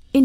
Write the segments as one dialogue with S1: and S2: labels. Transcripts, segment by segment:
S1: verscheen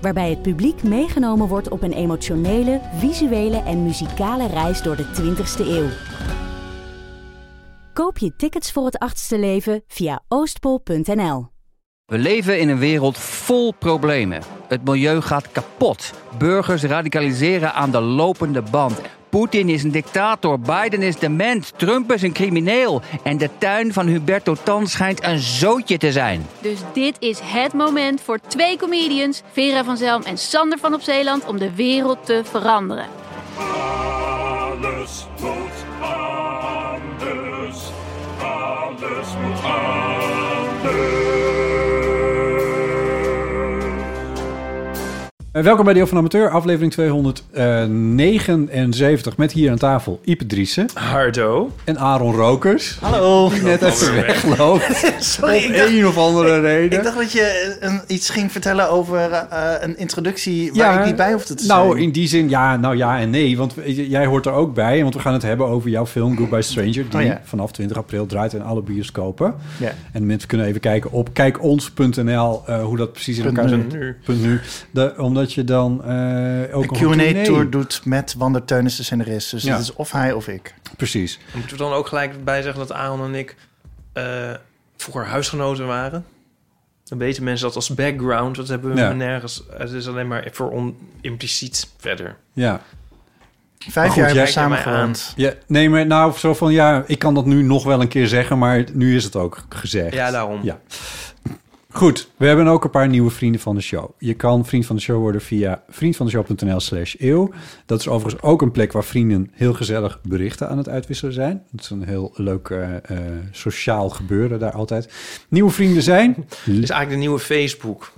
S1: Waarbij het publiek meegenomen wordt op een emotionele, visuele en muzikale reis door de 20ste eeuw. Koop je tickets voor het achtste leven via oostpol.nl.
S2: We leven in een wereld vol problemen. Het milieu gaat kapot. Burgers radicaliseren aan de lopende band. Poetin is een dictator, Biden is dement, Trump is een crimineel. En de tuin van Huberto Tan schijnt een zootje te zijn.
S3: Dus dit is het moment voor twee comedians, Vera van Zelm en Sander van op Zeeland, om de wereld te veranderen.
S4: Alles moet anders. Alles moet anders.
S5: Eh, Welkom bij Deel van Amateur, aflevering 279. Met hier aan tafel Ipe Driessen
S6: Hardo.
S5: en Aaron Rokers.
S7: Hallo.
S5: Die net uit de
S6: alweer
S5: weg loopt.
S7: Sorry,
S5: Om
S7: ik dacht,
S5: een of andere reden.
S7: ik dacht dat je eh, een, iets ging vertellen over eh, een introductie waar
S5: Ja,
S7: ik niet bij hoefde te zijn.
S5: nou, in die zin ja, nou ja en nee. Want j- jij hoort er ook bij. Want we gaan het hebben over jouw film Goodbye Stranger. Die
S7: Oh ja.
S5: vanaf 20 april draait in alle bioscopen.
S7: Ja.
S5: En mensen kunnen even kijken op kijkons.nl eh, hoe dat precies in elkaar zit.
S6: nu.
S5: Punt nu. De- omdat je dan eh ook een
S7: Een Q&A-tour doet met Wander Teunis, de scenarist. Dus
S5: Ja.
S7: dat is of hij of ik.
S5: Precies.
S6: Moeten we dan ook gelijk bij zeggen dat Aaron en ik eh, vroeger huisgenoten waren? Dan weten mensen dat als background. Dat hebben we
S5: Ja.
S6: nergens. Het is alleen maar voor on, impliciet verder.
S5: Ja.
S7: Vijf
S5: goed,
S7: jaar hebben we
S5: jij
S7: samen
S6: kijkt mij aan.
S7: gewoond.
S5: ja. Nee, maar nou zo van ja, ik kan dat nu nog wel een keer zeggen. Maar nu is het ook gezegd.
S6: Ja, daarom.
S5: Ja. Goed, we hebben ook een paar nieuwe vrienden van de show. Je kan vriend van de show worden via vriendvandeshow.nl slash eeuw. Dat is overigens ook een plek waar vrienden heel gezellig berichten aan het uitwisselen zijn. Dat is een heel leuk eh, eh, sociaal gebeuren daar altijd. Nieuwe vrienden zijn...
S6: Het is eigenlijk de nieuwe Facebook.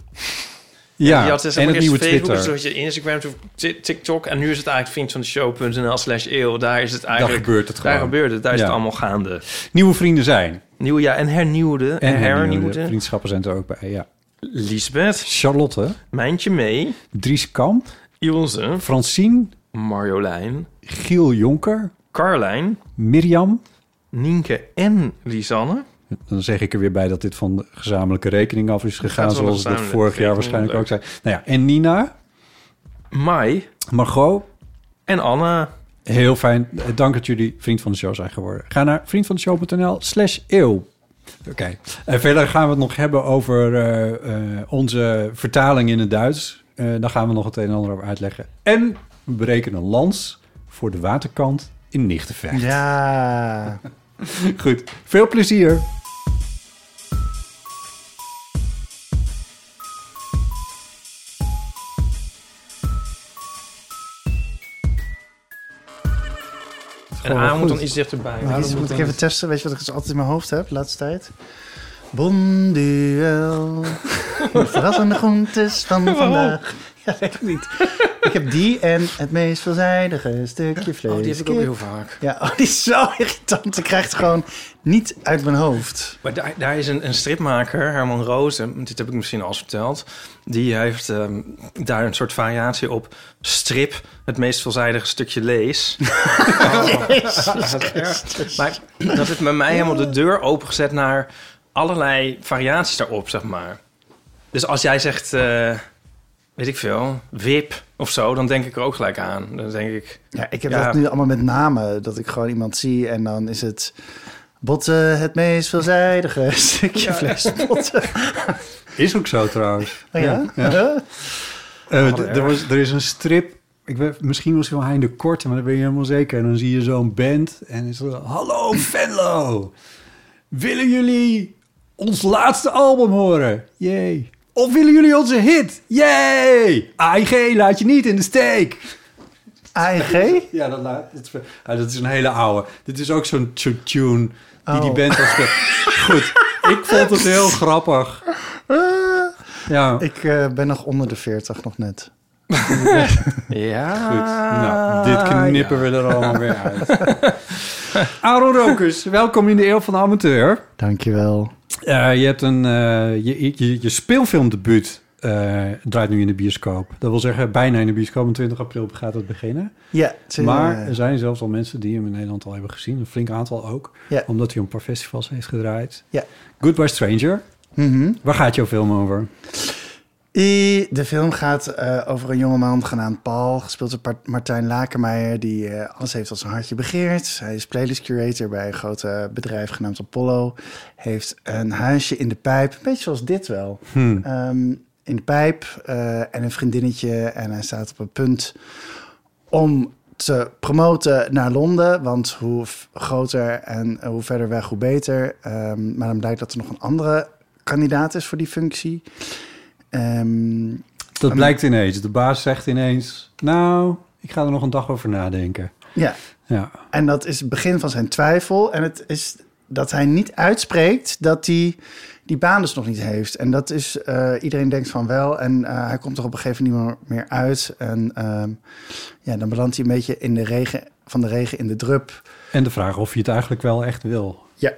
S5: Ja,
S6: Je had dus
S5: en het
S6: eerst
S5: nieuwe
S6: Facebook,
S5: Twitter.
S6: dus had je Instagram, toen Ti- TikTok. En nu is het eigenlijk vriendvandeshow.nl slash eeuw. Daar is het
S5: Daar
S6: eigenlijk...
S5: gebeurt het gewoon.
S6: Daar gebeurt het. Daar is
S5: Ja.
S6: het allemaal gaande.
S5: Nieuwe vrienden zijn.
S6: Nieuwe ja, en hernieuwde. En,
S5: En hernieuwde
S6: hernieuwde.
S5: vriendschappen zijn er ook bij, ja.
S6: Lisbeth.
S5: Charlotte,
S6: Mijntje mee.
S5: Dries Kamp,
S6: Ilse.
S5: Francine,
S6: Marjolein.
S5: Giel Jonker,
S6: Carlijn.
S5: Mirjam...
S6: Nienke en Lisanne.
S5: Dan zeg ik er weer bij dat dit van de gezamenlijke rekening af is gegaan,
S6: gaat wel
S5: zoals dat
S6: gezamenlijk.
S5: vorig jaar
S6: Rekening,
S5: waarschijnlijk ook
S6: leuk.
S5: zei. Nou ja, en Nina,
S6: Mai
S5: Margot,
S6: en Anna.
S5: heel fijn. Eh, Dank dat jullie vriend van de show zijn geworden. Ga naar vriendvandeshow.nl slash eeuw. Oké, en verder gaan we het nog hebben over eh, eh, onze vertaling in het Duits. Eh, daar gaan we nog het een en ander over uitleggen. En we breken een lans voor de waterkant in Nichtenvecht.
S7: Ja.
S5: Goed, veel plezier.
S6: En
S5: wel
S6: Aan moet
S5: goed.
S6: dan iets dichterbij.
S7: Iets moet ik even testen. Weet je wat ik dus altijd in mijn hoofd heb de laatste tijd? Bonduel. De verrassende groentes van vandaag. Ja, weet ik niet. Ik heb die en het meest veelzijdige stukje
S6: Oh,
S7: vlees. Kip.
S6: vaak.
S7: Ja, oh, die is zo irritant. Ik krijg het gewoon niet uit mijn hoofd.
S6: Maar daar, daar is een, een stripmaker, Herman Rozen, dit heb ik misschien al eens verteld. Die heeft ehm, daar een soort variatie op strip, het meest veelzijdige stukje lees. Dat is erg. maar dat heeft bij mij helemaal de deur opengezet naar allerlei variaties daarop, zeg maar. Dus als jij zegt, eh, weet ik veel, wip of zo, dan denk ik er ook gelijk aan. Dan denk ik,
S7: Ja, ik heb
S6: Ja.
S7: dat nu allemaal met namen. Dat ik gewoon iemand zie en dan is het... Botten, het meest veelzijdige stukje vlees. Botten.
S5: Is ook zo trouwens.
S7: Oh ja?
S5: Eh, d- er, was, er is een strip. Ik weet, misschien was hij wel Hein de Korte, maar dat ben je helemaal zeker. En dan zie je zo'n band en is er... Hallo Venlo! Willen jullie ons laatste album horen? Jee. Of willen jullie onze hit? Jee! AIG laat je niet in de steek.
S7: AEG?
S5: Ja, dat, laat, dat, is, ah, dat is een hele oude. Dit is ook zo'n zo'n tune die die
S7: Oh.
S5: band al speelt. Goed, ik vond het heel grappig. Ja.
S7: Ik eh, ben nog onder de 40, nog net.
S6: Ja.
S5: Goed, nou, dit knippen we er allemaal weer uit. Aaron Rokus, welkom in de Eeuw van de Amateur.
S7: Dankjewel.
S5: Eh, je hebt een, eh, je, je, je speelfilmdebuut eh, draait nu in de bioscoop. Dat wil zeggen, bijna in de bioscoop. En 20 april gaat dat beginnen.
S7: Ja, het is,
S5: maar
S7: eh,
S5: er zijn zelfs al mensen die hem in Nederland al hebben gezien. Een flink aantal ook.
S7: Ja.
S5: Omdat hij op een paar festivals heeft gedraaid.
S7: Ja.
S5: Goodbye Stranger.
S7: mhm.
S5: Waar gaat jouw film over?
S7: I- De film gaat eh, over een jongeman genaamd Paul, gespeeld door Par- Martijn Lakenmeijer, die eh, alles heeft wat zijn hartje begeert. Hij is playlist curator bij een groot eh, bedrijf genaamd Apollo. Heeft een huisje in de pijp, een beetje zoals dit wel. Ehm, in de pijp eh, en een vriendinnetje en hij staat op een punt om te promoten naar Londen. Want hoe f- groter en eh, hoe verder weg, hoe beter. Ehm, maar dan blijkt dat er nog een andere kandidaat is voor die functie. Ehm,
S5: Dat blijkt ineens. De baas zegt ineens... Nou, ik ga er nog een dag over nadenken.
S7: ja,
S5: Ja.
S7: en dat is het begin van zijn twijfel. En het is dat hij niet uitspreekt dat hij die baan dus nog niet heeft. En dat is, eh, iedereen denkt van wel. En eh, hij komt er op een gegeven moment niet meer meer uit. En ehm, ja, dan belandt hij een beetje in de regen, van de regen in de drup.
S5: En de vraag of je het eigenlijk wel echt wil.
S7: Ja.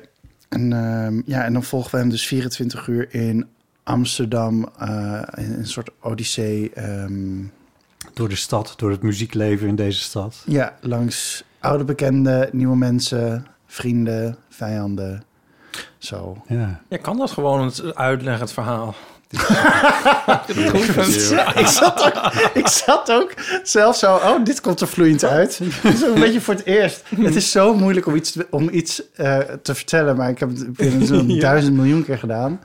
S7: En, ehm, ja, en dan volgen we hem dus 24 uur in Amsterdam. eh, in een soort odyssee. ehm,
S5: Door de stad, door het muziekleven in deze stad.
S7: Ja, langs oude bekenden, nieuwe mensen, vrienden, vijanden. Zo.
S5: Ja.
S6: Je kan dat gewoon het uitleggen, het verhaal.
S7: ik, zat ook, ik zat ook zelf zo, oh, dit komt er vloeiend uit. Dus een beetje voor het eerst. Het is zo moeilijk om iets, te- om iets eh, te vertellen, maar ik heb het ik heb het zo'n duizend miljoen keer gedaan.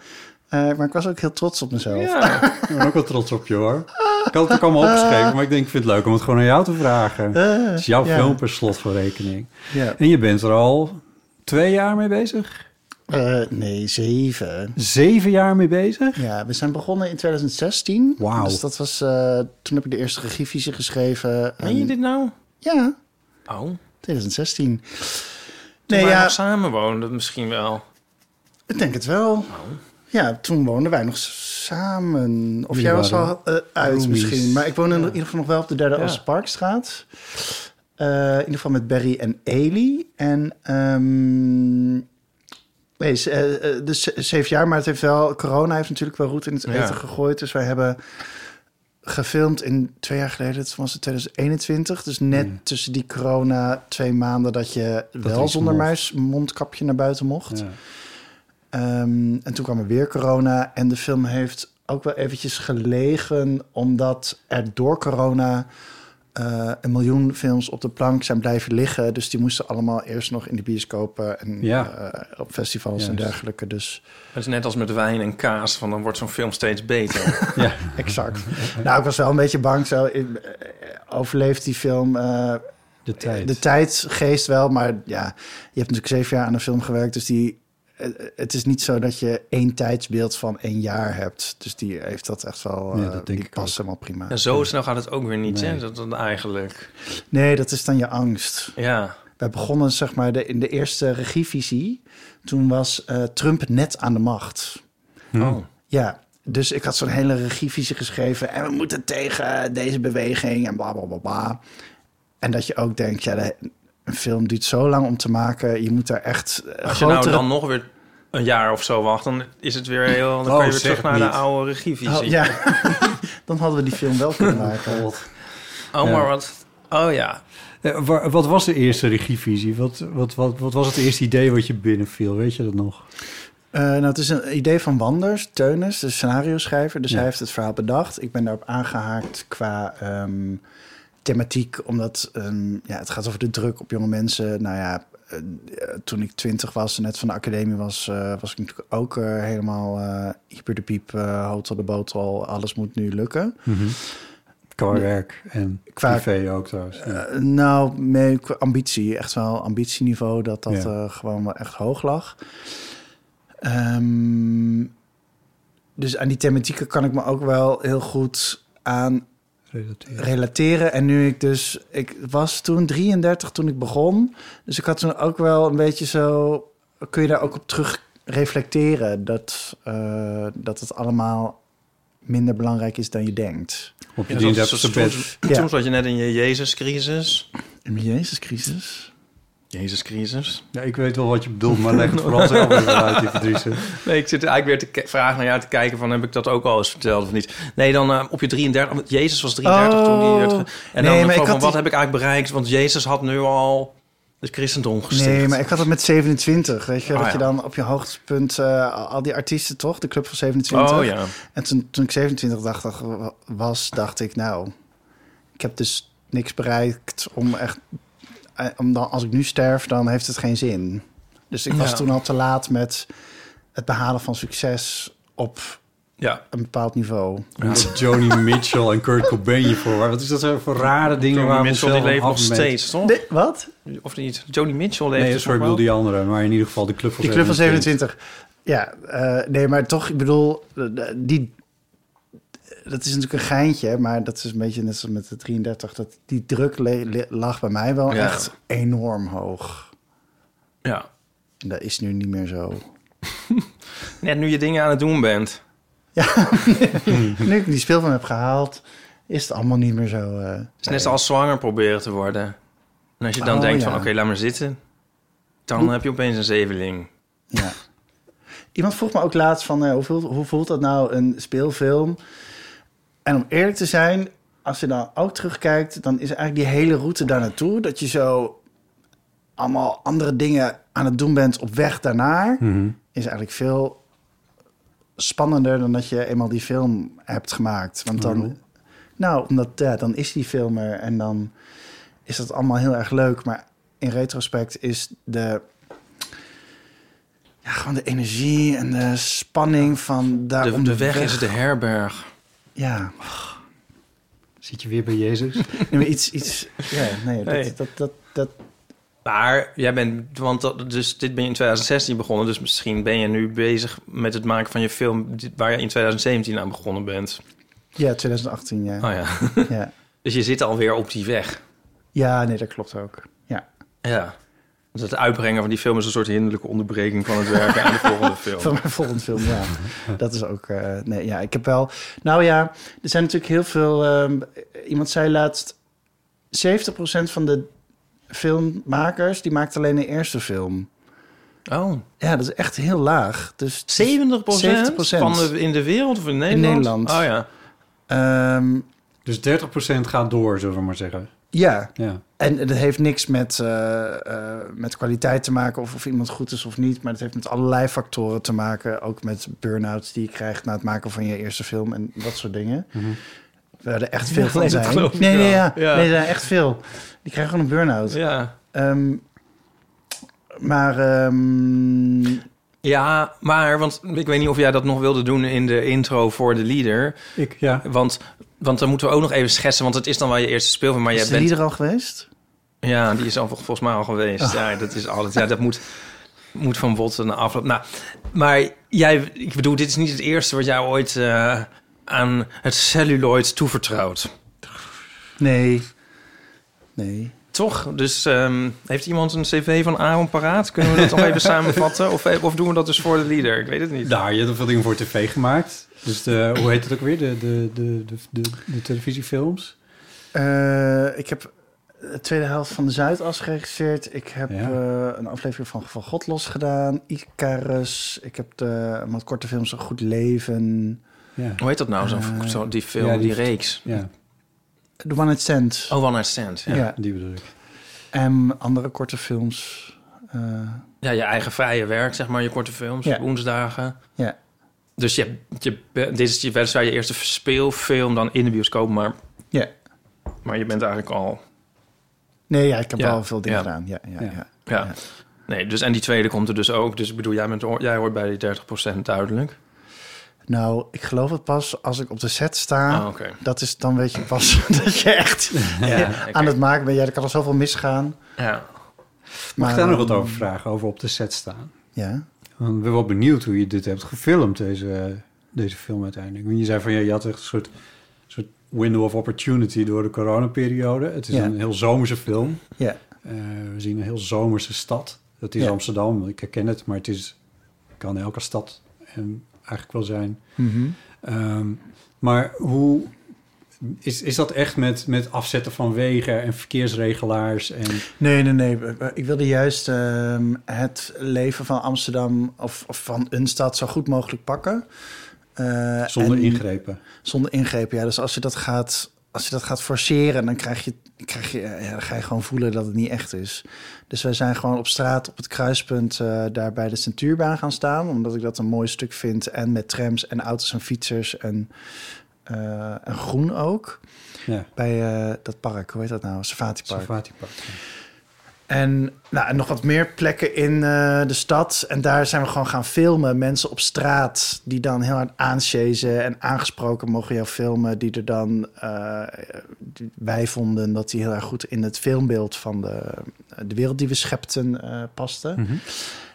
S7: Eh, maar ik was ook heel trots op mezelf.
S6: Ja.
S5: Ik ben ook wel trots op je hoor. Ik had het ook allemaal opgeschreven, maar ik denk ik vind het leuk om het gewoon aan jou te vragen.
S7: Eh,
S5: Het is jouw
S7: ja.
S5: film per slot van rekening.
S7: Ja.
S5: En je bent er al twee jaar mee bezig?
S7: Eh, nee, zeven.
S5: Zeven jaar mee bezig?
S7: Ja, we zijn begonnen in 2016.
S5: Wauw.
S7: Dus dat was, eh, toen heb ik de eerste regievisie geschreven.
S6: Meen je
S7: En-
S6: dit nou?
S7: Ja,
S6: Oh, toen
S7: 2016.
S6: wij
S7: Nee, ja,
S6: nog samen woonden misschien wel.
S7: ik denk het wel.
S5: Oh.
S7: Ja, toen woonden wij nog s- samen. Of
S5: Jullie
S7: jij was
S5: waren
S7: al eh, uit
S5: roomies.
S7: misschien. Maar ik woonde in ieder geval nog wel op de derde
S6: Ja.
S7: Oosterparkstraat. Eh, in ieder geval met Barry en Eli. En ehm, nee, ze- eh, eh, dus ze- zeven jaar, maar het heeft wel... Corona heeft natuurlijk wel roet in het
S6: Ja.
S7: eten gegooid. Dus wij hebben gefilmd in twee jaar geleden. Toen was het 2021. Dus net tussen die corona twee maanden... dat je wel
S5: Hmm. iets
S7: zonder
S5: mocht.
S7: muis mondkapje naar buiten mocht.
S5: Ja.
S7: Ehm, en toen kwam er weer corona. En de film heeft ook wel eventjes gelegen, omdat er door corona eh, een miljoen films op de plank zijn blijven liggen. Dus die moesten allemaal eerst nog in de bioscopen en
S5: Ja.
S7: eh, op festivals en
S5: Juist.
S7: dergelijke. Dus
S6: Het is net als met wijn en kaas, van dan wordt zo'n film steeds beter.
S5: Ja.
S7: exact. nou, ik was wel een beetje bang. Zo, eh, overleeft die film eh,
S5: De tijd.
S7: De tijdgeest wel, maar ja, je hebt natuurlijk zeven jaar aan een film gewerkt, dus die, eh, het is niet zo dat je één tijdsbeeld van één jaar hebt. Dus die heeft dat echt wel,
S5: Ja,
S7: eh,
S5: dat denk
S7: die
S5: ik
S7: past
S5: ook.
S7: helemaal prima.
S6: en zo snel gaat het ook weer niet, hè?
S5: Nee.
S6: Dat dan eigenlijk.
S7: Nee, dat is dan je angst.
S6: Ja.
S7: Wij begonnen zeg maar de, in de eerste regievisie, toen was eh, Trump net aan de macht.
S6: Oh.
S7: Ja, dus ik had zo'n hele regievisie geschreven en we moeten tegen deze beweging en bla bla bla bla. En dat je ook denkt, ja, de- een film duurt zo lang om te maken. Je moet daar echt eh,
S6: Als je
S7: grotere...
S6: nou dan nog weer een jaar of zo wacht, dan is het weer heel. Dan
S5: Oh,
S6: kan je weer
S5: zeg
S6: terug naar
S5: niet.
S6: de oude regievisie.
S7: Oh, ja, dan hadden we die film wel kunnen maken.
S6: Oh,
S5: Ja.
S6: maar wat. Oh ja.
S5: Eh, wa- wat was de eerste regievisie? Wat, wat, wat, wat was het eerste idee wat je binnenviel? Weet je dat nog?
S7: Eh, nou, het is een idee van Wanders, Teunis, de scenario schrijver. Dus
S5: Ja.
S7: hij heeft het verhaal bedacht. Ik ben daarop aangehaakt qua ehm, thematiek, omdat ehm, ja, het gaat over de druk op jonge mensen. Nou ja, eh, eh, toen ik twintig was en net van de academie was, eh, was ik natuurlijk ook eh, helemaal eh hyper de piep, eh, hotel de botel, alles moet nu lukken.
S5: Qua werk en
S7: Mhm. Qua-
S5: privé ook trouwens. Ja.
S7: Eh, nou, nee, qua ambitie. Echt wel ambitieniveau dat dat
S5: Ja.
S7: eh, gewoon wel echt hoog lag. Ehm, dus aan die thematieken kan ik me ook wel heel goed aan
S5: Relateren.
S7: relateren. En nu ik dus... Ik was toen 33 toen ik begon. Dus ik had toen ook wel een beetje zo... Kun je daar ook op terug reflecteren? Dat, eh, dat het allemaal minder belangrijk is dan je denkt.
S5: Op je
S6: Ja, dat was-
S5: 33ste
S6: toen-
S5: bed.
S6: toen
S7: Ja.
S6: zat je net in je Jezus-crisis.
S7: In mijn Jezus-crisis?
S6: Jezus-crisis.
S5: Ja, ik weet wel wat je bedoelt, maar leg het vooral zelf even uit, die Patrice.
S6: Nee, ik zit eigenlijk weer te ke- vragen naar jou te kijken van heb ik dat ook al eens verteld of niet. Nee, dan eh, op je 33, want Jezus was 33 toen die werd ge- En
S7: Oh.
S6: dan
S7: Nee, maar
S6: nee,
S7: ik
S6: van wat
S7: had die-
S6: heb ik eigenlijk bereikt? Want Jezus had nu al het christendom gesticht.
S7: Nee, maar ik had het met 27. Weet je,
S6: Oh,
S7: dat
S6: ja.
S7: je dan op je hoogtepunt eh, al die artiesten toch, de club van 27.
S6: Oh ja.
S7: En toen, toen ik 27 dacht, dacht- was, dacht ik, nou, ik heb dus niks bereikt om echt. eh, Om dan, als ik nu sterf, dan heeft het geen zin. Dus ik was
S6: Ja.
S7: toen al te laat met het behalen van succes op
S6: Ja.
S7: een bepaald niveau.
S5: Omdat Joni Mitchell en Kurt Cobain je voor waren. Wat is dat zo voor rare dingen waar
S6: Joni
S5: we
S6: Mitchell die
S5: onszelf
S6: leeft
S5: aan
S6: nog
S5: afmeten?
S6: steeds, toch?
S7: Nee, wat?
S6: Of niet? Joni Mitchell leeft
S5: Nee,
S6: toch
S5: sorry, ik bedoel
S6: wel?
S5: die andere. Maar in ieder geval de club van
S7: Die club van 27. Ja, eh, nee, maar toch, ik bedoel, eh, die. Dat is natuurlijk een geintje, maar dat is een beetje net zoals met de 33. Dat, die druk le- le- lag bij mij wel
S6: Ja.
S7: echt enorm hoog.
S6: Ja.
S7: En Dat is nu niet meer zo.
S6: Net nu je dingen aan het doen bent.
S7: Nu ik die speelfilm heb gehaald, is het allemaal niet meer zo. eh,
S6: Het is net als zwanger proberen te worden. En als je dan
S7: Oh,
S6: denkt
S7: ja.
S6: van oké, laat maar zitten. Dan heb je opeens een zeveling.
S7: Ja. Iemand vroeg me ook laatst van eh, hoe, voelt, hoe voelt dat nou een speelfilm? En om eerlijk te zijn, als je dan ook terugkijkt, dan is eigenlijk die hele route daar naartoe dat je zo allemaal andere dingen aan het doen bent op weg daarnaar,
S6: Mhm.
S7: is eigenlijk veel spannender dan dat je eenmaal die film hebt gemaakt. Want dan,
S6: Mhm.
S7: nou, omdat ja, dan is die film er en dan is dat allemaal heel erg leuk. Maar in retrospect is de ja, gewoon de energie en de spanning van daar
S6: De,
S7: om
S6: de weg is de herberg.
S7: Ja,
S5: Zit je weer bij Jezus?
S7: nee, maar iets, iets. Ja, nee, dat,
S6: Nee.
S7: dat, dat, dat
S6: Maar jij bent, want dat, dus dit ben je in 2016 begonnen, dus misschien ben je nu bezig met het maken van je film die- waar je in 2017 aan begonnen bent.
S7: ja, 2018, ja.
S6: Oh ja.
S7: ja.
S6: Dus je zit alweer op die weg.
S7: Ja, nee, dat klopt ook. Ja.
S6: Ja. Dus het uitbrengen van die film is een soort hinderlijke onderbreking van het werken aan de volgende film.
S7: Van mijn volgende film, ja. Dat is ook... eh, nee, ja, ik heb wel... Nou ja, er zijn natuurlijk heel veel... ehm, iemand zei laatst... 70% van de filmmakers, die maakt alleen de eerste film.
S6: Oh,
S7: Ja, dat is echt heel laag. Dus
S6: 70
S7: 70%.
S6: van de, in de wereld of in Nederland?
S7: Nederland.
S6: Oh ja.
S7: ehm,
S5: Dus 30% gaat door, zullen we maar zeggen.
S7: ja,
S5: Ja.
S7: en dat heeft niks met, eh, eh, met kwaliteit te maken... of of iemand goed is of niet. Maar dat heeft met allerlei factoren te maken. Ook met burn-outs die je krijgt na het maken van je eerste film... en dat soort dingen. Waar er echt veel van
S6: nee, dat
S7: zijn.
S6: Mhm. geloof ik
S7: nee, nee,
S6: wel.
S7: ja.
S6: Ja.
S7: nee, er zijn echt veel. Die krijgen gewoon een burn-out.
S6: Ja.
S7: Ehm, maar ehm,
S6: Ja, maar, want ik weet niet of jij dat nog wilde doen in de intro voor de leader.
S5: Ik, ja.
S6: Want, want dan moeten we ook nog even schetsen, want het is dan wel je eerste speelfilm. Maar
S7: is
S6: jij
S7: de
S6: bent
S7: lieder al geweest?
S6: Ja, die is al, volgens mij al geweest.
S7: Oh.
S6: Ja, dat is altijd. Ja, dat moet, moet van botten naar afloop. Nou, maar jij, ik bedoel, dit is niet het eerste wat jij ooit eh, aan het celluloid toevertrouwt.
S7: Nee. Nee.
S6: Toch? Dus ehm, heeft iemand een cv van Aaron paraat? Kunnen we dat nog even samenvatten? Of, of doen we dat dus voor de leader? Ik weet het niet.
S5: Nou, je hebt veel dingen voor tv gemaakt. Dus de, hoe heet het ook weer? De, de, de, de, de, de televisiefilms?
S7: Eh, ik heb de tweede helft van de Zuidas geregisseerd. Ik heb
S5: Ja.
S7: eh, een aflevering van Geval God los gedaan. Icarus. Ik heb de wat korte films Een Goed Leven.
S5: Ja.
S6: Hoe heet dat nou, zo'n
S7: Eh,
S6: zo, die film,
S5: ja,
S6: die,
S5: die-
S6: reeks?
S5: ja,
S7: The One Night Stand.
S6: Oh, One Night Stand. Ja.
S7: ja.
S6: Ja.
S5: die bedoel ik.
S7: En andere korte films. Eh,
S6: je eigen vrije werk, zeg maar, je korte films,
S7: Ja.
S6: woensdagen.
S7: ja.
S6: Dus je, je, dit is je, weliswaar je eerste speelfilm dan in de bioscoop, maar,
S7: Ja.
S6: maar je bent eigenlijk al...
S7: Nee, ja, ik heb
S6: Ja,
S7: wel veel dingen
S6: ja.
S7: gedaan. Ja, ja, ja.
S5: Ja.
S6: Ja.
S7: Ja.
S6: Nee, dus, en die tweede komt er dus ook. Dus ik bedoel, jij, bent, jij hoort bij die 30% duidelijk.
S7: Nou, ik geloof het pas als ik op de set sta.
S6: Ah, oké.
S7: Dat is dan weet je pas dat je echt aan het maken bent. Ja, er kan al zoveel misgaan.
S6: Ja.
S5: Mag
S7: Maar,
S5: ik daar nog
S7: ehm,
S5: wat over vragen? Over op de set staan.
S7: Ja.
S5: Want Ehm, Ik ben wel benieuwd hoe je dit hebt gefilmd, deze, deze film uiteindelijk. Want je zei van, ja, je had echt een soort, soort window of opportunity door de coronaperiode. Het is
S7: Ja.
S5: een heel zomerse film.
S7: Ja.
S5: Eh, we zien een heel zomerse stad. Dat is
S7: Ja.
S5: Amsterdam, ik herken het, maar het is, kan elke stad ehm, eigenlijk wel zijn.
S7: Mhm.
S5: Ehm, maar hoe Is, is dat echt met, met afzetten van wegen en verkeersregelaars? En,
S7: Nee, nee, nee. Ik wilde juist ehm, het leven van Amsterdam of, of van een stad zo goed mogelijk pakken. Eh,
S5: zonder
S7: en-
S5: ingrepen.
S7: Zonder ingrepen, ja. Dus als je dat gaat, als je dat gaat forceren, dan, krijg je, krijg je, eh, ja, dan ga je gewoon voelen dat het niet echt is. Dus wij zijn gewoon op straat op het kruispunt eh, daar bij de centuurbaan gaan staan. Omdat ik dat een mooi stuk vind. En met trams en auto's en fietsers en, eh, en groen ook.
S5: Ja.
S7: Bij eh, dat park, hoe heet dat nou? Savati Park.
S5: Safatipark.
S7: En, nou, en nog wat meer plekken in eh, de stad. En daar zijn we gewoon gaan filmen. Mensen op straat die dan heel hard aansjezen en aangesproken mogen jou filmen. Die er dan, eh, die- wij vonden dat die heel erg goed in het filmbeeld van de, de wereld die we schepten eh paste.
S5: Mhm.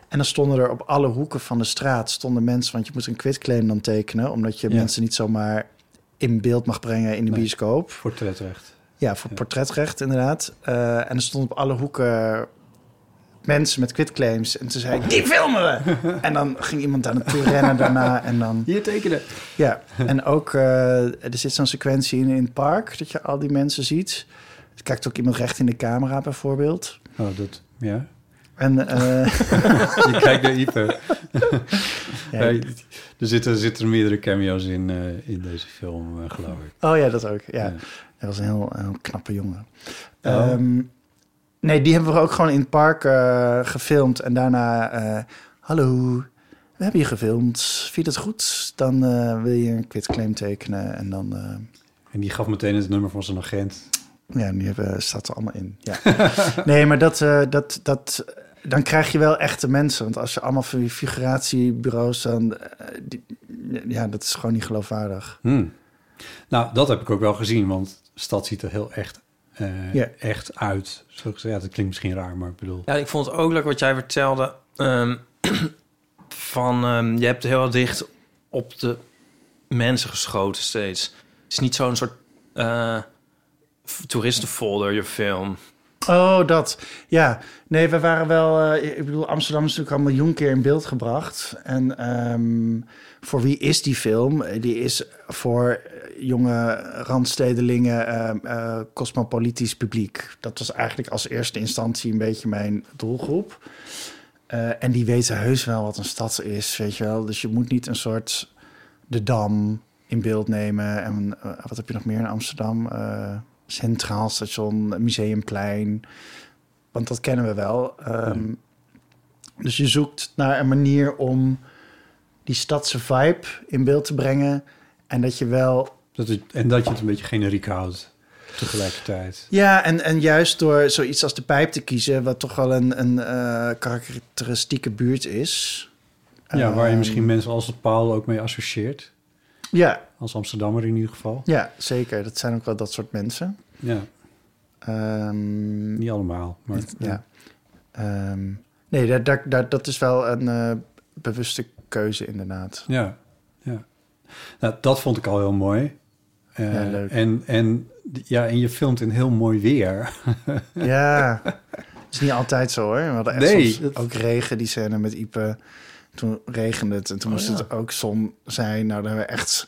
S7: En dan stonden er op alle hoeken van de straat stonden mensen, want je moet een quitclaim dan tekenen. Omdat je
S5: Ja.
S7: mensen niet zomaar in beeld mag brengen in de
S5: Nee.
S7: bioscoop.
S5: Portretrecht.
S7: Ja, voor
S5: Ja.
S7: portretrecht inderdaad. Eh, en er stonden op alle hoeken mensen met quitclaims. En toen zei ik, die filmen we! en dan ging iemand daar naartoe rennen daarna. En dan,
S5: Hier tekenen.
S7: ja. En ook, eh, er zit zo'n sequentie in, in het park... dat je al die mensen ziet. Er kijkt ook iemand recht in de camera bijvoorbeeld.
S5: Oh, dat, ja.
S7: En eh,
S5: Je kijkt naar Ieper.
S7: ja,
S5: Hey, er, zitten, zitten meerdere cameo's in, eh, in deze film, eh, geloof ik.
S7: Oh ja, dat ook. Ja.
S5: Ja.
S7: Hij was een heel, heel knappe jongen.
S5: Oh.
S7: Ehm, nee, die hebben we ook gewoon in het park eh, gefilmd. En daarna, eh, hallo, we hebben je gefilmd. Vind je dat goed? Dan eh, wil je een quitclaim tekenen. En dan, eh,
S5: En die gaf meteen het nummer van zijn agent.
S7: ja, nu hebben, staat er allemaal in. Ja. nee, maar dat, eh, dat, dat, dan krijg je wel echte mensen. Want als je allemaal van die figuratiebureaus, dan, eh, die, ja, dat is gewoon niet geloofwaardig.
S5: Hmm. Nou, dat heb ik ook wel gezien, want de stad ziet er heel echt, eh,
S7: Ja.
S5: echt uit. Zo gezegd, ja, dat klinkt misschien raar, maar ik bedoel...
S6: Ja, ik vond het ook leuk wat jij vertelde. ehm, van ehm, je hebt heel dicht op de mensen geschoten steeds. Het is niet zo'n soort eh, f- toeristenfolder, je film.
S7: Oh, dat. Ja. Nee, we waren wel... eh, ik bedoel, Amsterdam is natuurlijk al een miljoen keer in beeld gebracht. En ehm, voor wie is die film? Eh, Die is voor eh, jonge randstedelingen, ehm, eh, cosmopolitisch publiek. Dat was eigenlijk als eerste instantie een beetje mijn doelgroep. Eh, en die weten heus wel wat een stad is, weet je wel. Dus je moet niet een soort de Dam in beeld nemen. En eh, wat heb je nog meer in Amsterdam? Eh, Centraal Station, Museumplein. Want dat kennen we wel. Ehm, Dus je zoekt naar een manier om die stadse vibe in beeld te brengen. En dat je wel
S5: Dat het- en dat je het een beetje generiek houdt tegelijkertijd.
S7: Ja, en, en juist door zoiets als de pijp te kiezen, wat toch wel een, een eh, karakteristieke buurt is.
S5: Ja, waar je
S7: Ehm,
S5: misschien mensen als het Paul ook mee associeert.
S7: Ja,
S5: Als Amsterdammer in ieder geval.
S7: ja, zeker. Dat zijn ook wel dat soort mensen.
S5: Ja,
S7: Ehm,
S5: niet allemaal, maar...
S7: ja. Ehm, nee, daar, daar, daar- dat is wel een eh, bewuste keuze, inderdaad.
S5: Ja, ja. Nou, dat vond ik al heel mooi. Eh,
S7: Ja, leuk.
S5: En, en, ja, en je filmt in heel mooi weer.
S7: Ja, het is niet altijd zo hoor. We hadden echt
S5: Nee,
S7: soms
S5: dat-
S7: ook regen, die scène met Ipe. Toen regende het en
S5: Oh,
S7: toen moest het ook zon zijn. Nou, daar hebben we echt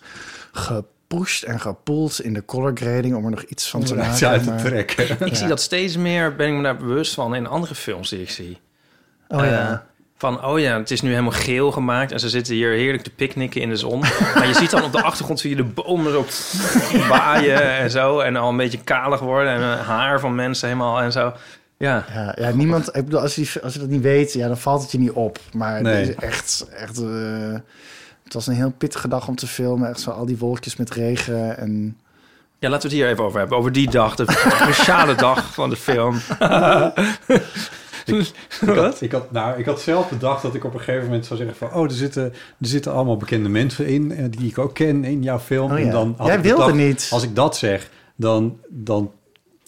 S7: gepusht en gepoeld in de color grading... om er nog iets van te
S5: om eruit
S7: maken.
S5: uit te
S7: maar-
S5: trekken.
S6: Ik zie dat steeds meer, ben ik me daar bewust van in andere films die ik zie.
S7: Oh ja.
S6: Eh, van, oh ja, het is nu helemaal geel gemaakt... en ze zitten hier heerlijk te picknicken in de zon. maar je ziet dan op de achtergrond zie je de bomen zo waaien en zo... en al een beetje kalig worden en eh, haar van mensen helemaal en zo. Ja,
S7: Ja, ja, niemand... Ik bedoel, als je, die- als je dat niet weet, ja, dan valt het je niet op. Maar
S5: Nee.
S7: het is echt... echt eh, het was een heel pittige dag om te filmen. Echt zo al die wolkjes met regen en...
S6: ja laten we het hier even over hebben. Over die dag, de speciale dag van de film.
S5: Ik had, ik, had, nou, ik had zelf bedacht dat ik op een gegeven moment zou zeggen van... oh, er zitten, er zitten allemaal bekende mensen in eh, die ik ook ken in jouw film.
S7: Oh ja.
S5: en dan had
S7: Jij
S5: ik
S7: wilde
S5: bedacht,
S7: niet.
S5: Als ik dat zeg, dan, dan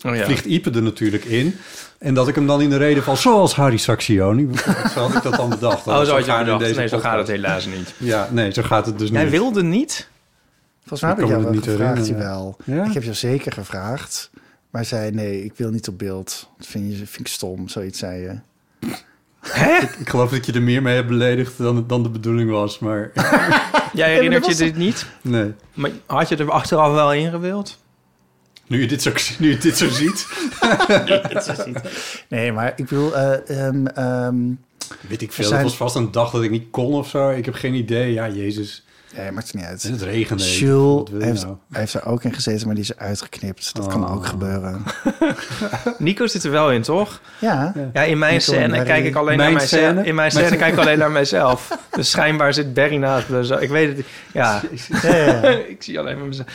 S6: Oh ja.
S5: vliegt Ipe er natuurlijk in. En dat ik hem dan in de reden val, zoals Harry Saxioni. bijvoorbeeld. Zo had ik dat dan bedacht.
S6: Oh, zo had je
S5: gaan we in
S6: bedacht. Nee,
S5: deze
S6: zo gaat het
S5: podcast.
S6: helaas niet.
S5: Ja, nee, zo gaat het dus niet.
S6: Jij wilde niet?
S7: Volgens mij heb
S5: Ik
S7: ik
S5: kan
S7: jou
S5: me
S7: wel
S5: dat niet
S7: gevraagd,
S5: herinneren.
S7: jawel.
S5: Ja?
S7: Ik heb jou zeker gevraagd, maar zei nee, ik wil niet op beeld. Dat vind, je, vind ik stom, zoiets zei je.
S5: Ik geloof dat je er meer mee hebt beledigd dan, dan de bedoeling was, maar
S6: Jij herinnert je dit niet?
S5: nee.
S6: Maar had je er achteraf wel in gewild?
S5: Nu je dit zo, nu je dit zo ziet,
S7: Nee, maar ik wil... eh, ehm, ehm,
S5: weet ik
S7: Er
S5: veel.
S7: zijn-
S5: Dat was vast een dag dat ik niet kon of zo. Ik heb geen idee. Ja, jezus.
S7: nee, maakt het niet uit.
S5: En het regende. Wat
S7: Jules
S5: wil je
S7: heeft,
S5: nou?
S7: hij heeft er ook in gezeten, maar die is uitgeknipt. Dat kan
S5: Oh.
S7: ook gebeuren.
S6: Nico zit er wel in, toch?
S7: Ja,
S6: Ja, in mijn
S7: Nico en
S6: scène
S7: Barry.
S6: kijk ik alleen
S5: Mijn
S6: naar mijzelf.
S5: scène?
S6: In mijn scène kijk ik alleen naar mijzelf. Dus schijnbaar zit Barry naast me. Zo, Ik weet het niet. Ja,
S7: ja, ja, ja.
S6: ik zie alleen maar mezelf.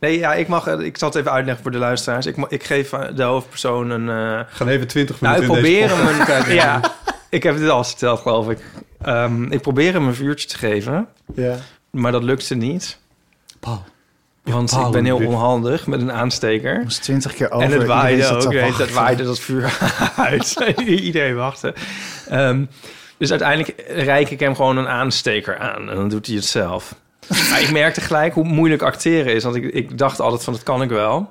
S6: Nee, ja, ik, mag, eh, ik zal het even uitleggen voor de luisteraars. Ik, ma- ik geef eh, de hoofdpersoon een... eh,
S5: We gaan even 20
S6: Nou,
S5: minuten
S6: ik
S5: in
S6: probeer
S5: deze
S6: hem
S5: podcast
S6: een...
S5: kijken.
S6: Ja, ik heb dit al eens verteld, geloof ik. Ehm, ik probeer hem een vuurtje te geven,
S7: ja.
S6: maar dat lukte niet.
S5: Paul.
S6: Want ik
S5: Paul,
S6: ben heel
S5: dit-
S6: onhandig met een aansteker.
S7: Moest twintig keer
S6: En
S7: over.
S6: het
S7: Iedereen
S6: waaide
S7: zat te
S6: ook. weet je, Het
S7: wachten.
S6: waaide dat vuur uit. Iedereen wachtte. Ehm, dus uiteindelijk reik ik hem gewoon een aansteker aan. En dan doet hij het zelf. Maar ik merkte gelijk hoe moeilijk acteren is. Want ik, ik dacht altijd van, dat kan ik wel.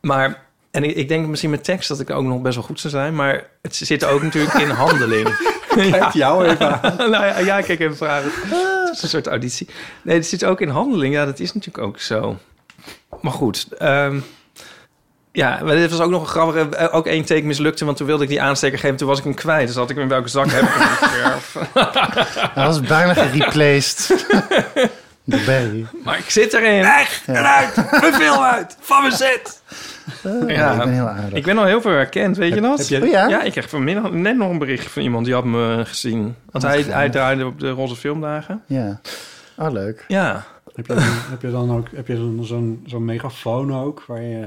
S6: Maar, en ik, ik denk misschien met tekst dat ik ook nog best wel goed zou zijn. Maar het zit ook natuurlijk in handeling.
S5: Kijk jou even aan.
S6: nou ja, ja, kijk even vragen.
S5: Ah.
S6: Het is een soort auditie. Nee, het zit ook in handeling. Ja, dat is natuurlijk ook zo. Maar goed. ehm, ja, maar dit was ook nog een grappige... eh, Ook één take mislukte, want toen wilde ik die aansteker geven. Toen was ik hem kwijt. Dus had ik hem in welke zak heb ik hem weer?
S7: Hij was bijna gereplaced. De Barry.
S6: Maar ik zit erin.
S5: Eruit! Mijn film uit! Van mijn set!
S7: Eh,
S6: Ja.
S7: Ik ben heel aardig.
S6: Ik ben al heel veel herkend, weet je dat?
S5: Heb jij
S7: Oh ja?
S6: Ja, ik kreeg vanmiddag net nog een bericht van iemand die had me gezien.
S7: Oh,
S6: Want hij, hij draaide op de Roze Filmdagen.
S7: Ja. Oh, leuk.
S6: Ja.
S5: Heb je, heb je dan ook heb je dan zo'n zo'n megafoon ook? Waar je,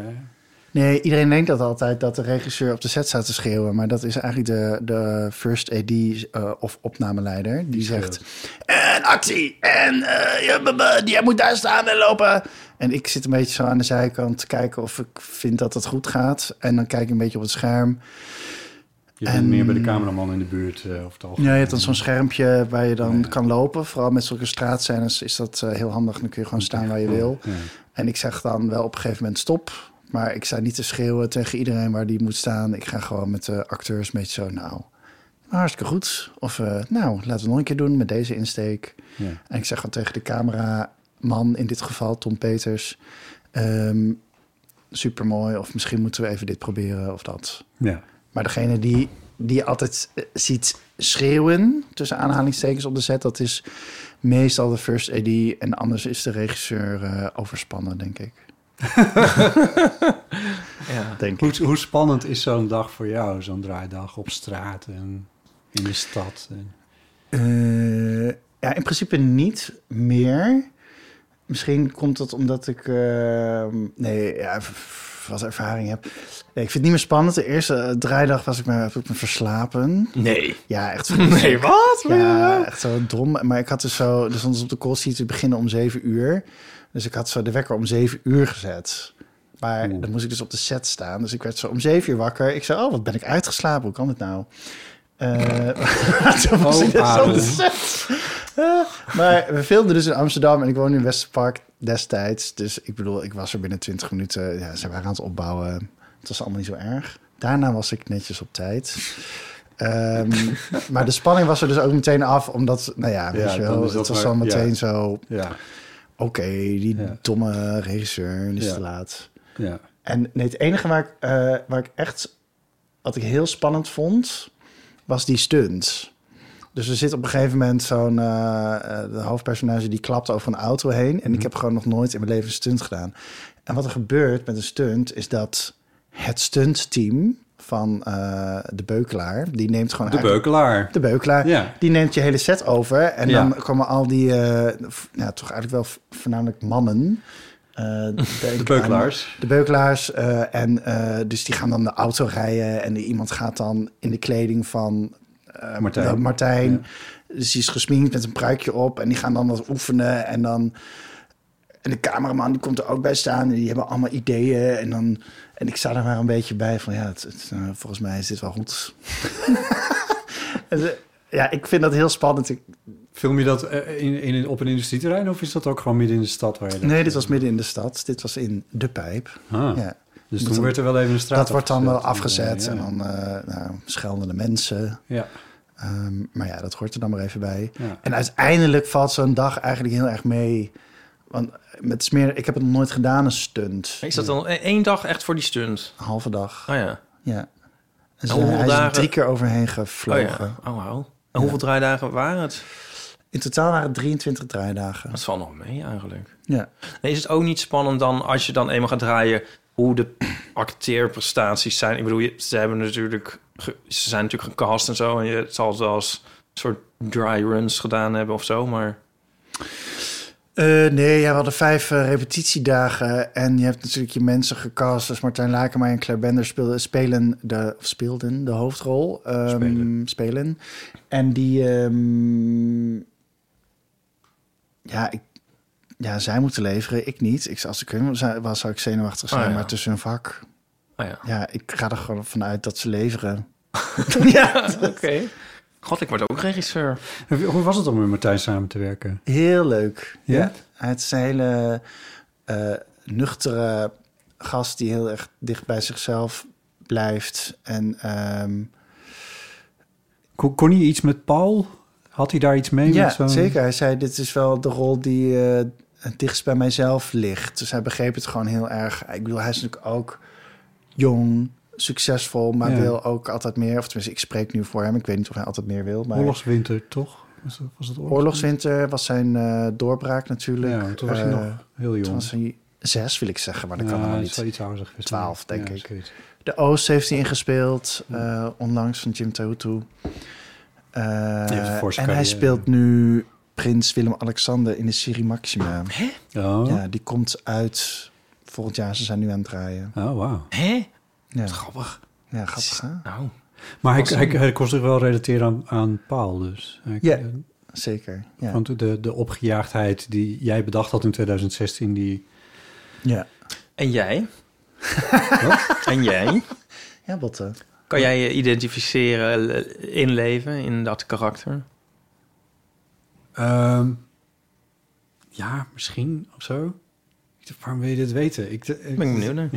S7: Nee, iedereen denkt dat altijd, dat de regisseur op de set staat te schreeuwen. Maar dat is eigenlijk de, de first AD eh, of opnameleider. Die, zegt, en actie! En eh, ja, b- b- jij moet daar staan en lopen! En ik zit een beetje zo aan de zijkant te kijken of ik vind dat het goed gaat. En dan kijk ik een beetje op het scherm.
S5: je bent meer bij de cameraman in de buurt eh, of het algemeen.
S7: Ja, je hebt dan zo'n schermpje waar je dan kan lopen. Vooral met zulke straatscènes is dat eh, heel handig. Dan kun je gewoon staan waar je wil. En ik zeg dan wel op een gegeven moment stop. Maar ik sta niet te schreeuwen tegen iedereen waar die moet staan. Ik ga gewoon met de acteurs een beetje zo, nou, hartstikke goed. Of eh, nou, laten we het nog een keer doen met deze insteek.
S5: Ja.
S7: En ik zeg gewoon tegen de cameraman, in dit geval Tom Peters... ehm supermooi, of misschien moeten we even dit proberen of dat.
S5: Ja.
S7: Maar degene die, die je altijd eh, ziet schreeuwen, tussen aanhalingstekens op de set, dat is meestal de first AD. En anders is de regisseur eh, overspannen, denk ik.
S6: ja.
S7: Denk ik.
S5: Hoe, hoe spannend is zo'n dag voor jou, zo'n draaidag op straat en in de stad? En...
S7: Eh, ja, in principe niet meer. Misschien komt dat omdat ik. eh, nee, ja, v- v- wat ervaring heb. Nee, ik vind het niet meer spannend. De eerste eh, draaidag was ik me, heb ik me verslapen.
S6: Nee.
S7: Ja, echt
S6: Nee, wat?
S7: Ja, echt zo dom. Maar ik had dus zo... Dus stond op de call sheet te beginnen om 7 uur. Dus ik had zo de wekker om 7 uur gezet. Maar dan moest ik dus op de set staan. Dus ik werd zo om 7 uur wakker. Ik zei, oh, wat ben ik uitgeslapen? Hoe kan dit nou? Eh, toen was ik dus op
S5: Adem.
S7: de set. Eh, maar we filmden dus in Amsterdam en ik woonde in Westerpark destijds. Dus ik bedoel, ik was er binnen 20 minuten. Ja, ze waren aan het opbouwen. Het was allemaal niet zo erg. Daarna was ik netjes op tijd. Ehm, maar de spanning was er dus ook meteen af, omdat, nou ja, weet
S5: Ja,
S7: je
S5: dan
S7: wel,
S5: is dat
S7: het was
S5: maar-
S7: dan
S5: ja.
S7: meteen zo, oké,
S5: Ja,
S7: die
S5: Ja.
S7: domme regisseur die is
S5: Ja.
S7: te laat.
S5: ja.
S7: En nee, het enige waar ik, eh, waar ik echt, wat ik heel spannend vond, was die stunt. Dus er zit op een gegeven moment zo'n eh, eh, de hoofdpersonage die klapt over een auto heen.
S5: Mhm.
S7: En ik heb gewoon nog nooit in mijn leven een stunt gedaan. En wat er gebeurt met een stunt is dat het stuntteam van eh, de Beukelaar, die neemt gewoon
S5: De
S7: eigenlijk-
S5: beukelaar.
S7: de Beukelaar.
S5: Ja.
S7: Die neemt je hele set over. En
S5: Ja.
S7: dan komen al die, eh, v- nou, toch eigenlijk wel v- voornamelijk mannen. eh, denk
S5: De beukelaars.
S7: aan De beukelaars. eh, en eh, dus die gaan dan de auto rijden. En iemand gaat dan in de kleding van eh,
S5: Martijn.
S7: wel, Martijn. Dus die is gesminkt met een pruikje op. En die gaan dan wat oefenen. En dan... En de cameraman die komt er ook bij staan. En die hebben allemaal ideeën. En, dan, en ik sta er maar een beetje bij van... Ja, het, het, eh, volgens mij is dit wel goed. En ze- ja, ik vind dat heel spannend. Ik-
S5: Film je dat eh, in, in, op een industrieterrein of is dat ook gewoon midden in de stad? Waar je dat-
S7: nee, dit was midden in de stad. Dit was in De Pijp.
S5: Ah,
S7: Ja.
S5: Dus
S7: Dat-
S5: toen werd er wel even een straat
S7: Dat wordt dan wel
S5: afgezet.
S7: afgezet. En dan eh nou, schelden de mensen.
S5: Ja,
S7: Ehm, maar ja, dat hoort er dan maar even bij.
S5: Ja.
S7: En uiteindelijk valt zo'n dag eigenlijk heel erg mee Want met smeren, ik heb het nog nooit gedaan, een stunt.
S6: Is dat dan e- één dag echt voor die stunt?
S7: Een halve dag.
S6: Oh ja.
S7: Ja. En ze,
S6: hoeveel
S7: hij is er
S6: dagen-
S7: drie keer overheen
S6: Oh
S7: gevlogen.
S6: ja. Oh, wow. En hoeveel draaidagen waren het?
S7: In totaal waren het 23 draaidagen.
S6: Dat valt nog mee eigenlijk.
S7: Ja.
S6: En is het ook niet spannend dan als je dan eenmaal gaat draaien hoe de acteerprestaties zijn? Ik bedoel, je- ze hebben natuurlijk, ge- ze zijn natuurlijk gecast en zo. En je het zal het wel als soort dry runs gedaan hebben of zo. Maar
S7: Eh, nee, ja, we hadden vijf eh, repetitiedagen. En je hebt natuurlijk je mensen gecast. Dus Martijn Lakenmaai en Claire Bender speelden, spelen de, of speelden de hoofdrol. ehm,
S6: Spelen.
S7: spelen. En die... ehm, ja, ik, ja, zij moeten leveren. Ik niet. Ik, zou- als ik hun zou- was, zou ik zenuwachtig zijn.
S6: Ah, ja.
S7: Maar tussen hun vak...
S6: oh ja.
S7: Ja, ik ga er gewoon vanuit dat ze leveren. ja,
S6: Oké. God, ik word ook regisseur.
S5: Hoe was het om met Martijn samen te werken?
S7: heel leuk.
S5: Ja?
S7: Het is een hele eh, nuchtere gast die heel erg dicht bij zichzelf blijft. En ehm,
S5: Kon, kon hij iets met Paul? Had hij daar iets mee? met
S7: ja,
S5: zo'n-
S7: zeker. Hij zei, dit is wel de rol die eh, het dichtst bij mijzelf ligt. Dus hij begreep het gewoon heel erg. Ik bedoel, hij is natuurlijk ook jong, succesvol, maar
S5: Ja.
S7: wil ook altijd meer. Of tenminste, ik spreek nu voor hem. Ik weet niet of hij altijd meer wil. Maar
S5: Oorlogswinter, toch? Was dat, was dat
S7: Oorlogswinter was zijn eh, doorbraak natuurlijk.
S5: Ja, want toen was hij
S7: Eh,
S5: nog heel jong.
S7: Toen was hij zes, wil ik zeggen, maar dat kan
S5: Ja,
S7: helemaal
S5: hij is wel
S7: niet.
S5: iets ouder geweest.
S7: 12, denk ik.
S5: zoiets.
S7: De Oost heeft hij ingespeeld, eh, onlangs van Jim Tahutu. Eh,
S5: heeft een
S7: en
S5: forse
S7: hij
S5: carrière.
S7: speelt nu prins Willem-Alexander in de serie Maxima.
S5: Oh,
S7: Ja, die komt uit volgend jaar. Ze zijn nu aan het draaien.
S5: oh wauw.
S6: Hé?
S7: Ja,
S6: Grappig.
S7: ja grappig hè?
S6: Nou,
S5: Maar hij, hij, hij kon zich wel relateren aan, aan Paul dus. Hij-
S7: Ja.
S5: eh,
S7: Zeker. Ja.
S5: Want de, de opgejaagdheid die jij bedacht had in 2016, die...
S7: Ja,
S6: en jij? en jij?
S7: ja Botte.
S6: Kan jij je identificeren, le- inleven in dat karakter?
S5: Ehm, ja, misschien of zo. Ik dacht, Waarom wil je dit weten? Ik, ik,
S6: Ben ik benieuwd naar.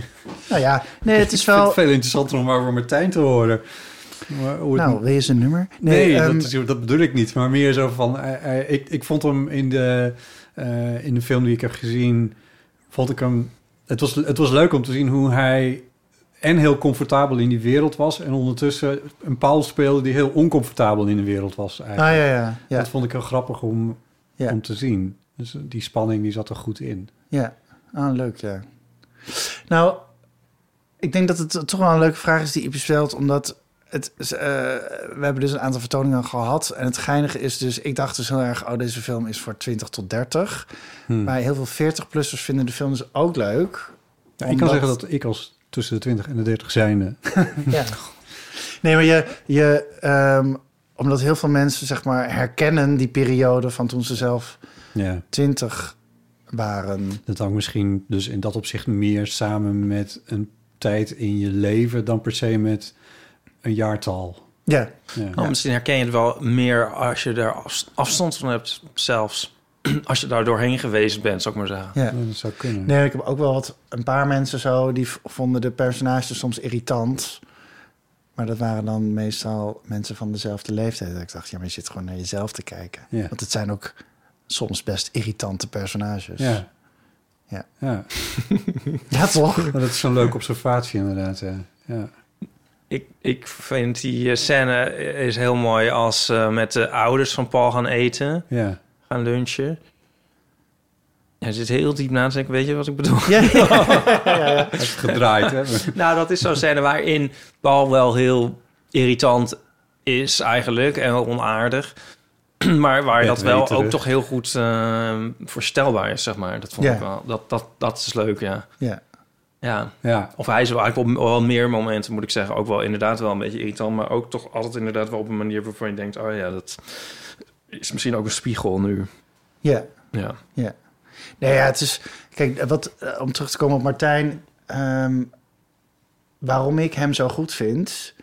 S7: Nou ja, nee, het is
S5: vind
S7: wel...
S5: het veel interessanter om over Martijn te horen. Maar hoe het-
S7: Nou, wil je zijn nummer?
S5: Nee,
S7: ehm,
S5: dat, is- dat bedoel ik niet. Maar meer zo van... eh, eh, ik, ik vond hem in de, eh, in de film die ik heb gezien... Vond ik hem... Het was, het was leuk om te zien hoe hij... En heel comfortabel in die wereld was. En ondertussen een paal speelde die heel oncomfortabel in de wereld was.
S7: Ah,
S5: Eigenlijk.
S7: ja, ja, ja.
S5: Dat vond ik heel grappig om,
S7: Ja.
S5: om te zien. Dus die spanning die zat er goed in.
S7: Ja, ah, leuk, ja. Nou, ik denk dat het toch wel een leuke vraag is die Ipe stelt, omdat het, is, eh, we hebben dus een aantal vertoningen gehad. En het geinige is dus, ik dacht dus heel erg, oh, deze film is voor 20 tot 30. Maar heel veel 40-plussers vinden de film dus ook leuk.
S5: Ja, ik kan
S7: Omdat-
S5: zeggen dat ik als tussen de 20 en de 30 zijnde...
S7: Ja. Nee, maar je, je ehm, omdat heel veel mensen, zeg maar, herkennen die periode van toen ze zelf
S5: Ja.
S7: 20 waren.
S5: Dat hangt misschien dus in dat opzicht meer samen met een tijd in je leven dan per se met een jaartal.
S7: Ja,
S5: Ja.
S6: Nou, misschien herken je het wel meer als je daar afs- afstand van hebt, zelfs. Als je daar doorheen geweest bent, zou ik maar zeggen.
S7: ja.
S5: Dat zou kunnen.
S7: Nee, ik heb ook wel wat, een paar mensen zo, die v- vonden de personages soms irritant. Maar dat waren dan meestal mensen van dezelfde leeftijd. Dat ik dacht, ja, maar je zit gewoon naar jezelf te kijken.
S5: Ja.
S7: Want het zijn ook soms best irritante personages.
S5: Ja.
S7: dus- Ja.
S5: ja.
S7: Ja, toch?
S5: Maar dat is zo'n leuke observatie inderdaad. hè. Ja.
S6: Ik, ik vind die eh, scène is heel mooi als ze met de ouders van Paul gaan eten,
S5: Ja.
S6: gaan lunchen. Hij zit heel diep na te denken, weet je wat ik bedoel?
S7: Ja, ja.
S5: Dat is gedraaid. Hè?
S6: Nou, dat is zo'n scène waarin Paul wel heel irritant is eigenlijk en wel onaardig. Maar waar dat wel
S5: Bedweterig.
S6: ook toch heel goed ehm, voorstelbaar is, zeg maar. Dat vond
S7: Ja.
S6: ik wel. Dat, dat, dat is leuk, ja.
S7: ja.
S6: ja.
S5: Ja.
S6: Of hij is wel eigenlijk op wel meer momenten, moet ik zeggen, ook wel inderdaad wel een beetje irritant. Maar ook toch altijd inderdaad wel op een manier waarvan je denkt, oh ja, dat is misschien ook een spiegel nu.
S7: ja.
S6: Ja.
S7: Ja. Nee, ja, het is... Kijk, wat, eh, om terug te komen op Martijn... ehm, waarom ik hem zo goed vind...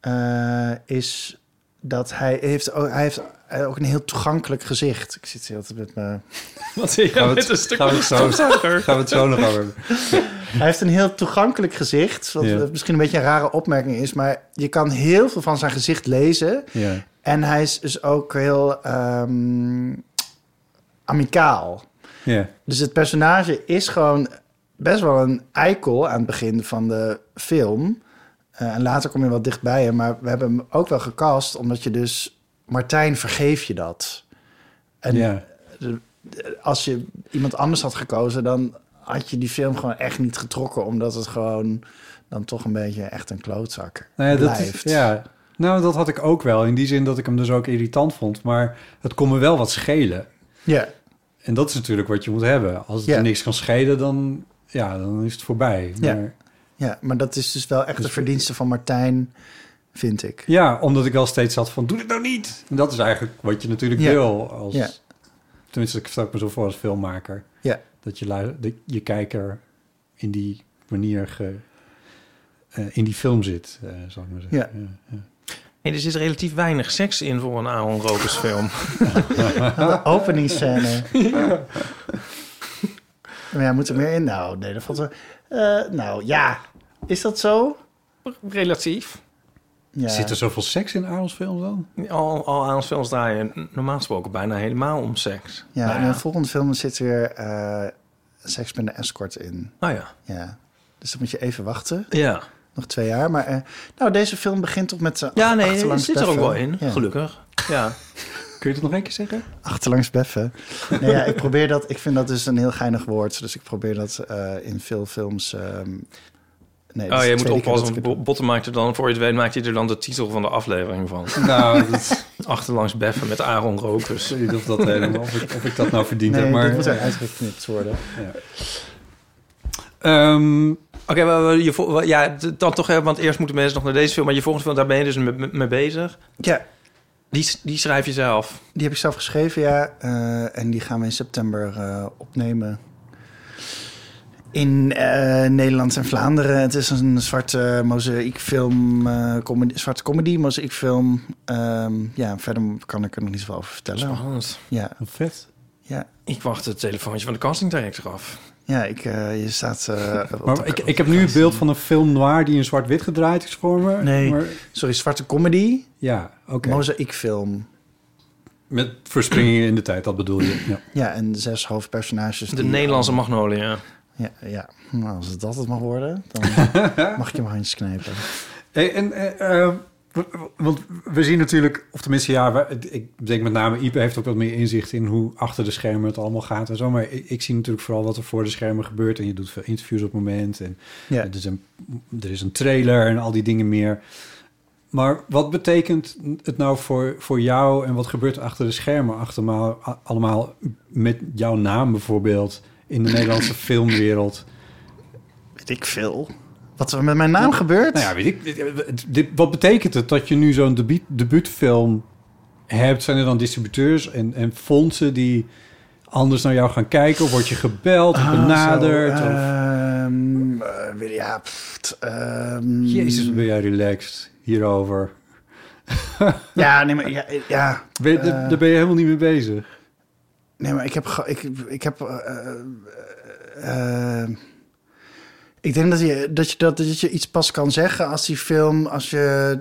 S7: eh, is dat hij heeft, ook, hij heeft eh, ook een heel toegankelijk gezicht. Ik zit heel altijd met me...
S6: Wat zie je
S5: Gaan we
S6: met een
S5: het,
S6: stuk
S5: gaan we het zo, gaan we het zo nog over hebben.
S7: Hij heeft een heel toegankelijk gezicht. Wat
S5: Ja.
S7: eh, misschien een beetje een rare opmerking is... maar je kan heel veel van zijn gezicht lezen.
S5: Ja.
S7: En hij is dus ook heel ehm, amicaal.
S5: Ja.
S7: Dus het personage is gewoon best wel een eikel aan het begin van de film. Eh, en later kom je wat dichtbij hem. Maar we hebben hem ook wel gecast, omdat je dus... Martijn, vergeef je dat? En
S5: ja.
S7: als je iemand anders had gekozen... dan had je die film gewoon echt niet getrokken... omdat het gewoon dan toch een beetje echt een klootzak
S5: Nou ja, dat
S7: blijft.
S5: is, ja. Nou, dat had ik ook wel. In die zin dat ik hem dus ook irritant vond. Maar het kon me wel wat schelen.
S7: Ja.
S5: En dat is natuurlijk wat je moet hebben. Als het
S7: Ja.
S5: je niks kan schelen, dan, ja, dan is het voorbij.
S7: Ja.
S5: Maar,
S7: Ja, maar dat is dus wel echt de verdienste van Martijn, vind ik.
S5: ja, omdat ik wel steeds zat van, doe dit nou niet. En dat is eigenlijk wat je natuurlijk
S7: Ja.
S5: wil. Als,
S7: Ja.
S5: Tenminste, ik stel ik me zo voor als filmmaker.
S7: Ja.
S5: Dat je lui- dat je kijker in die manier ge- eh, in die film zit, eh zal ik maar zeggen.
S7: Ja.
S6: Nee, dus er zit relatief weinig seks in voor een Aaron Rokers film.
S7: De openingsscène. Maar ja, moet er meer in? Nou, nee, dat valt wel... Eh, nou, ja. Is dat zo?
S6: Relatief.
S7: Ja.
S5: Zit er zoveel seks in Arons film dan?
S6: Al, al Aaron's films draaien normaal gesproken bijna helemaal om seks.
S7: Ja,
S6: Nou
S7: in de volgende film zit er eh, seks met een escort in.
S6: Nou ja.
S7: Ja. Dus dan moet je even wachten.
S6: Ja.
S7: Nog twee jaar. Maar eh, nou, deze film begint toch met... eh,
S6: Ja, nee, het
S7: achterlangs
S6: zit er ook wel
S7: beffen.
S6: in.
S7: Ja.
S6: Gelukkig. Ja.
S5: Kun je dat nog een keer zeggen?
S7: Achterlangs beffen. Nee, ja, ik probeer dat. Ik vind dat dus een heel geinig woord. Dus ik probeer dat eh, in veel films. ehm, nee, dat
S6: Oh,
S7: is
S6: je
S7: de
S6: Oh, moet
S7: tweede keer dat
S6: oppassen,
S7: ik
S6: want
S7: het doe.
S6: Bo- Botten maakt er dan, voor je het weet, maakt hij er dan de titel van de aflevering van.
S5: Nou, dat
S6: Achterlangs beffen met Aaron Rokers.
S5: ik weet niet of, dat helemaal, of, ik, of ik dat nou verdiend
S7: Nee,
S5: heb. Maar,
S7: dit moet eruit geknipt worden.
S5: Ehm,
S6: Oké, maar we- je vo- ja, d- dan toch even, want eerst moeten mensen nog naar deze film. Maar je volgende film, daar ben je dus mee, mee bezig.
S7: Ja,
S6: Die, s- die schrijf je zelf.
S7: die heb ik zelf geschreven, ja. eh, en die gaan we in september eh, opnemen. In eh, Nederland en Vlaanderen. Het is een zwarte mozaïekfilm, eh, comedy, zwarte comedy, mozaïekfilm. Ehm, ja, verder kan ik er nog niet zoveel over vertellen.
S6: Spannend.
S7: Ja,
S5: vet.
S7: ja,
S6: Ik wacht het telefoontje van de castingdirector af.
S7: ja ik, eh, je staat... eh, op de-
S5: Maar ik, ik heb nu het beeld van een film noir die in zwart-wit gedraaid is voor me.
S7: Nee.
S5: Maar,
S7: Sorry, zwarte comedy,
S5: ja, oké.
S7: mozaïekfilm.
S5: Met verspringingen in de tijd, dat bedoel je. Ja.
S7: Ja, en zes hoofdpersonages.
S6: De
S7: die-
S6: Nederlandse Magnolia.
S7: Ja, ja. Nou, als het dat het mag worden, dan mag ik je mijn handjes knijpen.
S5: Hey, en, eh, eh, w- w- want we zien natuurlijk, of tenminste, ja, we- ik denk met name Ipe heeft ook wat meer inzicht in hoe achter de schermen het allemaal gaat en zo. Maar ik, ik zie natuurlijk vooral wat er voor de schermen gebeurt. En je doet veel interviews op het moment. En
S7: Ja.
S5: er, is een, er is een trailer en al die dingen meer. Maar wat betekent het nou voor, voor jou en wat gebeurt er achter de schermen achtermaal, a- allemaal met jouw naam bijvoorbeeld in de Nederlandse filmwereld?
S7: Weet ik veel. Wat er met mijn naam gebeurt?
S5: Nou ja, weet ik. dit- dit- wat betekent het dat je nu zo'n debuut, debuutfilm hebt? Zijn er dan distributeurs en, en fondsen die anders naar jou gaan kijken? Of word je gebeld
S7: Ah,
S5: of benaderd?
S7: Zo,
S5: of,
S7: ehm, eh, weet- ja, pff, t- ehm,
S5: Jezus, ben jij relaxed hierover?
S7: Ja, nee, maar, ja, ja,
S5: Ben, je- daar- daar ben je helemaal niet mee bezig.
S7: nee, maar ik heb... ge- Ik, ik heb... eh, eh, eh, ik denk dat je dat, je dat, dat je iets pas kan zeggen als die film... Als je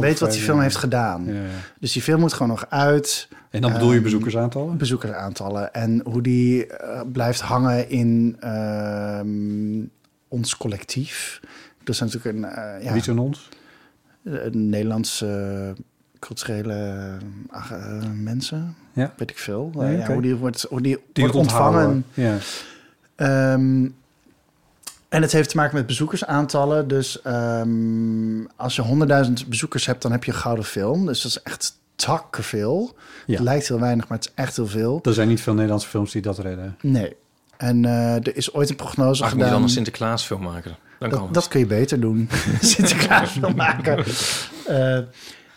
S7: weet wat die film heeft gedaan.
S5: Ja.
S7: Dus die film moet gewoon nog uit.
S5: En dan bedoel je
S7: Ehm,
S5: bezoekersaantallen?
S7: bezoekersaantallen en hoe die eh, blijft hangen in ehm, ons collectief. Dat is natuurlijk een, eh, ja,
S5: Wie zijn ons?
S7: een Nederlandse eh, culturele ach, eh, mensen,
S5: Ja.
S7: weet ik veel. Eh,
S5: Nee,
S7: ja,
S5: oké.
S7: hoe die wordt, hoe die
S5: Die
S7: wordt
S5: het onthouden.
S7: ontvangen.
S5: Ja.
S7: Ehm, en het heeft te maken met bezoekersaantallen. Dus ehm, als je 100.000 bezoekers hebt, dan heb je een gouden film. Dus dat is echt takkenveel.
S5: Ja.
S7: Het lijkt heel weinig, maar het is echt heel veel.
S5: Er zijn niet veel Nederlandse films die dat redden.
S7: Nee. En eh, er is ooit een prognose
S6: Mag ik moet
S7: gedaan.
S6: dan een Sinterklaasfilm maken? Dan kan
S7: dat,
S6: het.
S7: dat kun je beter doen. Sinterklaas wil maken. Eh,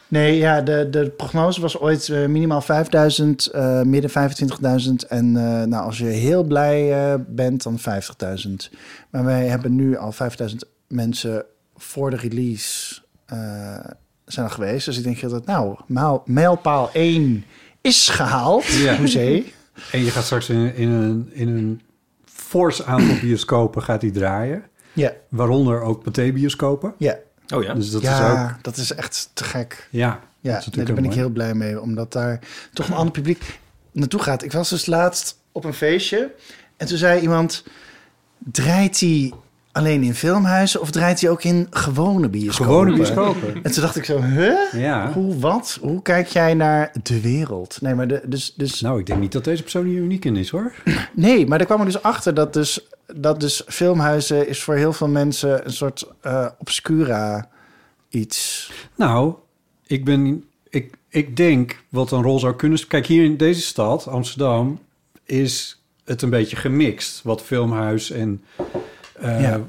S7: nee, ja, de, de prognose was ooit eh, minimaal 5000, eh midden 25.000. En eh, nou, als je heel blij eh, bent, dan 50.000. Maar wij hebben nu al 5000 mensen voor de release eh, zijn er geweest. Dus ik denk dat, nou, maal- mijlpaal 1 is gehaald.
S5: Ja.
S7: Hoezee.
S5: En je gaat straks in, in een, in een fors aantal bioscopen gaat die draaien.
S7: Ja,
S5: Waaronder ook BT-bioscopen.
S7: ja.
S6: Oh ja.
S5: Dus dat is
S7: ja,
S5: ook...
S7: dat is echt te gek.
S5: Ja,
S7: Ja,
S5: dat is
S7: nee, daar
S5: natuurlijk
S7: ben ik
S5: mooi.
S7: heel blij mee, omdat daar toch een ander publiek naartoe gaat. Ik was dus laatst op een feestje. En toen zei iemand, draait hij alleen in filmhuizen of draait hij ook in gewone bioscopen?
S5: Gewone bioscopen.
S7: En toen dacht ik zo, huh?
S5: Ja.
S7: Hoe, wat? Hoe kijk jij naar de wereld? Nee, maar de, dus, dus
S5: Nou, ik denk niet dat deze persoon hier uniek in is, hoor.
S7: Nee, maar er kwam er dus achter dat dus, dat dus filmhuizen is voor heel veel mensen een soort eh, obscura iets.
S5: Nou, ik ben... Ik, ik denk wat een rol zou kunnen... sp- Kijk, hier in deze stad, Amsterdam, is het een beetje gemixt. Wat filmhuis en... eh,
S7: Ja.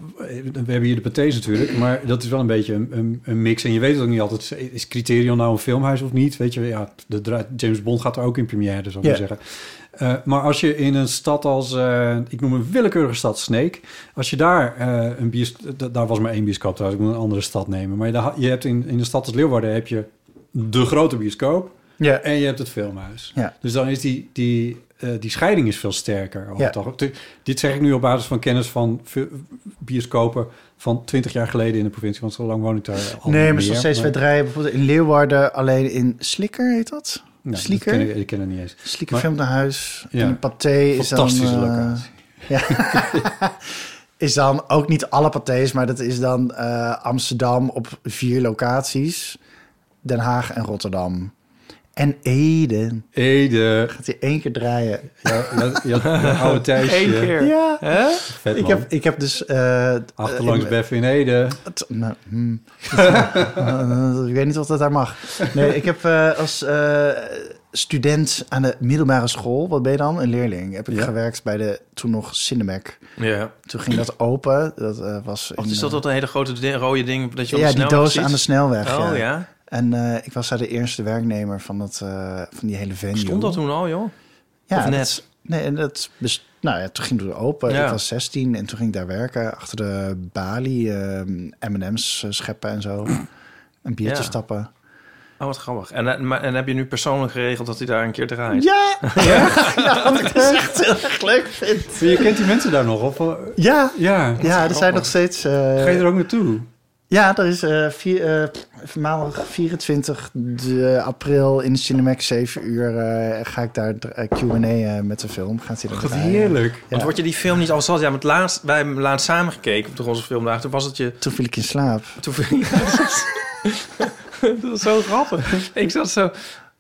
S5: We hebben hier de pathés natuurlijk, maar dat is wel een beetje een, een, een mix. En je weet het ook niet altijd. Is Criterion nou een filmhuis of niet? Weet je, ja, de, dra- James Bond gaat er ook in première, zou ik
S7: Ja.
S5: maar zeggen. Eh, maar als je in een stad als, eh, ik noem een willekeurige stad, Sneek. Als je daar eh, een bios, da- daar was maar één bioscoop trouwens, ik moet een andere stad nemen. Maar je, daar- je hebt in, in de stad als Leeuwarden heb je de grote bioscoop
S7: Ja.
S5: en je hebt het filmhuis.
S7: Ja.
S5: Dus dan is die, die, eh, die scheiding is veel sterker. over
S7: Ja.
S5: het algemeen. Dit zeg ik nu op basis van kennis van vi- bioscopen van 20 jaar geleden in de provincie, want zo lang woon ik daar al
S7: Nee,
S5: niet
S7: maar
S5: meer.
S7: zoals steeds wij draaien bijvoorbeeld in Leeuwarden alleen in Slikker heet dat?
S5: Nee, Nou, dat
S7: Slieker?
S5: ken ik, ik ken het niet eens.
S7: Slikker
S5: Maar-
S7: filmt naar huis.
S5: Ja.
S7: En een paté is dan...
S5: Fantastische
S7: eh,
S5: locatie.
S7: Ja. is dan ook niet alle patés, maar dat is dan eh, Amsterdam op vier locaties. Den Haag en Rotterdam. En Ede.
S5: Ede,
S7: Gaat hij één keer draaien.
S5: ja, ja, ja, ja, oude Thijsje.
S6: Eén keer.
S7: Ja.
S6: Hè?
S5: Vet,
S7: Ik
S5: man.
S7: heb, ik heb dus... eh,
S5: Achterlangs
S7: eh,
S5: Beff in Ede.
S7: t- nou, hmm. Eh, ik weet niet of dat daar mag. Nee, ik heb eh, als eh, student aan de middelbare school... Wat ben je dan? Een leerling. Heb ik
S5: Ja.
S7: gewerkt bij de toen nog Cinemac.
S6: Ja.
S7: Toen ging dat open. Dat eh, was...
S6: Of is Oh,
S7: in, eh,
S6: dus dat dat een hele grote di- rode ding dat je op
S7: ja,
S6: de
S7: die
S6: snelweg
S7: doos
S6: ziet?
S7: aan de snelweg.
S6: Oh
S7: ja.
S6: ja.
S7: En eh, ik was daar de eerste werknemer van, dat, eh, van die hele venue.
S6: Stond dat toen al, joh?
S7: Ja,
S6: Of net?
S7: dat- nee, en dat best- nou ja, toen ging het open.
S6: Ja.
S7: Ik was 16 en toen ging ik daar werken achter de balie, ehm, M&M's scheppen en zo. Een biertje
S6: Ja.
S7: stappen.
S6: Oh, wat grappig. En, eh, maar- en heb je nu persoonlijk geregeld dat hij daar een keer draait?
S7: Ja! ja, wat ik dus echt heel erg leuk vind.
S5: Maar je kent die mensen daar nog, of? eh,
S7: Ja,
S5: Ja.
S7: ja er zijn nog steeds... eh,
S5: Ga je er ook naartoe?
S7: Ja, er is eh, vier, eh, maandag 24 de april in de Cinemax 7 uur eh, ga ik daar eh, Q&A eh, met de film. Gaat hij dat
S5: Wat
S7: draaien.
S5: heerlijk.
S6: Want word je die film niet al zat? Ja, met laatst, wij hebben laatst samen gekeken op de Roze Filmdag. Toen was het je...
S7: Toen viel ik in slaap.
S6: Toen, dat was zo grappig. Ik zat zo...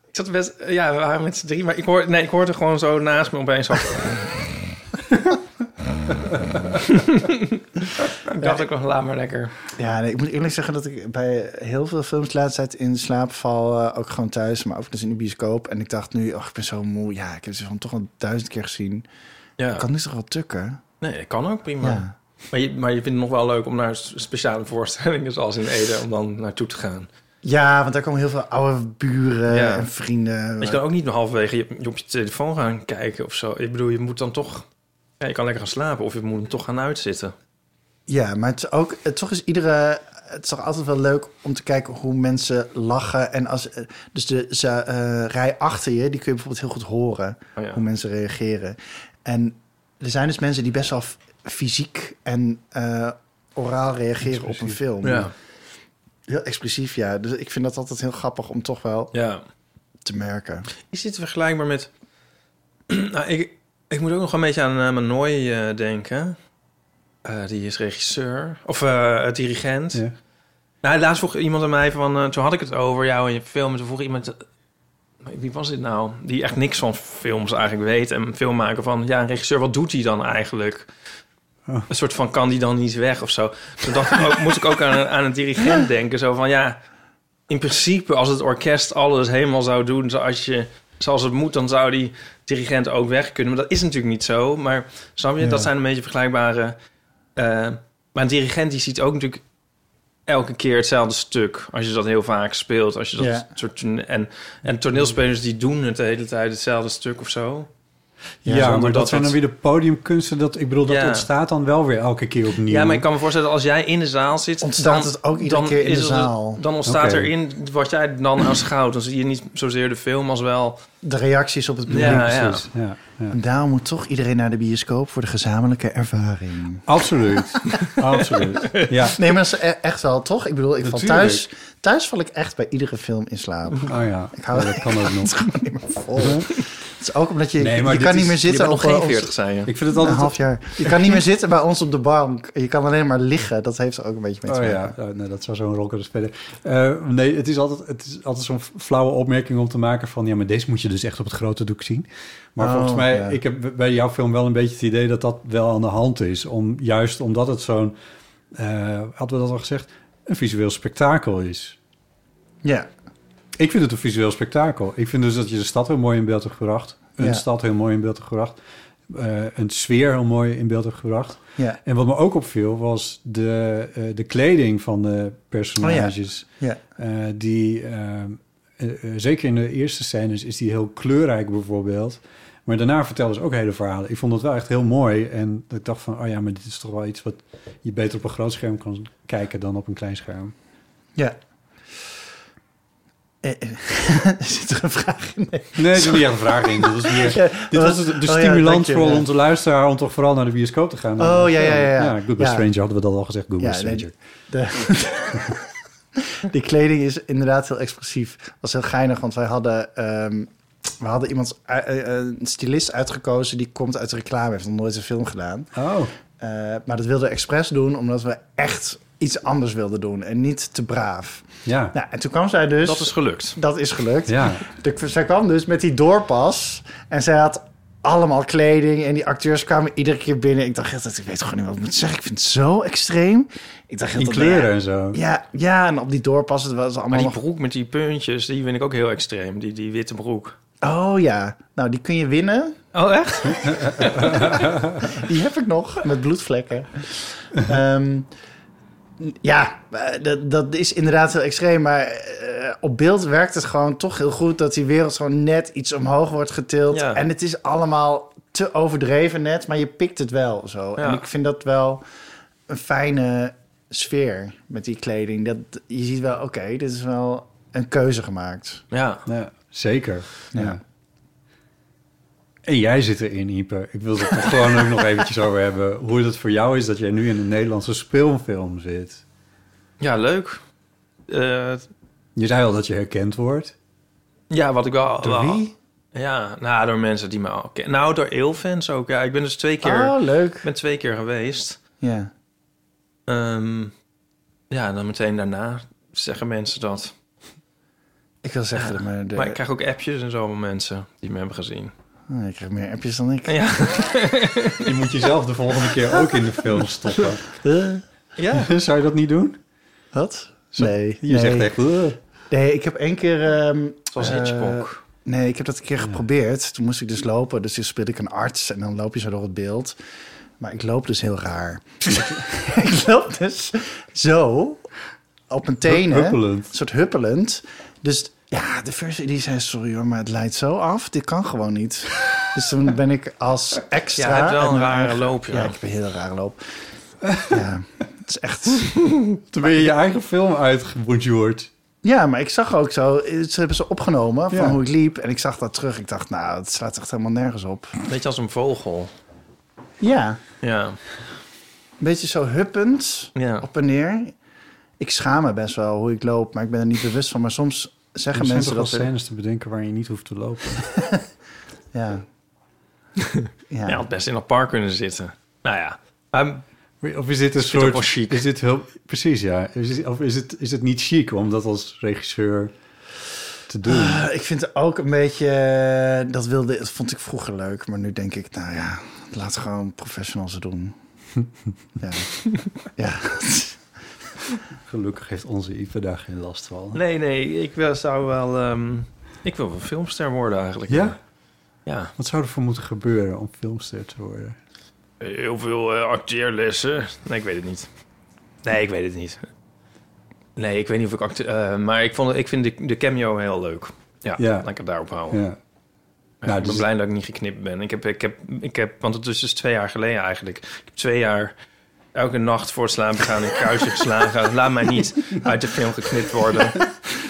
S6: Ik zat best... Ja, we waren met z'n drie. Maar ik, hoor, nee, ik hoorde gewoon zo naast me opeens af. ik dacht ook nog, laat maar lekker.
S7: Ja, nee, ik moet eerlijk zeggen dat ik bij heel veel films de laatste tijd in slaap val. eh, ook gewoon thuis, maar ook dus in de bioscoop. En ik dacht nu, oh, ik ben zo moe. Ja, ik heb ze van toch al duizend keer gezien.
S6: Ja.
S7: Ik kan nu toch wel tukken?
S6: Nee, dat kan ook prima.
S7: Ja.
S6: Maar, je, maar je vindt het nog wel leuk om naar s- speciale voorstellingen zoals in Ede... om dan naartoe te gaan.
S7: Ja, want daar komen heel veel oude buren
S6: Ja.
S7: en vrienden.
S6: Maar je kan ook niet meer halverwege je, je op je telefoon gaan kijken of zo. Ik bedoel, je moet dan toch... Ja, je kan lekker gaan slapen of je moet hem toch gaan uitzitten.
S7: Ja, maar het is ook, het, toch is iedere... Het is toch altijd wel leuk om te kijken hoe mensen lachen. En als, eh, dus de ze, eh, rij achter je, die kun je bijvoorbeeld heel goed horen.
S6: Oh ja.
S7: Hoe mensen reageren. En er zijn dus mensen die best wel f- fysiek en eh, oraal reageren op een film.
S6: Ja,
S7: Heel explosief, ja. Dus ik vind dat altijd heel grappig om toch wel
S6: ja.
S7: te merken.
S6: Is dit vergelijkbaar met... nou, ik, ik moet ook nog een beetje aan eh Manoy eh, denken. Eh, die is regisseur. Of eh, dirigent.
S5: Ja.
S6: Nou, laatst vroeg iemand aan mij van... eh, toen had ik het over jou en je film. En toen vroeg iemand... eh, wie was dit nou? Die echt niks van films eigenlijk weet. En film maken van... Ja, een regisseur, wat doet hij dan eigenlijk? Een soort van, kan die dan niet weg of zo? Toen dacht ik ook, moest ik ook aan, een- aan een dirigent denken. Zo van, ja... In principe, als het orkest alles helemaal zou doen zoals, je, zoals het moet... dan zou die dirigent ook weg kunnen. Maar dat is natuurlijk niet zo. Maar snap je?
S7: Ja.
S6: Dat zijn een beetje vergelijkbare... eh, maar een dirigent die ziet ook natuurlijk elke keer hetzelfde stuk. Als je dat heel vaak speelt. Als je dat
S7: Ja.
S6: soort tone- en, en toneelspelers die doen het de hele tijd hetzelfde stuk of zo.
S5: Ja,
S6: zonder
S5: maar dat,
S6: dat
S5: zijn
S6: dat-
S5: dan weer de podiumkunsten. Dat, ik bedoel, dat
S6: Ja.
S5: ontstaat dan wel weer elke keer opnieuw.
S6: Ja, maar ik kan me voorstellen als jij in de zaal zit,
S7: Ontstaat het ook iedere keer in
S6: is
S7: de
S6: het-
S7: zaal.
S6: dan ontstaat
S5: Oké.
S6: erin wat jij dan aanschouwt. Dan zie je niet zozeer de film als wel.
S7: De reacties op het publiek.
S6: Ja, ja.
S5: Precies, ja, ja.
S7: En daarom moet toch iedereen naar de bioscoop voor de gezamenlijke ervaring.
S5: Absoluut. Absoluut. Ja.
S7: Nee, maar dat is e- echt wel, toch? Ik bedoel, ik val
S5: Natuurlijk.
S7: thuis... Thuis val ik echt bij iedere film in slaap.
S5: Oh ja.
S7: hou-
S5: Ja, dat kan ook nog.
S7: Gewoon niet meer vol. Het is ook omdat je,
S5: Nee, maar
S7: je
S5: dit
S7: kan
S5: is-
S7: niet
S6: Je
S7: meer zitten
S6: bent nog
S7: op
S6: geen
S7: ons-
S6: 40, zei je.
S5: Ik vind het
S7: Een
S5: altijd...
S7: half jaar. Je kan niet meer zitten bij ons op de bank. Je kan alleen maar liggen. Dat heeft er ook een beetje mee te
S5: Oh
S7: maken.
S5: ja, oh, nee, dat zou zo'n rocker dus verder. Eh, nee, het is altijd, het is altijd zo'n flauwe opmerking om te maken van... ja, maar deze moet je dus echt op het grote doek zien. Maar
S7: Oh,
S5: volgens mij,
S7: ja.
S5: ik heb bij jouw film wel een beetje het idee... dat dat wel aan de hand is. Om, juist omdat het zo'n, eh, hadden we dat al gezegd... een visueel spektakel is.
S7: Ja.
S5: Ik vind het een visueel spektakel. Ik vind dus dat je de stad heel mooi in beeld hebt gebracht. Een
S7: Ja.
S5: stad heel mooi in beeld hebt gebracht. eh, een sfeer heel mooi in beeld hebt gebracht.
S7: Ja.
S5: En wat me ook opviel was de, eh, de kleding van de personages.
S7: Oh Ja.
S5: Eh, die, eh, eh, eh, zeker in de eerste scènes is die heel kleurrijk bijvoorbeeld. Maar daarna vertelden ze ook hele verhalen. Ik vond dat wel echt heel mooi. En ik dacht van, oh ja, maar dit is toch wel iets wat je beter op een groot scherm kan kijken dan op een klein scherm.
S7: Ja. Eh, eh, Zit er een vraag in? Nee.
S5: Nee, dat is niet echt een vraag in. Dat was meer, dit was de, de
S7: Oh ja,
S5: stimulans
S7: dank je,
S5: voor
S7: ja.
S5: onze luisteraar om toch vooral naar de bioscoop te gaan.
S7: Oh, ja, ja, ja, ja.
S5: ja Goodbye
S7: Ja.
S5: Stranger hadden we dat al gezegd. Goodbye
S7: Ja, nee,
S5: Stranger.
S7: de- die kleding is inderdaad heel expressief. Was heel geinig, want wij hadden, ehm, we hadden iemand, eh, eh, een stylist uitgekozen die komt uit de reclame, heeft nog nooit een film gedaan.
S5: Oh,
S7: Eh, maar dat wilden we expres doen, omdat we echt iets anders wilden doen en niet te braaf.
S5: ja.
S7: Nou, en toen kwam zij dus.
S6: Dat is gelukt.
S7: dat is gelukt.
S5: Ja.
S7: De- zij kwam dus met die doorpas en zij had allemaal kleding en die acteurs kwamen iedere keer binnen. Ik dacht, echt, ik weet gewoon niet wat ik moet zeggen. Ik vind het zo extreem. Ik dacht, echt
S5: In
S7: dat-
S5: kleuren en zo.
S7: Ja, ja, en op die doorpas, het was allemaal
S6: Maar die
S7: nog-
S6: broek met die puntjes, die vind ik ook heel extreem. Die, die witte broek.
S7: Oh ja, nou die kun je winnen.
S6: Oh, echt?
S7: Die heb ik nog, met bloedvlekken. Ehm, ja, eh, dat, dat is inderdaad heel extreem. Maar eh, op beeld werkt het gewoon toch heel goed... dat die wereld gewoon net iets omhoog wordt getild.
S6: Ja.
S7: En het is allemaal te overdreven net, maar je pikt het wel zo.
S6: Ja.
S7: En ik vind dat wel een fijne sfeer met die kleding. Dat, je ziet wel, oké, dit is wel een keuze gemaakt.
S6: Ja.
S5: Ja, zeker. Ja.
S7: Ja.
S5: En jij zit erin, Ieper. Ik wil het er gewoon ook nog eventjes over hebben. Hoe het voor jou is dat jij nu in een Nederlandse speelfilm zit.
S6: Ja, leuk. Eh,
S5: Je zei al dat je herkend wordt.
S6: ja, wat ik wel...
S7: Door
S6: wel-
S7: wie?
S6: Ja, nou, door mensen die me al kennen. Nou, door eelfans ook. Ja, ik ben dus twee keer,
S7: Oh, leuk.
S6: ik ben twee keer geweest.
S7: Ja.
S6: Ehm, ja, en dan meteen daarna zeggen mensen dat.
S7: Ik wil zeggen, dat maar, de,
S6: Ah, Maar ik krijg ook appjes en zo van mensen die me hebben gezien.
S7: Oh, ik krijg meer appjes dan ik.
S6: Ja,
S5: Je moet jezelf de volgende keer ook in de film stoppen.
S7: Eh,
S6: ja.
S5: Zou je dat niet doen?
S7: wat? Nee.
S5: Je
S7: nee.
S5: zegt echt... "Ugh."
S7: Nee, ik heb één keer... ehm,
S6: zoals
S7: eh,
S6: Hitchcock.
S7: Nee, ik heb dat een keer geprobeerd. Toen moest ik dus lopen. Dus toen speelde ik een arts en dan loop je zo door het beeld. Maar ik loop dus heel raar. ik loop dus zo op mijn tenen.
S5: huppelend.
S7: Een soort huppelend. Dus ja, de first die zei, sorry hoor, maar het leidt zo af. Dit kan gewoon niet. dus toen ben ik als
S6: Ja,
S7: extra...
S6: hij heeft wel
S7: en
S6: een rare loop,
S7: Ja,
S6: ja.
S7: ik heb een hele rare loop. ja, het is echt...
S5: Toen ben je je eigen film uitgebonjourd.
S7: Ja, maar ik zag ook zo, ze hebben ze opgenomen van
S5: Ja.
S7: hoe ik liep. En ik zag dat terug. Ik dacht, nou, het slaat echt helemaal nergens op.
S6: Beetje als een vogel.
S7: Ja, een
S6: Ja,
S7: beetje zo huppend,
S6: ja.
S7: op en neer. Ik schaam me best wel hoe ik loop, maar ik ben er niet bewust van. Maar soms
S5: Er
S7: zeggen
S5: zijn
S7: mensen
S5: toch wel
S7: dat... er-
S5: scènes te bedenken waar je niet hoeft te lopen.
S7: Ja. ja.
S6: Ja, had best in dat park kunnen zitten. Nou ja. Maar
S5: Of is dit een
S6: vind het ook wel
S5: soort...
S6: chic.
S5: Is dit heel, precies, ja. Is dit- of is het, is het niet chic om dat als regisseur te doen?
S7: Eh, Ik vind ook een beetje... eh, Dat, wilde, dat vond ik vroeger leuk, maar nu denk ik, nou ja, laat gewoon professionals het doen. ja. ja.
S5: Gelukkig heeft onze Ipe daar geen last van.
S6: nee, nee. Ik wel- zou wel... ehm, ik wil wel filmster worden eigenlijk.
S5: Ja?
S6: Ja.
S5: Wat zou er voor moeten gebeuren om filmster te worden?
S6: Heel veel eh, acteerlessen. Nee, ik weet het niet. Nee, ik weet het niet. Nee, ik weet niet of ik acte- eh, maar ik, vond, ik vind de, de cameo heel leuk. Ja,
S5: Ja.
S6: laat ik het daarop houden.
S5: Ja.
S6: Ja,
S5: Nou,
S6: ik ben
S5: dus-
S6: blij dat ik niet geknipt ben. Ik heb, ik heb, ik heb, want het is dus twee jaar geleden eigenlijk. Ik heb twee jaar elke nacht voor het slapen gaan in een kruisje geslagen. Laat mij niet uit de film geknipt worden.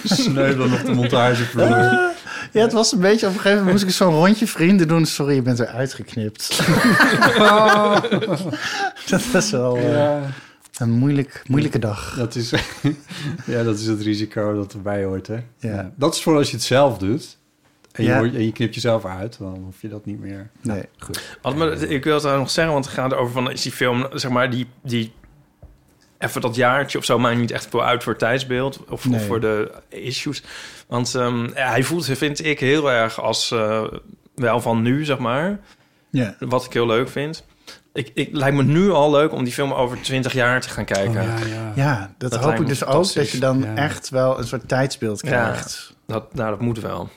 S5: Sneuvelen op de montagevloer.
S7: Ja, het was een beetje... Op een gegeven moment moest ik zo'n rondje vrienden doen. Sorry, je bent eruit geknipt. dat was wel eh,
S5: Oh. Ja,
S7: een moeilijk, moeilijke dag.
S5: dat is, ja, dat is het risico dat erbij hoort, hè?
S7: Ja.
S5: Dat is voor als je het zelf doet. En, je
S7: Ja.
S5: wordt- en je knipt jezelf uit, dan hoef je dat niet meer.
S7: Nee.
S5: Nou, goed.
S6: Want, maar ik wil het daar nog zeggen, want het gaat over van is die film, zeg maar, die, die even dat jaartje of zo maakt niet echt veel uit voor het tijdsbeeld of,
S7: Nee.
S6: of voor de issues. Want ehm, hij voelt, zich, vind ik, heel erg als eh, wel van nu, zeg maar,
S7: Ja.
S6: wat ik heel leuk vind. Ik, ik lijkt me nu al leuk om die film over 20 jaar te gaan kijken.
S5: Oh, Ja, ja.
S7: Ja, dat,
S6: Dat
S7: hoop
S6: lijkt
S7: ik
S6: me
S7: dus ook.
S6: fantastisch.
S7: Dat je dan
S5: Ja.
S7: echt wel een soort tijdsbeeld krijgt.
S6: dat, nou, dat moet wel.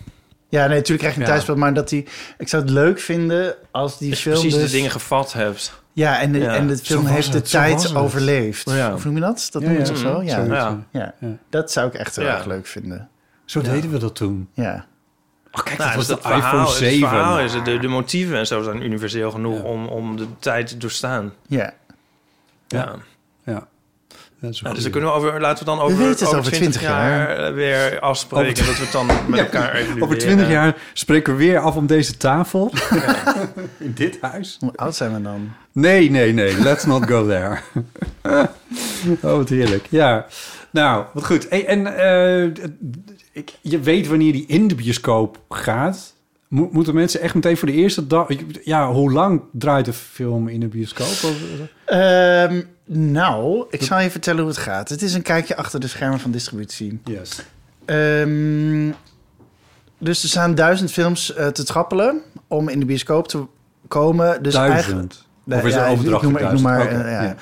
S7: Ja, nee, natuurlijk krijg je een
S5: Ja.
S7: tijdsbeeld. Maar dat die... Ik zou het leuk vinden als die
S6: Als je
S7: film
S6: precies
S7: dus-
S6: de dingen gevat hebt.
S7: Ja, en de,
S6: Ja.
S7: en de film
S5: was
S7: heeft de
S5: het, zo was
S7: tijd
S5: het.
S7: overleefd.
S6: Ja.
S7: Of noem je dat? Dat
S5: Ja,
S7: noem je
S5: ja.
S7: het of zo? Ja.
S5: Zoiets,
S6: Ja.
S5: ja.
S7: Ja.
S5: Ja.
S7: dat zou ik echt heel
S6: Ja.
S7: erg leuk vinden.
S5: Zo deden we dat toen.
S7: Ja.
S5: Oh, kijk,
S6: Nou,
S5: dat was
S6: dus
S5: de iPhone 7.
S6: Het verhaal is, het, de, de motieven en zo zijn universeel genoeg om, om de tijd te doorstaan.
S7: ja.
S5: Ja.
S6: ja.
S5: Ja. Dat is een
S6: Ja,
S5: goeie.
S6: dus dan kunnen we over, laten we dan over,
S7: We weten het
S6: over
S7: over
S6: 20 jaar, eh, weer afspreken.
S5: Over-
S6: dat we het dan met
S5: Ja,
S6: elkaar evalueren.
S5: Over 20 jaar spreken we weer af om deze tafel. In dit huis.
S7: Hoe oud zijn we dan?
S5: Nee, nee, nee. Let's not go there. oh, wat heerlijk. Ja. Nou, wat goed. Hey, en eh, d- d- ik, je weet wanneer die in de bioscoop gaat. Mo- moeten mensen echt meteen voor de eerste dag... Ja, hoe lang draait de film in de bioscoop? Of-
S7: Ehm, nou, ik zal je vertellen hoe het gaat. Het is een kijkje achter de schermen van distributie.
S5: Yes.
S7: Ehm, dus er staan duizend films eh, te trappelen om in de bioscoop te komen. Dus eigenlijk-
S5: Duizend.
S7: Nee,
S5: of is
S7: ja,
S5: de overdracht
S7: ik noem, maar- ik noem maar,
S5: duizend? Oké,
S7: eh, ja,
S5: ja.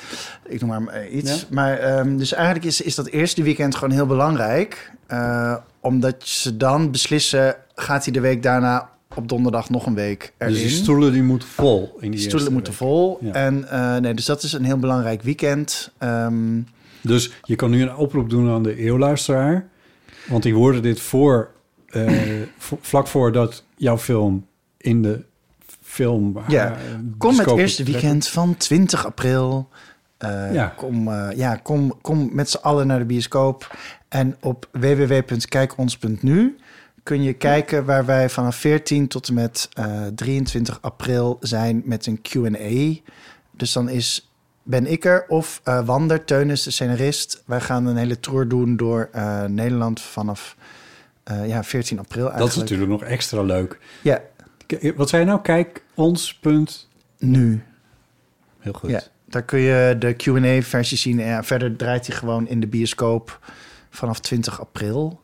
S7: Ik noem maar eh, iets.
S5: Ja.
S7: Maar, ehm, dus eigenlijk is, is dat eerste weekend gewoon heel belangrijk. eh, omdat ze dan beslissen, gaat hij de week daarna op donderdag nog een week erin?
S5: Dus die stoelen die moeten vol. In die
S7: Die stoelen
S5: eerste
S7: moeten
S5: week.
S7: vol.
S5: Ja.
S7: En, eh, nee, dus dat is een heel belangrijk weekend. Ehm,
S5: Dus je kan nu een oproep doen aan de eeuwluisteraar. Want die hoorden dit voor, eh, v- vlak voordat jouw film in de film...
S7: Ja.
S5: eh,
S7: kom het
S5: bioscoop-
S7: eerste weekend van 20 april. Eh,
S5: Ja.
S7: Kom, eh, ja, kom, kom met z'n allen naar de bioscoop. En op www.kijkons.nu kun je kijken waar wij vanaf 14 tot en met eh, 23 april zijn met een Q&A. Dus dan is ben ik er of eh, Wander Teunis, de scenarist. Wij gaan een hele tour doen door eh, Nederland vanaf eh, ja, 14 april eigenlijk.
S5: Dat is natuurlijk nog extra leuk.
S7: Ja,
S5: K- Wat zei je nou? Kijk, ons punt...
S7: nu.
S5: Heel goed.
S7: Ja, daar kun je de Q&A-versie zien. En ja, verder draait hij gewoon in de bioscoop vanaf 20 april.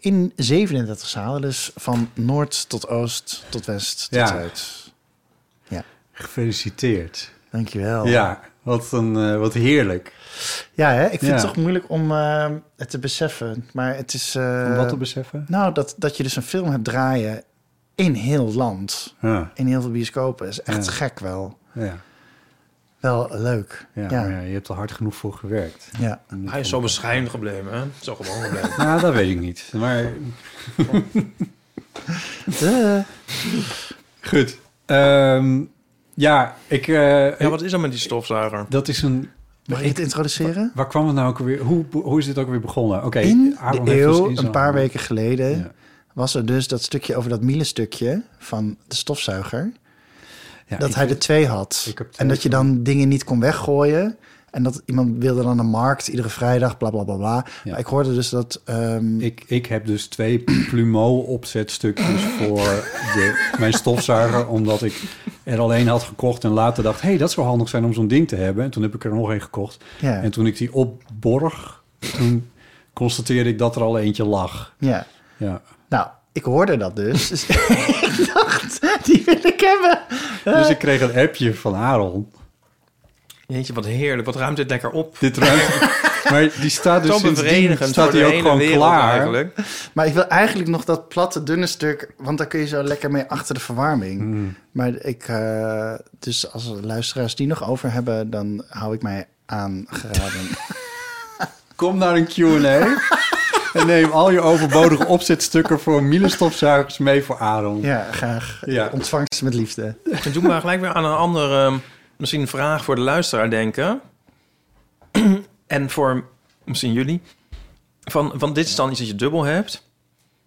S7: In 37 zalen, dus van noord tot oost, tot west, tot
S5: Ja.
S7: zuid.
S5: Gefeliciteerd.
S7: Dankjewel.
S5: Ja, wat, een, eh, wat heerlijk.
S7: ja hè? ik vind
S5: Ja.
S7: het toch moeilijk om eh, het te beseffen. Maar het is... eh,
S5: Om wat te beseffen.
S7: nou, dat, dat je dus een film hebt draaien in heel het land.
S5: Ah, Ja,
S7: In heel veel bioscopen. is echt
S5: Ja.
S7: gek wel.
S5: ja,
S7: Wel leuk.
S5: ja,
S7: ja.
S5: maar ja, je hebt er hard genoeg voor gewerkt.
S7: ja.
S6: Hij is zo bescheiden gebleven, hè? Zo gewoon gebleven.
S5: Nou, dat weet ik niet. Maar
S7: Duh.
S5: goed. Ehm, ja, ik... eh,
S6: ja, wat is er met die stofzuiger?
S5: Dat is een
S7: Mag ik het introduceren?
S5: Waar kwam het nou ook weer? Hoe, hoe is dit ook weer begonnen? Oké,
S7: In
S5: Aaron
S7: de
S5: heeft dus
S7: eeuw,
S5: in
S7: een
S5: zijn
S7: paar
S5: handen-
S7: weken geleden,
S5: Ja.
S7: was er dus dat stukje over dat miele-stukje van de stofzuiger.
S5: Ja,
S7: dat
S5: ik
S7: hij
S5: vind-
S7: er twee had.
S5: Ik heb twee
S7: en dat je
S5: van.
S7: dan dingen niet kon weggooien. En dat iemand wilde dan de markt iedere vrijdag, bla bla bla bla.
S5: Ja.
S7: Maar ik hoorde dus dat. ehm,
S5: Ik, ik heb dus twee Plumo-opzetstukjes voor de, mijn stofzuiger... omdat ik er alleen had gekocht en later dacht... hé, hey, dat zou handig zijn om zo'n ding te hebben. En toen heb ik er nog één gekocht.
S7: ja,
S5: En toen ik die opborg, toen constateerde ik dat er al eentje lag.
S7: ja.
S5: Ja.
S7: Nou, ik hoorde dat dus. dus ik dacht, die wil ik hebben.
S5: Dus ik kreeg een appje van Aaron.
S6: Jeetje, wat heerlijk. Wat ruimt dit lekker op?
S5: Dit ruimt... Maar die staat dus
S6: Zo
S5: sindsdien
S6: bevredigend
S5: staat
S6: voor
S5: die
S6: de
S5: ook
S6: hele
S5: gewoon
S6: wereld
S5: klaar.
S6: eigenlijk.
S7: Maar ik wil eigenlijk nog dat platte, dunne stuk, want daar kun je zo lekker mee achter de verwarming. Maar ik, eh, dus als er luisteraars die nog over hebben, dan hou ik mij aangeraden.
S5: Kom naar een Q&A en neem al je overbodige opzetstukken voor Miele-stofzuigers mee voor Aaron.
S7: ja, graag.
S5: Ja.
S7: Ontvangst met liefde.
S6: En toen maar gelijk weer aan een andere, ehm, misschien een vraag voor de luisteraar denken. en voor misschien jullie. Van, van dit is dan iets dat je dubbel hebt.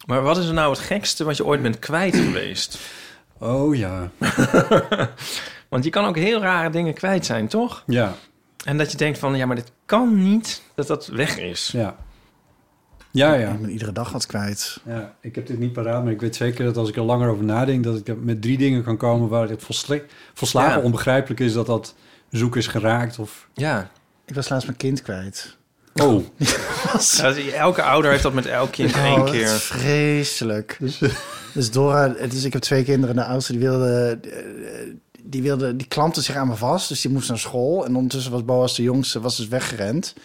S6: Maar wat is er nou het gekste wat je ooit bent kwijt geweest?
S5: Oh ja.
S6: Want je kan ook heel rare dingen kwijt zijn, toch?
S5: Ja,
S6: En dat je denkt van, ja, maar dit kan niet dat dat weg is.
S5: ja. Ja, ja.
S7: Ik ben iedere dag wat kwijt.
S5: Ja, ik heb dit niet paraat, maar ik weet zeker dat als ik er langer over nadenk... dat ik er met drie dingen kan komen waar het volsle- volslagen
S6: Ja.
S5: onbegrijpelijk is... dat dat zoek is geraakt of...
S6: Ja.
S7: Ik was laatst mijn kind kwijt.
S5: Oh,
S6: Ja, Elke ouder heeft dat met elk kind één
S7: Oh, het is
S6: keer.
S7: vreselijk. Dus, Dora, dus ik heb twee kinderen. De oudste die wilde, eh, die wilde, die klampte zich aan me vast. Dus die moest naar school. En ondertussen was Boas de jongste, was dus weggerend.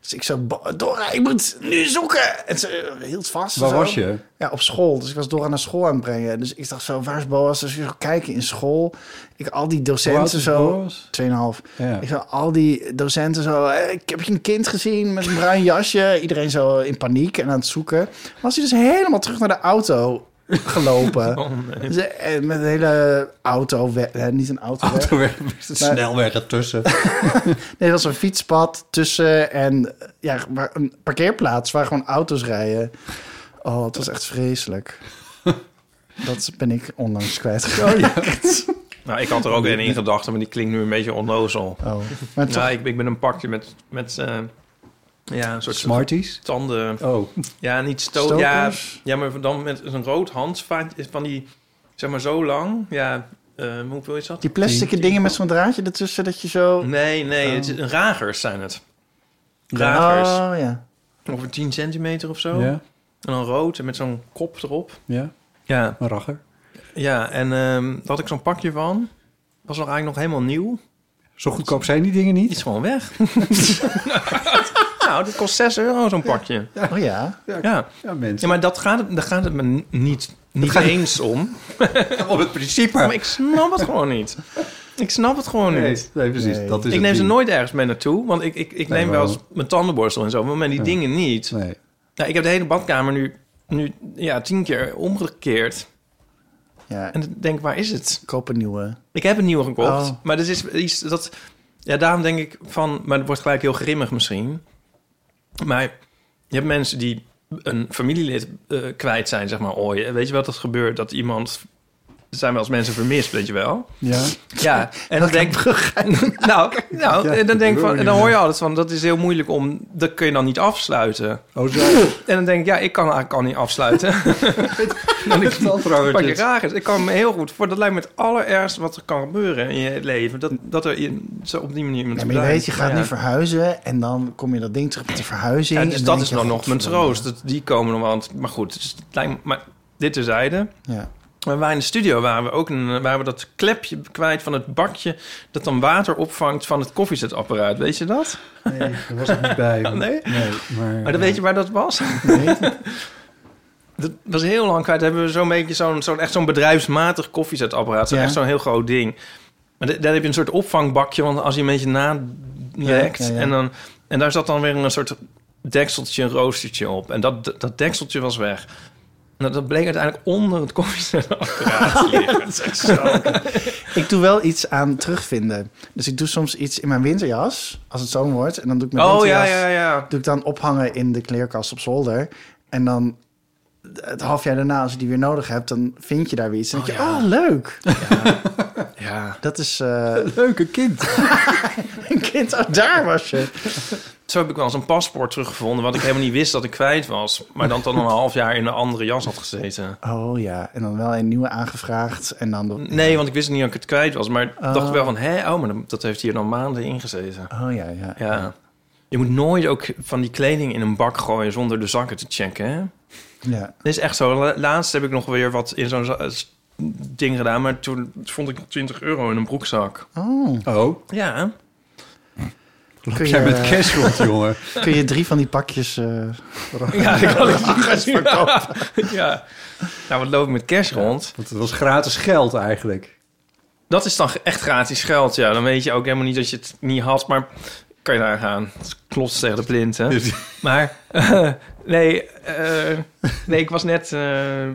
S7: Dus ik zei, "Bo- Dora, ik moet nu zoeken. En ze eh, hield vast. en
S5: waar
S7: zo.
S5: was je?
S7: Ja, op school. Dus ik was Dora naar school aan het brengen. Dus ik dacht zo, waar is Boas? Dus ik kijken in school. Ik al die
S5: Hoe oud
S7: docenten
S5: is
S7: zo.
S5: Boas?
S7: Tweeënhalf.
S5: Ja.
S7: Ik zag al die docenten zo... "Eh, Ik heb je een kind gezien met een bruin jasje. Iedereen zo in paniek en aan het zoeken. Was hij dus helemaal terug naar de auto gelopen. Ze- eh, Met een hele auto... we- eh, Niet een auto. weg.
S5: toen werd er een snelweg ertussen.
S7: Nee, dat was een fietspad tussen en eh, ja, waar- een parkeerplaats waar gewoon auto's rijden. Oh, het was echt vreselijk. Dat ben ik onlangs kwijtgegaan.
S6: Nou, ik had er ook één in gedachten, maar die klinkt nu een beetje onnozel.
S7: Oh, maar toch,
S6: Nou, ik, ik ben een pakje met, met eh, ja, een soort
S5: Smarties?
S6: tanden.
S5: Oh,
S6: Ja, niet stoot.
S7: Stokers?
S6: Ja, ja, maar dan met een rood handvaat is van die, zeg maar zo lang. Ja, eh hoeveel is dat?
S7: die plastic dingen met zo'n draadje ertussen dat je zo...
S6: Nee, nee, het is, ragers zijn het. Ragers.
S7: Oh ja.
S6: Ongeveer 10 centimeter of zo.
S5: ja,
S6: En dan rood en met zo'n kop erop.
S5: ja,
S6: Ja,
S5: een racher.
S6: ja en ehm daar had ik zo'n pakje van. Was nog eigenlijk nog helemaal nieuw.
S5: Zo goedkoop zijn die dingen
S6: Die
S5: niet.
S6: is gewoon weg. nou, dat kost 6 euro zo'n pakje.
S7: Oh ja.
S6: Ja.
S5: Ja, mensen.
S6: Ja, maar dat gaat, het- daar gaat het me n- niet, niet eens om.
S5: op het principe.
S6: Maar ik snap het gewoon niet. Ik snap het gewoon
S5: nee,
S6: niet.
S5: nee, precies.
S7: Nee.
S5: Dat is
S6: Ik
S5: het
S6: neem ze
S5: ding.
S6: nooit ergens mee naartoe. Want ik, ik, ik neem wel eens mijn tandenborstel en zo. Maar die dingen niet.
S5: Nee.
S6: Ja, ik heb de hele badkamer nu, nu ja, tien keer omgekeerd.
S7: Ja,
S6: En dan denk ik, waar is het?
S7: koop een nieuwe.
S6: Ik heb een nieuwe gekocht.
S7: Oh.
S6: Maar dat is iets dat... Ja, daarom denk ik van... Maar het wordt gelijk heel grimmig misschien. Maar je hebt mensen die een familielid eh, kwijt zijn, zeg maar, ooit. Weet je wel, dat gebeurt dat iemand... Er zijn wel eens mensen vermist, weet je wel.
S5: Ja.
S6: Ja, en dan denk ik... Nou, nou en dan, denk ik van, en dan hoor je altijd van... Dat is heel moeilijk om... Dat kun je dan niet afsluiten.
S5: Oh, zo.
S6: En dan denk ik, ja, ik kan eigenlijk al niet afsluiten.
S5: En ik
S6: Wat je raar is. Ik kan me heel goed voor. Dat lijkt me het allerergste wat er kan gebeuren in je leven. Dat, dat er in, zo op die manier iemand
S7: Ja, maar je
S6: verdwijnt.
S7: weet, je gaat
S6: Ja.
S7: nu verhuizen en dan kom je dat ding terug met de verhuizing.
S6: Ja,
S7: en
S6: dus
S7: dan
S6: dat is
S7: denk
S6: dan
S7: je, "Oh,
S6: nog
S7: eh,
S6: mijn
S7: godverdomme.
S6: troost. Dat, die komen nog wel. aan het- Maar goed, dus het lijkt me- maar dit terzijde.
S7: Ja.
S6: Maar wij in de studio waren we ook een, waren we dat klepje kwijt van het bakje... dat dan water opvangt van het koffiezetapparaat. Weet je dat?
S5: Nee, daar was ik niet bij.
S6: Nee?
S5: maar...
S6: Maar dan weet je waar dat was? dat was heel lang kwijt. Dan hebben we zo'n beetje zo'n zo'n echt zo'n bedrijfsmatig koffiezetapparaat. Zo
S7: Ja.
S6: Echt zo'n heel groot ding. Maar da- daar heb je een soort opvangbakje, want als je een beetje nadekt...
S7: Ja, ja, ja.
S6: En, dan, en daar zat dan weer een soort dekseltje, een roostertje op. En dat, dat dekseltje was weg. En dat- dat bleek uiteindelijk onder het koffiezetapparaat te liggen.
S7: Ik doe wel iets aan terugvinden. Dus ik doe soms iets in mijn winterjas, als het zomer wordt. En dan doe ik mijn
S6: Oh, ja,
S7: winterjas
S6: ja, ja.
S7: doe ik dan ophangen in de kleerkast op zolder. En dan het half jaar daarna, als je die weer nodig hebt, dan vind je daar weer iets. En dan denk je, oh, leuk.
S6: Ja.
S7: Dat is eh,
S5: Leuke kind.
S7: een kind. Oh, daar was je.
S6: Zo heb ik wel eens een paspoort teruggevonden... wat ik helemaal niet wist dat ik kwijt was. Maar dan dan een half jaar in een andere jas had gezeten.
S7: Oh ja, en dan wel een nieuwe aangevraagd. En dan... de-
S6: Nee, want ik wist niet dat ik het kwijt was. Maar ik dacht
S7: Oh.
S6: wel van, hé, oh, maar dan- dat heeft hier dan maanden ingezeten.
S7: Oh ja, ja.
S6: Ja. Je moet nooit ook van die kleding in een bak gooien zonder de zakken te checken. Hè?
S7: ja.
S6: Dat is echt zo. La- Laatst heb ik nog weer wat in zo'n za- s- ding gedaan, maar toen vond ik 20 euro in een broekzak.
S7: Oh,
S5: Oh,
S6: Ja.
S7: kun
S5: jij bent
S7: je,
S5: cash rond, jongen.
S7: kun je drie van die pakjes... eh,
S6: Ja, ik had het niet ja. ja. Nou, wat loop ik met cash rond?
S5: Want het was gratis geld eigenlijk.
S6: Dat is dan echt gratis geld, ja. Dan weet je ook helemaal niet dat je het niet had, maar kan je daar gaan. Het klopt tegen de plint, hè. Maar eh, nee, eh, nee, ik was net. eh,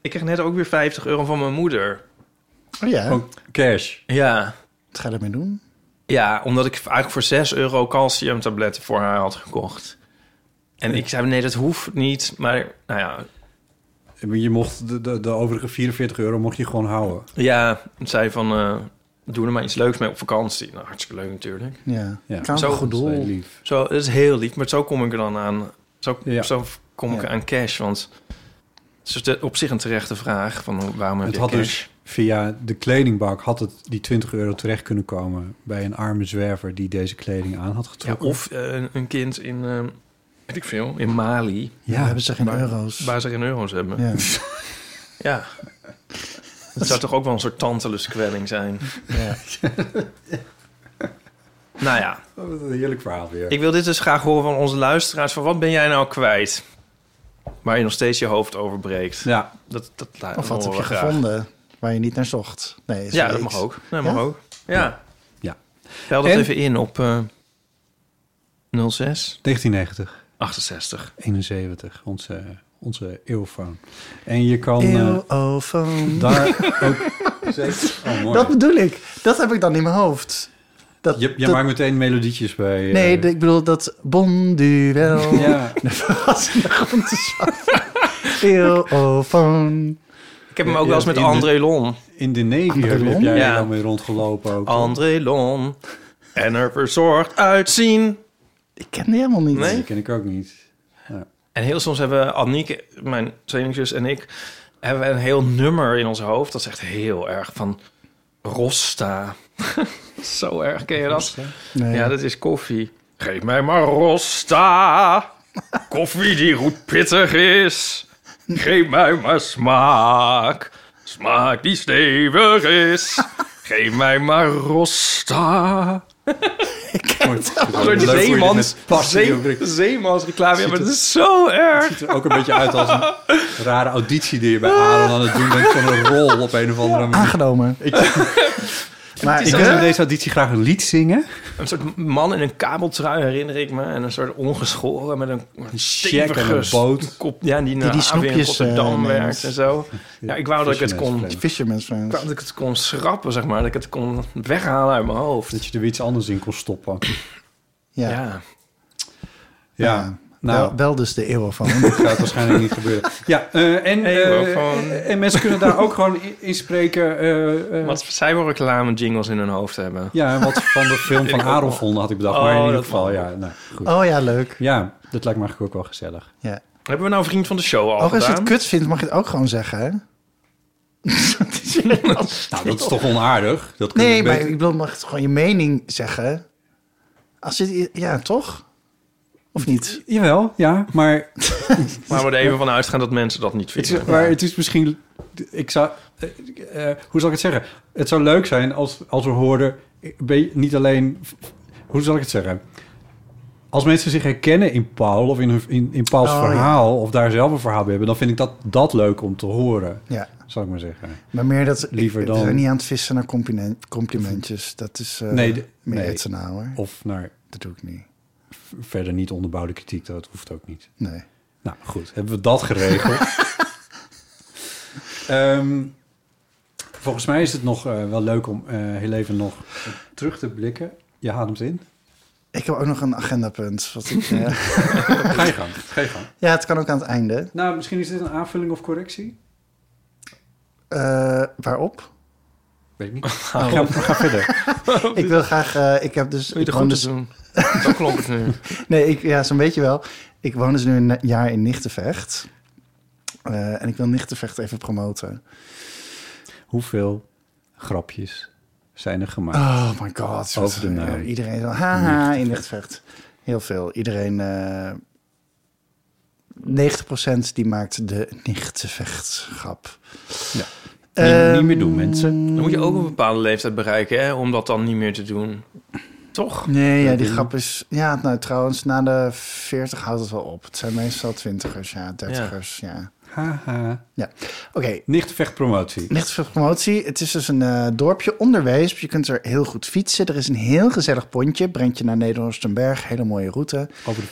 S6: ik kreeg net ook weer 50 euro van mijn moeder.
S7: oh ja,
S5: Gewoon cash.
S6: Ja.
S7: wat ga je ermee doen?
S6: Ja, omdat ik eigenlijk voor 6 euro calciumtabletten voor haar had gekocht. En ik zei, nee, dat hoeft niet. Maar nou ja,
S5: Je mocht de, de, de overige 44 euro mocht je gewoon houden.
S6: ja zei van, eh, doe er maar iets leuks mee op vakantie. Nou, hartstikke leuk natuurlijk.
S7: Ja,
S5: Ja.
S7: kan
S6: Zo eh,
S7: een goed
S5: Dat is
S7: doel.
S5: heel lief.
S6: Zo, dat is heel lief, maar zo kom ik er dan aan. Zo,
S5: Ja.
S6: zo kom ik
S7: Ja.
S6: aan cash? Want het is de, op zich een terechte vraag van hoe- waarom heb
S5: Het
S6: je
S5: had
S6: cash?
S5: dus via de kledingbak had het die 20 euro terecht kunnen komen bij een arme zwerver die deze kleding aan had
S6: ja,
S5: getrokken.
S6: of eh, een- een kind in, eh, weet ik veel, in Mali,
S7: Ja, we hebben ze geen
S6: Maar-
S7: euro's.
S6: waar ze geen euro's hebben. Ja.
S7: Ja.
S6: Dat zou toch ook wel een soort tanteluskwelling zijn.
S7: Ja.
S6: Nou ja,
S5: Oh, wat een heerlijk verhaal weer.
S6: ik wil dit dus graag horen van onze luisteraars. Van wat ben jij nou kwijt? Waar je nog steeds je hoofd over breekt.
S5: Ja,
S6: Dat, dat, laat-
S7: Of wat
S6: horen
S7: heb je
S6: we graag.
S7: gevonden waar je niet naar zocht? Nee,
S6: Ja, dat
S7: zoiets.
S6: mag ook. Nee, mag
S7: Ja?
S6: ook. Ja.
S5: Ja.
S6: Bel dat
S5: En?
S6: even in op eh 06
S5: 1990,
S6: 68.
S5: 71, onze, onze eeuwfoon. En je kan eh,
S7: Eeuw, oh, van-
S5: daar ook... Zeker. Oh, mooi.
S7: Dat bedoel ik. Dat heb ik dan in mijn hoofd. Dat,
S5: je je
S7: dat-
S5: maakt meteen melodietjes bij... eh,
S7: Nee, de- ik bedoel dat bonduel.
S5: Ja,
S7: Dat was in de grond te zakken. Eeuw, oh, van...
S6: Ik heb hem
S5: Ja,
S6: ook wel eens
S5: ja,
S6: met
S5: in de-
S6: André Lon.
S5: in de Navy
S7: Andere
S5: heb
S7: lom?
S5: jij
S6: Ja.
S5: dan mee rondgelopen ook.
S6: André Lon. En er verzorgd uitzien.
S7: Ik ken die helemaal niet.
S6: Nee?
S5: Die ken ik ook niet.
S6: En heel soms hebben Annieke, mijn tweelingzus en ik... hebben we een heel nummer in ons hoofd. Dat is echt heel erg van Rosta. Zo erg, ken je dat?
S7: Nee.
S6: Ja, dat is koffie. Geef mij maar rosta. Koffie die goed pittig is. Geef mij maar smaak. Smaak die stevig is. Geef mij maar rosta. Zo'n
S5: Leuk hoe je dit
S6: zeemans,
S5: met passie
S6: zee-
S5: ook brengt.
S6: zeemans reclame. Ja, maar dat is zo erg.
S5: ziet er ook een beetje uit als een rare auditie die je bij Aaron aan het doen bent van een rol op een of andere manier.
S7: Aangenomen.
S5: Ik-
S7: maar
S5: Ah, Ik
S7: ik,
S5: wil in
S7: eh,
S5: deze auditie graag een lied zingen.
S6: Een soort man in een kabeltrui herinner ik me. En een soort ongeschoren met een, een
S5: check en een
S6: stevige
S5: boot.
S6: kop. Ja, die naar
S7: die
S6: ABN
S7: snoepjes, eh,
S6: Rotterdam
S7: neemt.
S6: werkt en zo. Ja, ik wou dat ik het
S5: Fisherman's
S6: kon
S5: Friend.
S7: Fisherman's Friends.
S6: Ik wou dat ik het kon schrappen, zeg maar. Dat ik het kon weghalen uit mijn hoofd.
S5: Dat je er weer iets anders in kon stoppen.
S7: Ja.
S6: Ja.
S7: ja.
S5: Ja,
S7: Wel,
S5: nou,
S7: wel dus de eeuw van.
S5: dat gaat waarschijnlijk niet gebeuren. Ja, eh, en,
S6: Hey,
S5: eh,
S6: wel gewoon-
S5: en mensen kunnen daar ook gewoon in- inspreken. eh, eh,
S6: Wat zij wil reclame jingles in hun hoofd hebben.
S5: ja, wat van de film van
S6: ik ook
S5: Aaron vonden had ik bedacht.
S6: Oh,
S5: maar in ieder
S6: dat
S5: geval,
S6: mag.
S5: ja, nou, goed.
S7: Oh ja, leuk.
S5: Ja, dat lijkt me eigenlijk ook wel gezellig.
S7: Ja.
S6: Hebben we nou vriend van de show al
S7: Ook als je
S6: gedaan?
S7: Oh, het kut vindt, mag je het ook gewoon zeggen, hè?
S5: Nou, dat is toch onaardig? Dat kunnen
S7: Nee,
S5: we
S7: maar
S5: beter-
S7: ik bedoel, mag het gewoon je mening zeggen? Als je, ja, toch? Of niet?
S5: Jawel, ja, maar
S6: Maar we er even van uitgaan dat mensen dat niet
S5: Het
S6: vinden.
S5: is, maar het is misschien... Ik zou, eh, eh, hoe zal ik het zeggen? Het zou leuk zijn als, als we hoorden... Ben je niet alleen... Hoe zal ik het zeggen? Als mensen zich herkennen in Paul of in, hun- in, in Pauls
S7: Oh, ja.
S5: verhaal... of daar zelf een verhaal bij hebben... dan vind ik dat, dat leuk om te horen,
S7: Ja,
S5: zou ik maar zeggen.
S7: maar meer dat...
S5: Liever
S7: ik-
S5: dan-
S7: We zijn niet aan het vissen naar compliment- complimentjes. Dat is eh,
S5: Nee, de-
S7: meer
S5: nee.
S7: nee. hoor.
S5: Of naar
S7: Dat doe ik niet.
S5: verder niet onderbouwde kritiek, dat hoeft ook niet.
S7: Nee.
S5: Nou goed, hebben we dat geregeld. Ehm, volgens mij is het nog eh, wel leuk om eh, heel even nog terug te blikken. Je haalt hem in.
S7: Ik heb ook nog een agendapunt. Wat ik, eh,
S5: Ga je gang, ga je gang.
S7: ja, het kan ook aan het einde.
S5: Nou, misschien is dit een aanvulling of correctie?
S7: Eh, waarop?
S5: Weet ik niet. Ga, ga verder.
S7: Ik wil graag... eh, ik heb dus...
S6: Wil je
S7: ik
S6: de groeten
S7: woon dus-
S6: doen? Dat klopt het nu.
S7: Nee, ik, ja, zo'n beetje wel. Ik woon dus nu een jaar in Nichtenvecht. Eh, en ik wil Nichtenvecht even promoten.
S5: Hoeveel grapjes zijn er gemaakt?
S7: Oh my god.
S5: Over de naam.
S7: Eh, Iedereen zo, haha, in Nichtenvecht. Heel veel. Iedereen, eh 90% die maakt de Nichtenvecht grap.
S5: Ja.
S7: Ehm,
S5: niet, niet meer doen, mensen.
S6: Dan moet je ook een bepaalde leeftijd bereiken, hè? Om dat dan niet meer te doen. Toch?
S7: Nee, ja, die grap is... Ja, nou trouwens, na de 40 houdt het wel op. Het zijn meestal twintigers, ja, dertigers, ja. ja.
S5: Haha.
S7: Oké,
S5: Nichtvechtpromotie.
S7: Licht voor promotie. Het is dus een eh, dorpje onder Weesp. Je kunt er heel goed fietsen. Er is een heel gezellig pontje. Brengt je naar Nederhorstenberg. Hele mooie route.
S5: Over de,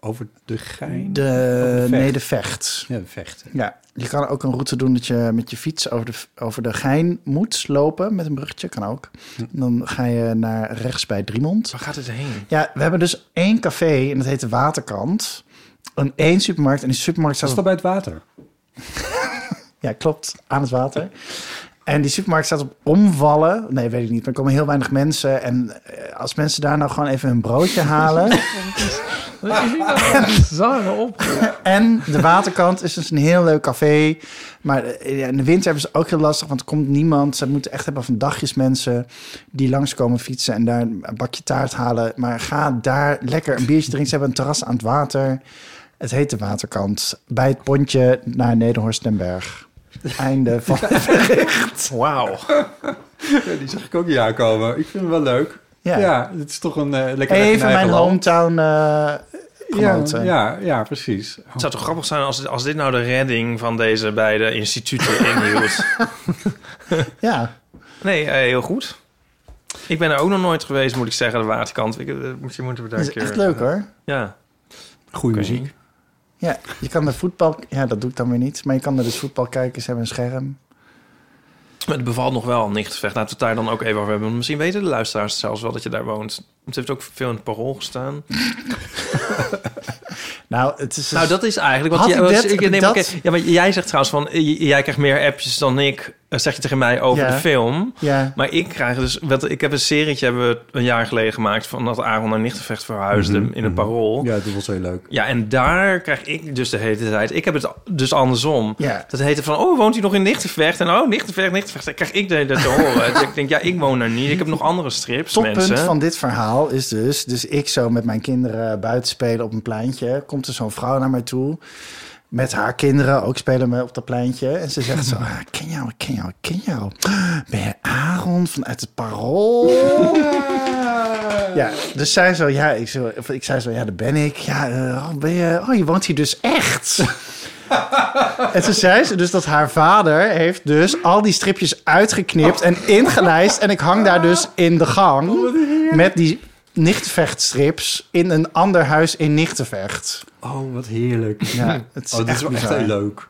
S5: over de gein.
S7: De
S5: Vecht.
S7: Nedervecht.
S5: Ja, de vechten.
S7: Ja, je kan ook een route doen dat je met je fiets over de, over de Gein moet lopen. Met een bruggetje, kan ook. En dan ga je naar rechts bij Driemond.
S6: Waar gaat het heen?
S7: Ja, we hebben dus één café en dat heet de Waterkant. En één supermarkt. En die supermarkt staat
S5: Dat is dat
S7: op
S5: bij het water.
S7: Ja, klopt. Aan het water. En die supermarkt staat op omvallen. Nee, weet ik niet. Maar er komen heel weinig mensen. En eh, als mensen daar nou gewoon even hun broodje halen...
S8: Er is iemand zangen op.
S7: En de waterkant is dus een heel leuk café. Maar eh, ja, in de winter hebben ze ook heel lastig, want er komt niemand. Ze moeten echt hebben van dagjes mensen die langskomen fietsen en daar een bakje taart halen. Maar ga daar lekker een biertje drinken. Ze hebben een terras aan het water. Het heet de waterkant. Bij het pontje naar Nederhorst den Berg. Einde van het bericht. Wauw.
S5: Ja, die zag ik ook niet aankomen. Ik vind hem wel leuk.
S7: Ja.
S5: Ja, het is toch een eh, lekker
S7: Even mijn
S5: hand.
S7: hometown eh promoten.
S5: Ja, ja, ja, precies.
S6: Het zou toch grappig zijn als, als dit nou de redding van deze beide instituten inhield.
S7: ja.
S6: Nee, eh, heel goed. Ik ben er ook nog nooit geweest, moet ik zeggen, de waterkant. Ik, eh, misschien moeten we daar
S7: Dat
S6: een
S7: is
S6: keer...
S7: echt leuk hoor.
S6: Ja.
S5: Goede
S6: Oké.
S5: muziek.
S7: Ja, je kan naar voetbal... Ja, dat doe ik dan weer niet. Maar je kan naar dus voetbal kijken. Ze hebben een scherm.
S6: Maar Dus het bevalt nog wel Nichtsvecht. Laten we het daar dan ook even over hebben. Want Misschien weten de luisteraars zelfs wel dat je daar woont. Want Het heeft ook veel in het parool gestaan.
S7: Nou, het is...
S6: Nou, dat is eigenlijk wat
S7: Had
S6: jij-
S7: ik
S6: was-
S7: dit-
S6: ik neem
S7: dat-
S6: oké, ja, maar jij zegt trouwens van eh, j- jij krijgt meer appjes dan ik. eh, Zeg je tegen mij over
S7: Ja.
S6: de film.
S7: Ja,
S6: Maar ik krijg dus wat ik heb een serietje hebben we een jaar geleden gemaakt van dat Aaron naar Nichtenvecht verhuisde in het parool. Ja.
S5: Ja, dat was heel leuk.
S6: en daar krijg ik dus de hele tijd. Ik heb het dus andersom.
S7: Ja.
S6: Dat heette van, oh, woont hij nog in Nichtenvecht? En oh, Nichtenvecht, Nichtenvecht. Dan krijg ik de hele tijd te horen. dus ik denk, ja, ik woon daar niet. Ik heb nog andere strips,
S7: toppunt
S6: mensen.
S7: van dit verhaal is dus... Dus ik zo met mijn kinderen buiten spelen op een pleintje. Komt er zo'n vrouw naar mij toe... Met haar kinderen ook spelen we op dat pleintje. En ze zegt zo, "Ah, ik ken jou, ik ken jou, ik ken jou. Ben je Aaron vanuit het parool? Ja, dus zij zo, ja, ik, zo, of ik zei zo, ja, daar ben ik. Ja, eh, oh, ben je, oh, je woont hier dus echt. en toen zei ze dus dat haar vader heeft dus al die stripjes uitgeknipt en ingelijst. En ik hang daar dus in de gang
S5: Oh,
S7: met die nichtvechtstrips in een ander huis in Nichtenvecht.
S5: Oh, wat heerlijk.
S7: Ja, het is
S5: oh, dit
S7: echt
S5: is wel echt
S7: bizar.
S5: heel leuk.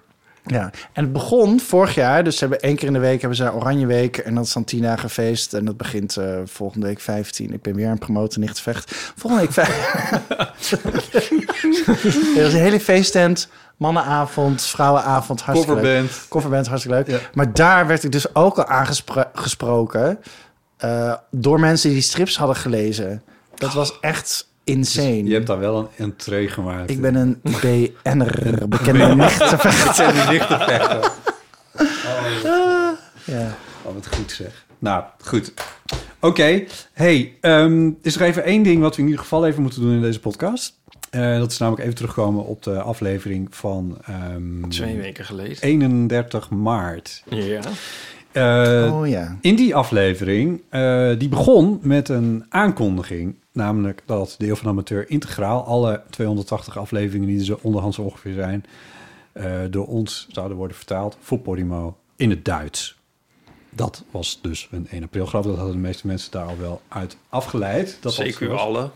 S7: Ja, en het begon vorig jaar. Dus ze hebben één keer in de week hebben ze Oranje Week. En dat is dan tien dagen feest. En dat begint eh, volgende week 15. Ik ben weer aan het promoten, niet vecht. Volgende week 15. Er is een hele feesttent. Mannenavond, vrouwenavond, hartstikke leuk.
S5: Coverband.
S7: Coverband, hartstikke leuk.
S5: Ja.
S7: Maar daar werd ik dus ook al aangesproken eh, door mensen die strips hadden gelezen. Dat was echt insane.
S5: Je hebt daar wel een entree gemaakt.
S7: Ik ben een BN'er, bekende nichtenvechter.
S5: en die lichten vechten.
S7: Ja.
S5: Oh, wat goed zeg. Nou, goed. Oké. Hey, ehm, is er even één ding wat we in ieder geval even moeten doen in deze podcast? Eh, dat is namelijk even terugkomen op de aflevering van ehm,
S6: Twee weken geleden.
S5: 31 maart.
S6: Ja.
S5: Eh,
S7: Oh ja.
S5: In die aflevering, eh, die begon met een aankondiging. Namelijk dat Deel van Amateur integraal alle 280 afleveringen die er onderhand zo ongeveer zijn, eh, door ons zouden worden vertaald voor Podimo in het Duits. Dat was dus een 1 april grap. Dat hadden de meeste mensen daar al wel uit afgeleid. Dat
S6: Zeker
S5: was-
S6: alle.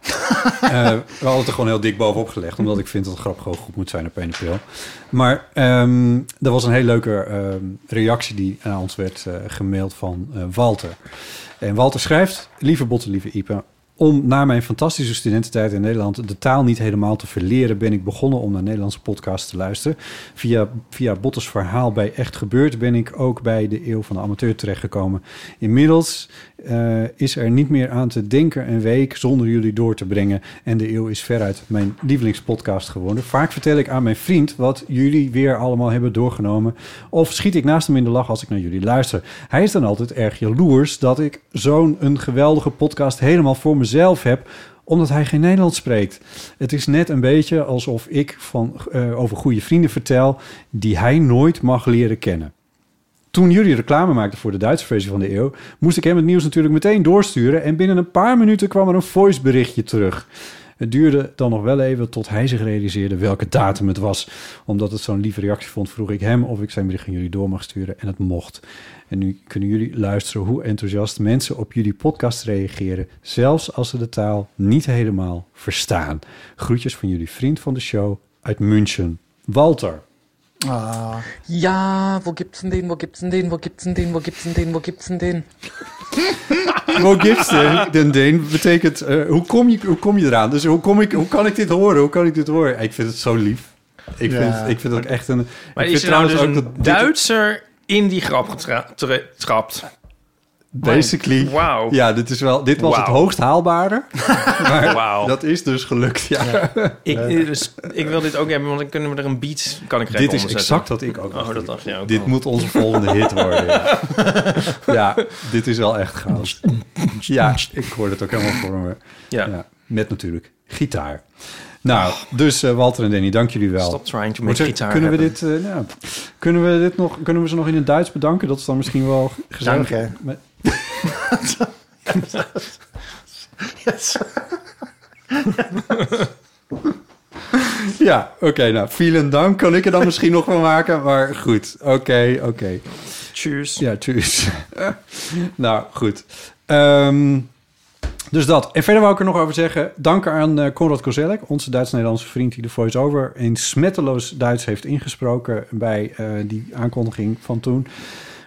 S5: eh, we hadden het er gewoon heel dik bovenop gelegd. Omdat ik vind dat een grap gewoon goed moet zijn op 1 april. Maar ehm er was een hele leuke ehm, reactie die aan ons werd eh, gemaild van eh, Walter. En Walter schrijft... Lieve Botte, lieve Ipe... Om na mijn fantastische studententijd in Nederland de taal niet helemaal te verleren, ben ik begonnen om naar Nederlandse podcasts te luisteren. Via, via Bottes verhaal bij Echt Gebeurd ben ik ook bij de Eeuw van de Amateur terechtgekomen. Inmiddels eh, is er niet meer aan te denken een week zonder jullie door te brengen. En de Eeuw is veruit mijn lievelingspodcast geworden. Vaak vertel ik aan mijn vriend wat jullie weer allemaal hebben doorgenomen. Of schiet ik naast hem in de lach als ik naar jullie luister. Hij is dan altijd erg jaloers dat ik zo'n een geweldige podcast helemaal voor mezelf heb omdat hij geen Nederlands spreekt. Het is net een beetje alsof ik van, eh, over goede vrienden vertel die hij nooit mag leren kennen. Toen jullie reclame maakten voor de Duitse versie van de eeuw, moest ik hem het nieuws natuurlijk meteen doorsturen. En binnen een paar minuten kwam er een voiceberichtje terug. Het duurde dan nog wel even tot hij zich realiseerde welke datum het was. Omdat het zo'n lieve reactie vond, vroeg ik hem of ik zijn bericht aan jullie door mag sturen. En het mocht. En nu kunnen jullie luisteren hoe enthousiast mensen op jullie podcast reageren. Zelfs als ze de taal niet helemaal verstaan. Groetjes van jullie vriend van de show uit München, Walter.
S7: Ah.
S9: Ja, wo gibt's denn den, wo gibt's denn den, wo gibt's denn den, wo gibt's denn den, wo gibt's denn den?
S5: Mo Gibson, den Deen, betekent... eh, hoe, kom je, hoe kom je eraan? Dus hoe, kom ik, hoe kan ik dit horen? Hoe kan ik dit horen? Ik vind het zo lief. Ik,
S7: Ja.
S5: vind, ik vind dat echt een...
S6: Maar
S5: ik
S6: is
S5: vind
S6: er nou dus
S5: ook
S6: een
S5: dat dit-
S6: Duitser in die grap getrapt?
S5: basically.
S6: Oh, Wauw.
S5: Ja, dit, is wel, dit was
S6: Wauw.
S5: het hoogst haalbaarder. maar
S6: Wauw.
S5: dat is dus gelukt, ja.
S6: Ik, dus, ik wil dit ook hebben, want dan kunnen we er een beat... Kan ik er
S5: Dit
S6: even
S5: is
S6: onder
S5: exact
S6: zetten.
S5: wat ik ook
S6: Oh,
S5: dacht.
S6: dat dacht je ook
S5: Dit
S6: al.
S5: moet onze volgende hit worden. Ja, Ja, dit is wel echt goud. Ja, ik hoor het ook helemaal voor me.
S6: Ja.
S5: Ja, met natuurlijk gitaar. Nou, dus eh, Walter en Danny, dank jullie wel.
S6: Stop trying to
S5: Moet
S6: make
S5: zeggen,
S6: gitaar
S5: kunnen we,
S6: hebben.
S5: dit, eh, nou, kunnen, we dit nog, kunnen we ze nog in het Duits bedanken? Dat is dan misschien wel gezellig.
S7: Dank, hè.
S5: Maar- Ja, oké. nou, vielen dank kan ik er dan misschien nog van maken. Maar goed, oké, oké.
S6: Tjus.
S5: Ja, tjus. nou, goed. Ehm, dus dat. En verder wou ik er nog over zeggen. Dank aan eh, Konrad Kozelek, onze Duits-Nederlandse vriend... die de voice-over in smetteloos Duits heeft ingesproken... bij eh, die aankondiging van toen.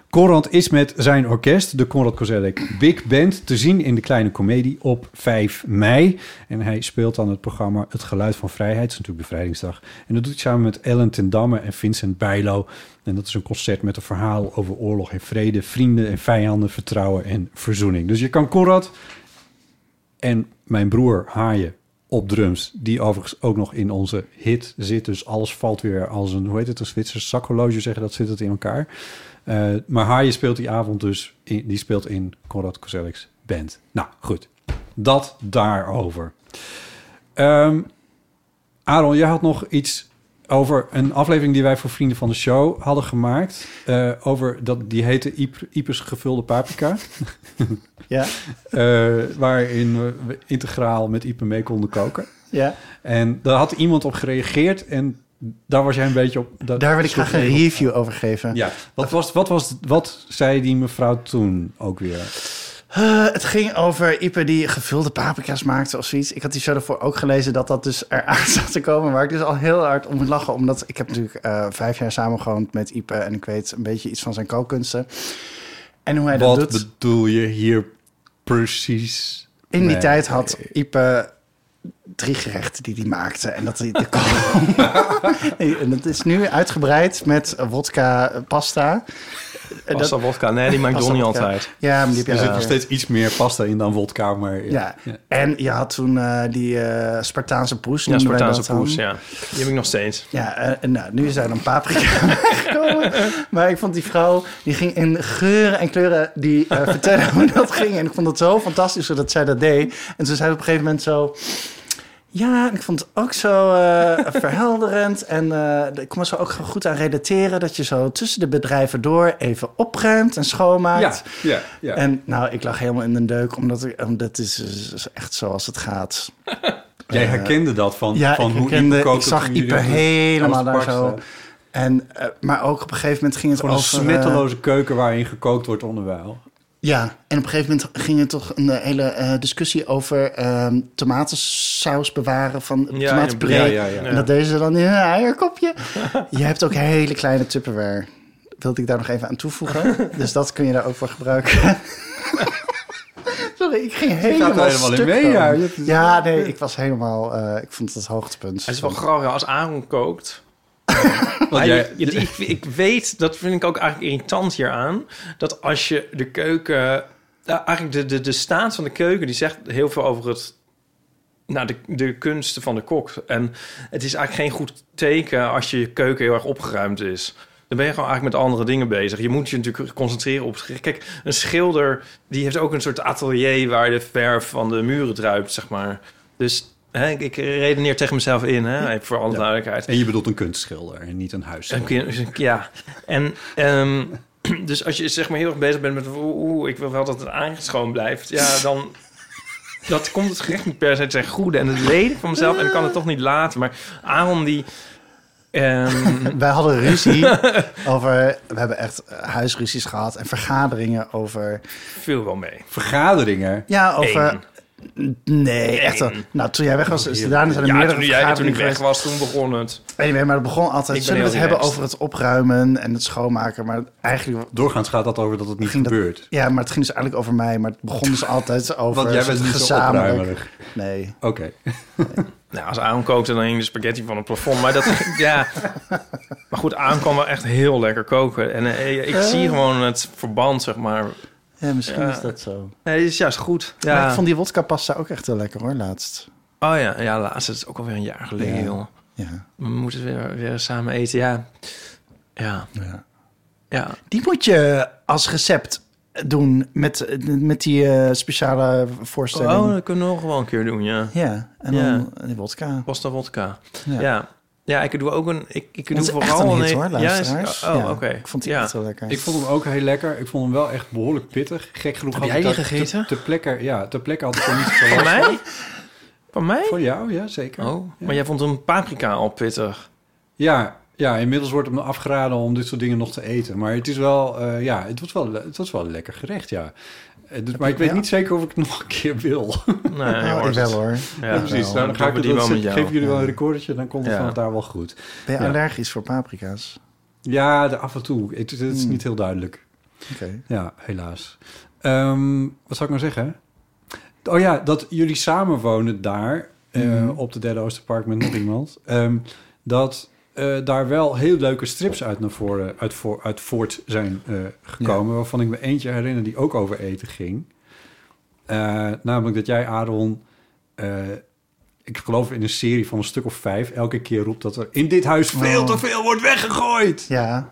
S5: Konrad is met zijn orkest, de Konrad Kozelek Big Band... te zien in de Kleine Comedie op 5 mei. En hij speelt dan het programma Het Geluid van Vrijheid. Het is natuurlijk Bevrijdingsdag. En dat doet hij samen met Ellen ten Damme en Vincent Bijlo. En dat is een concert met een verhaal over oorlog en vrede... vrienden en vijanden, vertrouwen en verzoening. Dus je kan Konrad en mijn broer Haaien op drums, die overigens ook nog in onze hit zit. Dus alles valt weer als een, hoe heet het, een Zwitsers zakhorloge zeggen, dat zit het in elkaar. Eh, maar Haaien speelt die avond dus, in- die speelt in Konrad Kozelek's band. Nou, goed. Dat daarover. Ehm Aaron, jij had nog iets over een aflevering die wij voor Vrienden van de Show hadden gemaakt. eh, over dat, die heette Iep- Iepers gevulde paprika.
S7: Ja,
S5: Eh, waarin we integraal met Ipe mee konden koken.
S7: ja.
S5: En daar had iemand op gereageerd en daar was jij een beetje op. dat-
S7: Daar wil ik graag een
S5: soort-
S7: review over geven.
S5: Ja, wat, was, wat, was, wat zei die mevrouw toen ook weer?
S7: Eh, het ging over Ipe die gevulde paprika's maakte of zoiets. Ik had die show daarvoor ook gelezen dat dat dus eraan zat te komen. Waar ik dus al heel hard om moet lachen. Omdat ik heb natuurlijk eh, vijf jaar samengewoond met Ipe. En ik weet een beetje iets van zijn kookkunsten. En hoe hij dat
S5: Wat
S7: doet.
S5: bedoel je hier precies?
S7: In die
S5: Nee.
S7: tijd had Ipe drie gerechten die hij maakte. En dat hij de Nee, en dat is nu uitgebreid met wodka eh, pasta. En
S6: Pasta wodka. Nee, die maakt
S7: pasta
S6: Donnie
S7: wodka.
S6: altijd.
S7: Ja, maar die heb je
S5: Er zit
S7: ook
S5: nog
S7: weer.
S5: steeds iets meer pasta in dan wodka, maar ja.
S7: Ja. en je had toen eh, die eh, Spartaanse poes.
S6: Ja,
S7: noemden wij
S6: Spartaanse
S7: dat dan.
S6: poes, ja. Die heb ik nog steeds.
S7: Ja, eh, en nou, nu is daar dan paprika gekomen. Maar ik vond die vrouw, die ging in geuren en kleuren die eh, vertellen hoe dat ging. En ik vond het zo fantastisch dat zij dat deed. En toen zei ze op een gegeven moment zo... Ja, en ik vond het ook zo eh, verhelderend. En eh, ik kon er zo ook goed aan relateren... dat je zo tussen de bedrijven door even opruimt en schoonmaakt.
S5: ja, ja.
S7: En nou, ik lag helemaal in de deuk, omdat ik, omdat het is, is echt zoals het gaat.
S5: Jij herkende dat van,
S7: eh, Ja,
S5: van
S7: ik
S5: hoe
S7: herkende-
S5: Ipe
S7: ik
S5: kookte
S7: zag
S5: toen jullie
S7: Ipe
S5: dat-
S7: helemaal
S5: alles
S7: daar zo.
S5: pakte.
S7: En, eh, maar ook op een gegeven moment ging het
S5: Gewoon een
S7: over... eh,
S5: smetteloze keuken waarin gekookt wordt onderwijl.
S7: ja, en op een gegeven moment ging er toch een eh, hele eh, discussie over ehm tomatensaus bewaren van
S6: Ja,
S7: tomatenpuree.
S5: ja,
S6: ja,
S5: ja.
S7: En dat deden ze dan in een eierkopje. Je hebt ook hele kleine Tupperware. Wilde ik daar nog even aan toevoegen. dus dat kun je daar ook voor gebruiken. Sorry, ik ging helemaal,
S5: er helemaal in
S7: stuk
S5: mee,
S7: dan.
S5: ja. Je hebt-
S7: Ja, nee, ik was helemaal... eh, ik vond het het hoogtepunt.
S6: Het is wel grappig als Aaron kookt.
S5: Want
S6: Hij-
S5: jij,
S6: ja, die- ik, ik weet, dat vind ik ook eigenlijk irritant hieraan, dat als je de keuken, nou, eigenlijk de, de, de staat van de keuken, die zegt heel veel over het, nou, de, de kunsten van de kok. En het is eigenlijk geen goed teken als je keuken heel erg opgeruimd is. Dan ben je gewoon eigenlijk met andere dingen bezig. Je moet je natuurlijk concentreren op... Kijk, een schilder die heeft ook een soort atelier... waar de verf van de muren druipt, zeg maar. Dus hè, ik, ik redeneer tegen mezelf in, hè, even voor alle duidelijkheid.
S5: en je bedoelt een kunstschilder en niet een huisschilder.
S6: Een keer- Ja, en ehm, dus als je zeg maar heel erg bezig bent met... oeh, oeh, ik wil wel dat het aangeschoon blijft. Ja, dan... Dat komt het gerecht niet per se ten goede. En het leden van mezelf, en ik kan het toch niet laten. Maar Aaron die... ehm,
S7: Wij hadden ruzie over... We hebben echt eh, huisruzies gehad en vergaderingen over...
S6: viel wel mee.
S5: Vergaderingen.
S7: Ja, over...
S6: Eén.
S7: Nee, echt wel.
S6: Eén.
S7: Nou, toen jij weg was, is daarna zijn er
S6: Ja,
S7: meerdere
S6: toen, jij, toen ik
S7: vergaderingen
S6: weg
S7: geweest.
S6: was, toen begon het.
S7: Anyway, maar het begon altijd...
S6: Ik ben
S7: Zullen we het
S6: heel
S7: hebben
S6: relaxed.
S7: over het opruimen en het schoonmaken? Maar eigenlijk...
S5: Doorgaans gaat dat over dat het niet
S7: Ging dat-
S5: gebeurt.
S7: Ja, maar het ging dus eigenlijk over mij. Maar het begon dus altijd over...
S5: Want jij
S7: een soort
S5: bent niet zo
S7: gezamenlijk-
S5: opruimerig.
S7: Nee.
S5: Oké.
S6: Nou, als Aaron kookte, dan hing de spaghetti van het plafond. Maar dat, ja. Eh? Maar goed, Aaron kan wel echt heel lekker koken. En eh, ik zie gewoon het verband, zeg maar.
S7: Ja, misschien
S6: Ja.
S7: is dat zo.
S6: Nee, die is juist goed.
S7: Maar
S6: Ja.
S7: ik vond die wodka pasta ook echt heel lekker hoor, laatst.
S6: Oh ja, ja, laatst. Het is ook alweer een jaar geleden,
S7: Ja.
S6: joh.
S7: Ja,
S6: We moeten weer, weer samen eten, ja. Ja,
S7: ja.
S6: ja.
S7: Die moet je als recept doen met, met die eh, speciale voorstelling.
S6: Oh, dat kunnen we nog wel een keer doen, ja.
S7: Ja, en
S6: Ja.
S7: dan die wodka.
S6: Pasta vodka.
S7: Ja.
S6: Ja. ja. ik doe ook een... Ik, ik doe
S7: Dat is
S6: vooral
S7: echt een hit
S6: een-
S7: hoor,
S6: Ja, is-
S7: luisteraars.
S6: oh,
S7: Ja,
S6: oké.
S7: Ik vond die
S6: ja.
S7: echt heel lekker.
S5: Ik vond hem ook heel lekker. Ik vond hem wel echt behoorlijk pittig. Gek genoeg
S6: Heb
S5: had
S6: jij
S5: ik
S6: die
S5: daar
S6: gegeten?
S5: Te, te plekke, ja, te plekke had ik er niet zo
S6: Van
S5: last van.
S6: mij? Van mij?
S5: Voor jou, ja, zeker.
S6: Oh, maar jij vond een paprika al pittig.
S5: Ja, ja, inmiddels wordt het me afgeraden om dit soort dingen nog te eten. Maar het is wel, eh, ja, het was wel, het was wel een lekker gerecht, ja. Eh, dus- maar ik weet
S7: ja.
S5: niet zeker of ik het nog een keer wil.
S6: Nee,
S7: Oh, ik
S6: hoor. dus-
S7: wel hoor.
S6: Ja,
S5: Ja, precies.
S7: wel.
S5: Nou, dan ga ik
S6: Doe
S5: het
S6: die
S7: dus
S5: wel
S6: wel met
S5: zitten.
S6: jou.
S5: Geef jullie wel een recordje, dan komt het
S6: Ja.
S5: van daar wel goed.
S7: Ben je
S5: Ja.
S7: allergisch voor paprika's?
S5: Ja, de, af en toe. Het, het is niet heel duidelijk.
S7: Oké.
S5: Ja, helaas. Ehm, wat zou ik nou zeggen? Oh ja, dat jullie samenwonen daar eh, op de Derde Oosterpark met nog iemand. Ehm, dat eh, daar wel heel leuke strips uit naar voren, uit, voor, uit voort zijn eh, gekomen. Waarvan ik me eentje herinner die ook over eten ging. Eh, namelijk dat jij, Aaron, eh, ik geloof in een serie van een stuk of vijf, elke keer roept dat er in dit huis veel te veel wordt weggegooid.
S7: Ja.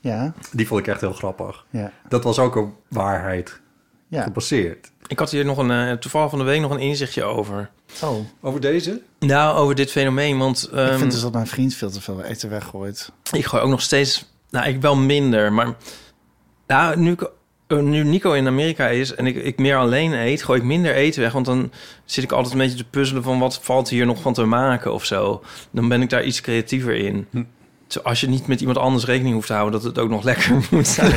S7: Ja.
S5: Die vond ik echt heel grappig.
S7: Ja.
S5: Dat was ook een waarheid
S7: Ja.
S5: gepasseerd.
S6: Ik had hier nog een, eh, toevallig van de week nog een inzichtje over.
S7: Oh,
S5: Over deze?
S6: Nou, over dit fenomeen, want...
S7: ik
S6: ehm,
S7: vind dus dat mijn vriend veel te veel eten weggooit.
S6: Ik gooi ook nog steeds... Nou, ik wel minder, maar... Nou, nu, ik- eh, nu Nico in Amerika is en ik, ik meer alleen eet... gooi ik minder eten weg, want dan zit ik altijd een beetje te puzzelen... van wat valt hier nog van te maken of zo. Dan ben ik daar iets creatiever in. Zo, Als je niet met iemand anders rekening hoeft te houden... dat het ook nog lekker moet zijn.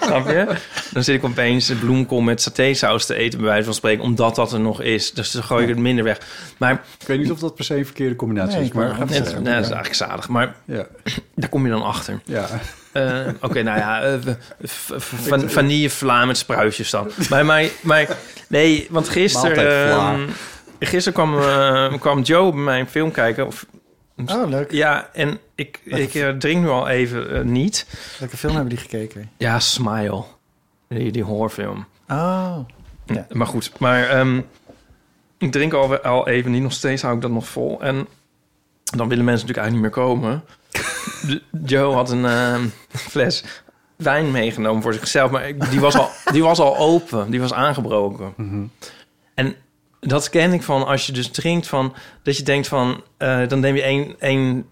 S6: Snap je? Dan zit ik opeens de bloemkool met satésaus te eten... bij wijze van spreken, omdat dat er nog is. Dus dan gooi ik het minder weg. Maar
S5: Ik weet niet of dat per se een verkeerde combinatie
S7: Nee,
S5: is, maar
S7: ik
S5: ga
S7: wou
S6: het,
S5: verder.
S6: nou, dat is eigenlijk zadig. Maar
S5: Ja,
S6: daar kom je dan achter.
S5: ja.
S6: Eh, Oké, nou ja, eh, v- v- v- van, vanillevla met spruitjes dan. Maar, maar, maar nee, want gisteren...
S5: Maaltijd vla.
S6: ehm, gisteren kwam, eh, kwam Joe bij mij een film kijken. Of,
S7: Oh, leuk.
S6: ja, en ik, ik eh, drink nu al even eh, niet.
S7: Welke film hebben die gekeken?
S6: Ja, Smile. Die, die horrorfilm.
S7: Oh. Ja.
S6: Maar goed, maar ehm, ik drink al, al even niet. Nog steeds hou ik dat nog vol. En dan willen mensen natuurlijk eigenlijk niet meer komen. De- Joe had een ehm, fles wijn meegenomen voor zichzelf. Maar ik- die was al, die was al open. Die was aangebroken.
S5: Mhm.
S6: En dat ken ik van als je dus drinkt van... Dat je denkt van... eh, dan neem je één... één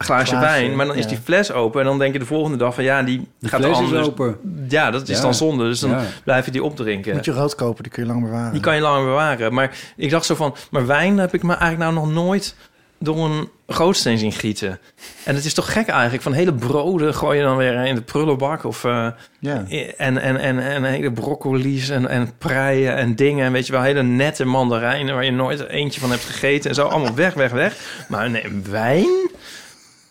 S6: glaasje,
S7: Glaasje,
S6: wijn, maar dan is
S7: ja.
S6: die fles open en dan denk je de volgende dag van ja, die,
S5: De
S6: gaat
S5: fles is
S6: anders.
S5: open.
S6: Ja, dat is
S5: Ja.
S6: dan zonde, dus dan
S5: Ja.
S6: blijf je die opdrinken.
S7: Moet je rood kopen, die kun je lang bewaren.
S6: Die kan je langer bewaren. Maar ik dacht zo van, maar wijn heb ik me eigenlijk nou nog nooit door een gootsteen zien gieten. En het is toch gek eigenlijk, van hele broden gooi je dan weer in de prullenbak. Of, eh,
S7: Ja.
S6: en, en, en, en hele broccoli's en, en preien en dingen. En weet je wel, hele nette mandarijnen waar je nooit eentje van hebt gegeten. En zo, allemaal weg, weg, weg. Maar nee, wijn...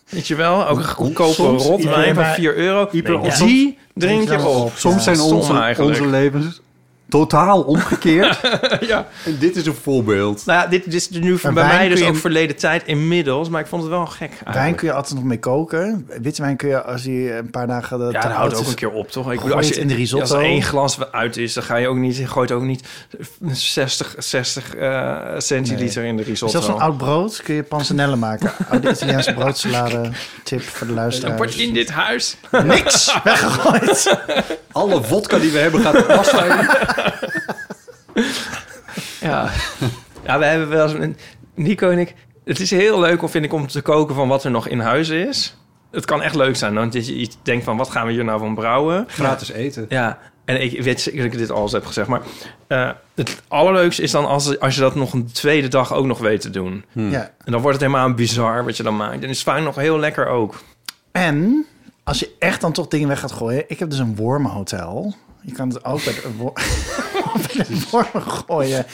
S6: Weet je wel, ook een goedkope
S5: Soms
S6: rotwijn van
S7: hyper-
S6: 4 euro.
S5: hyper-
S6: Nee,
S5: soms-
S6: die drink je op.
S5: Soms
S7: Ja,
S5: zijn
S6: stom
S5: onze,
S6: eigenlijk.
S5: onze levens totaal omgekeerd.
S6: Ja.
S5: En dit is een voorbeeld.
S6: Nou ja, dit, dit is nu bij
S7: Maar wijn
S6: mij dus
S7: kun je-
S6: ook verleden tijd inmiddels. Maar ik vond het wel gek
S7: Wijn
S6: eigenlijk.
S7: kun je altijd nog mee koken. Witte wijn kun je als je een paar dagen...
S6: Ja, dat houdt ook een keer op, toch? Ik
S7: Gooi het in de risotto.
S6: Als er één glas uit is, dan ga je ook niet... je gooit ook niet 60, 60 eh, centiliter in de risotto.
S7: Zelfs van oud brood kun je panzanelle maken. Oude Italiaanse broodsalade. Tip voor
S6: Dan wordt
S7: de luisteraars.
S6: in dit huis...
S7: Niks weggegooid.
S5: Alle vodka die we hebben gaat er vast zijn.
S6: Ja. ja, we hebben wel eens... Nico en ik... Het is heel leuk, om, vind ik, om te koken van wat er nog in huis is. Het kan echt leuk zijn, want dat je iets denkt van... wat gaan we hier nou van brouwen?
S5: Gratis eten.
S6: Ja, en ik weet zeker dat ik dit alles heb gezegd. Maar eh, het allerleukste is dan als, als je dat nog een tweede dag ook nog weet te doen.
S7: Ja.
S6: En dan wordt het helemaal bizar wat je dan maakt. En is vaak nog heel lekker ook.
S7: En als je echt dan toch dingen weg gaat gooien. Ik heb dus een wormenhotel. Je kan het ook bij de, wor- bij de wormen gooien.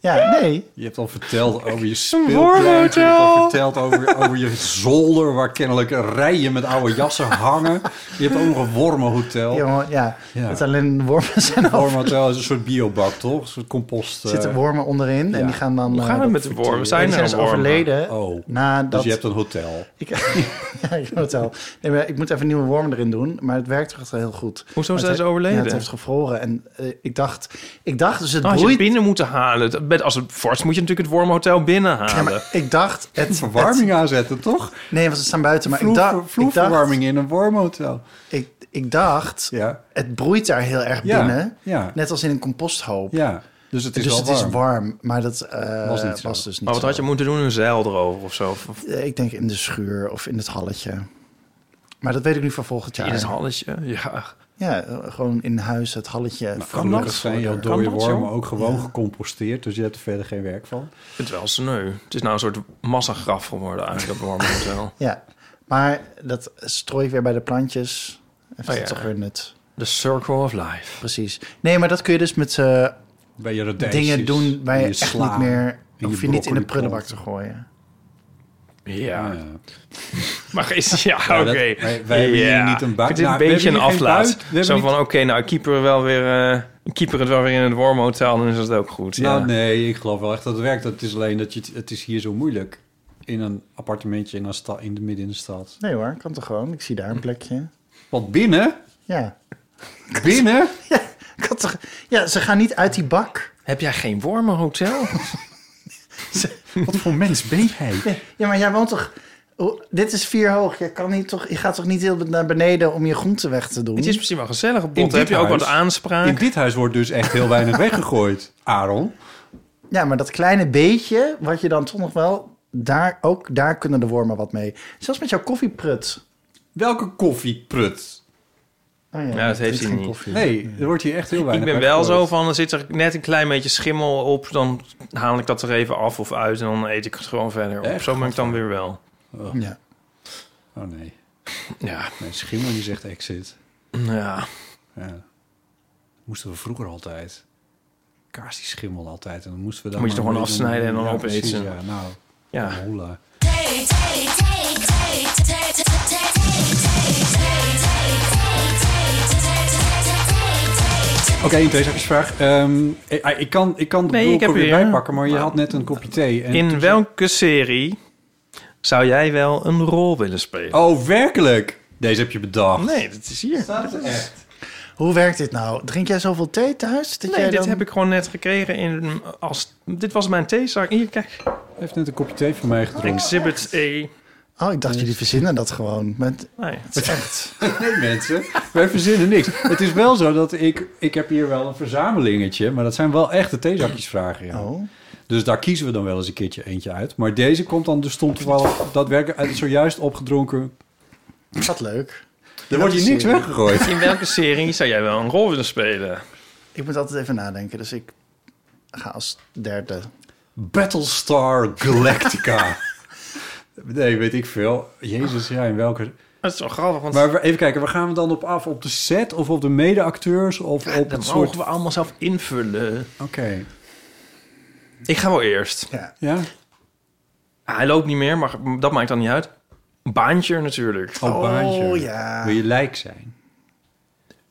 S7: Ja, Ja, nee.
S5: Je hebt al verteld over je speelplein. Je hebt al verteld over, over je zolder... waar kennelijk rijen met oude jassen hangen. Je hebt ook nog een wormenhotel.
S7: Jongen, ja.
S5: Oh. Ja.
S7: Het alleen wormen zijn al.
S5: Wormenhotel is een soort biobak, toch? Een soort compost... eh,
S7: Nou. Er zitten wormen onderin en die gaan dan...
S6: Hoe
S7: eh,
S6: gaan we
S7: dat
S6: met de
S7: verteren.
S6: wormen? Zijn
S7: Die
S6: er
S7: dus
S6: wormen?
S7: overleden
S5: Oh,
S7: nadat...
S5: dus je hebt een hotel.
S7: Ik, ja, ik moet wel. Nee, maar ik moet even nieuwe wormen erin doen, maar het werkt echt heel goed.
S6: Hoezo
S7: Maar
S6: zijn
S7: het-
S6: ze overleden?
S7: Ja, het heeft gevroren en eh, ik dacht, ik dacht dus het
S6: Dan had je het
S7: broeit.
S6: binnen moeten halen. Dat- met- Als het vorst moet je natuurlijk het wormhotel
S7: Ja,
S6: binnenhalen.
S7: maar ik dacht het.
S5: Verwarming aanzetten, toch?
S7: het- nee, want ze staan buiten, maar ik, dacht-
S5: Vloer-
S7: ik dacht,
S5: Vloerverwarming in een wormhotel.
S7: ik, ik dacht,
S5: Ja.
S7: het broeit daar heel erg
S5: Ja,
S7: binnen,
S5: ja.
S7: net als in een composthoop.
S5: Ja, dus het is
S7: dus
S5: wel
S7: het
S5: warm.
S7: is warm, maar dat eh,
S5: Was
S7: was,
S5: niet zo.
S7: dus niet.
S6: maar wat
S7: zo.
S6: had je moeten doen? Een zeil erover of zo? Of- of
S7: Eh, Ik denk in de schuur of in het halletje. Maar dat weet ik nu van volgend jaar.
S6: In het halletje? Ja.
S7: Ja, eh, gewoon in huis het halletje.
S6: kan
S7: vrolijk
S5: Nou, Gelukkig zijn
S7: voor-
S5: jouw
S6: Kan
S5: dode
S6: dat, joh?
S5: wormen ook gewoon gecomposteerd, dus je hebt er verder geen werk van.
S6: Ik vind het wel sneu. Het is nou een soort massagraf geworden eigenlijk, dat wormhotel.
S7: Ja, maar dat strooi ik weer bij de plantjes. Heeft
S6: Oh
S7: dat
S6: ja.
S7: toch weer nut.
S6: The circle of life.
S7: Precies. Nee, maar dat kun je dus met eh,
S5: Bij je radijsjes,
S7: dingen doen waar
S5: in
S7: je
S5: je
S7: echt
S5: sla,
S7: niet meer...
S5: je
S7: hoef je niet in de
S5: broccoliplant.
S7: prullenbak te gooien.
S6: Ja.
S5: Ja.
S6: Maar is, ja,
S5: Ja,
S6: oké.
S5: dat- wij- wij hebben hier niet een buit.
S6: Het is een
S5: Nou, we
S6: beetje een
S5: hebben hier geen
S6: aflaat.
S5: buit. We hebben
S6: Zo
S5: niet-
S6: van, oké, nou, keeper we wel weer... eh, keeper het wel weer in het wormhotel, dan is dat ook goed. Ja.
S5: Nou nee, ik geloof wel echt dat het werkt. Het is alleen dat je, het- het is hier zo moeilijk. In een appartementje in, een sta, in de midden in de stad.
S7: Nee hoor, kan toch gewoon. Ik zie daar
S5: Hm.
S7: een plekje.
S5: Want binnen,
S7: Ja,
S5: binnen,
S7: kan toch... ja ze gaan niet uit die bak.
S6: Heb jij geen wormenhotel?
S5: wat voor mens ben jij?
S7: Ja, maar jij woont toch... Oh, dit is vier hoog. Je, kan niet toch... je gaat toch niet heel naar beneden om je groente weg te doen?
S6: het is misschien wel gezellig op
S5: dit
S6: Heb je ook
S5: huis-
S6: wat aanspraak?
S5: In dit huis wordt dus echt heel weinig weggegooid, Aaron.
S7: Ja, maar dat kleine beetje, wat je dan toch nog wel... Daar, ook daar kunnen de wormen wat mee. Zelfs met jouw koffieprut.
S5: Welke koffieprut?
S7: Oh ja,
S6: Ja, dat heeft
S7: is
S6: hij
S7: geen
S6: niet.
S7: koffie.
S5: Nee, er wordt hier echt heel
S6: Ik
S5: weinig
S6: ben wel zo
S5: weggegooid.
S6: van, er zit er net een klein beetje schimmel op... dan haal ik dat er even af of uit en dan eet ik het gewoon verder. Of
S5: Echt?
S6: zo ben ik dan weer wel.
S7: Ja.
S5: Oh nee,
S6: Ja,
S5: mijn schimmel die zegt exit.
S6: ja.
S5: Ja. Moesten we vroeger altijd. Kaas die schimmel altijd. En dan moesten we dan.
S6: Moet je
S5: maar
S6: toch gewoon
S5: een beetje
S6: afsnijden en dan
S5: ja,
S6: opeten.
S5: precies, Ja, nou.
S6: ja.
S5: Hola. Oké, een tweezakjesvraag. Ehm, ik, ah, ik kan, ik kan de
S6: Nee,
S5: nee,
S6: ik heb
S5: weer
S6: hier-
S5: bijpakken, maar je had net een kopje thee. En
S6: In welke serie zou jij wel een rol willen spelen?
S5: Oh, werkelijk? Deze heb je bedacht.
S6: nee, dat is hier.
S5: Staat het echt?
S7: Hoe werkt dit nou? Drink jij zoveel thee thuis? Dat
S6: Nee,
S7: jij
S6: dit
S7: dan-
S6: heb ik gewoon net gekregen in als dit was mijn theezak. Hier kijk,
S5: Hij heeft net een kopje thee van mij gedronken.
S6: Exhibit E.
S7: Oh, ik dacht, jullie verzinnen dat gewoon. Met...
S6: Nee.
S7: Het is echt...
S5: Nee, mensen. Wij verzinnen niks. Het is wel zo dat ik... Ik heb hier wel een verzamelingetje, maar dat zijn wel echte theezakjesvragen. Ja.
S7: Oh.
S5: Dus daar kiezen we dan wel eens een keertje eentje uit. Maar deze komt dan, dus stond toevallig daadwerkelijk uit het zojuist opgedronken.
S7: Wat leuk.
S5: Er wordt hier niks weggegooid.
S6: In welke serie zou jij wel een rol willen spelen?
S7: Ik moet altijd even nadenken, dus ik ga als derde.
S5: Battlestar Galactica. Nee, weet ik veel. Jezus, ja, in welke...
S6: Dat is wel grappig, want
S5: Maar we- even kijken, waar gaan we dan op af? Op de set of op de medeacteurs of op
S6: dat
S5: het soort...
S6: mogen we allemaal zelf invullen.
S5: Oké,
S6: Ik ga wel eerst.
S7: Ja.
S5: ja?
S6: Hij loopt niet meer, maar dat maakt dan niet uit. Baantje natuurlijk.
S5: Oh, baantje.
S7: ja.
S5: Wil je lijk zijn?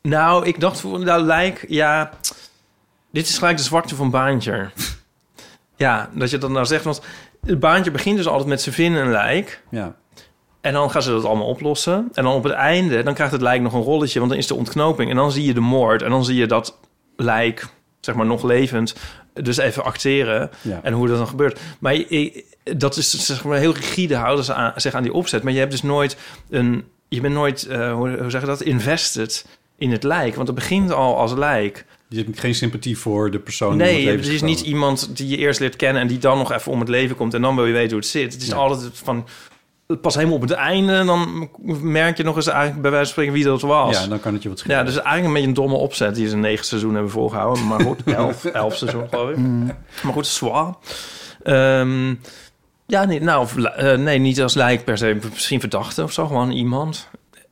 S6: Nou, ik dacht voor nou lijk, ja, dit is gelijk de zwakte van baantje. ja, dat je dat nou zegt, want het baantje begint dus altijd met ze vinden een lijk.
S5: Ja.
S6: En dan gaan ze dat allemaal oplossen. En dan op het einde, dan krijgt het lijk nog een rolletje, want dan is de ontknoping. En dan zie je de moord en dan zie je dat lijk, zeg maar nog levend, dus even acteren.
S5: Ja.
S6: En hoe dat dan gebeurt. Maar je- dat is dus, zeg maar heel rigide houden ze aan, zich aan die opzet. Maar je hebt dus nooit een, je bent nooit, eh, hoe, hoe zeg je dat, invested in het lijk. Want het begint al als lijk.
S5: Je hebt geen sympathie voor de persoon die om Oh, het
S6: Nee,
S5: leven
S6: het
S5: is
S6: is niet
S5: gekomen.
S6: iemand die je eerst leert kennen en die dan nog even om het leven komt en dan wil je weten hoe het zit. Het is
S5: Ja.
S6: altijd van pas helemaal op het einde en dan merk je nog eens eigenlijk bij wijze van spreken wie dat was.
S5: Ja, dan kan het je wat schelen.
S6: Ja, dus eigenlijk een beetje een domme opzet die ze negen seizoenen hebben volgehouden. Maar goed, elf, elf seizoenen geloof ik.
S5: Mm.
S6: Maar goed, zwaar. Ehm, ja, nee, nou, of, li- eh, nee, niet als lijk per se. Misschien verdachte of zo, gewoon iemand.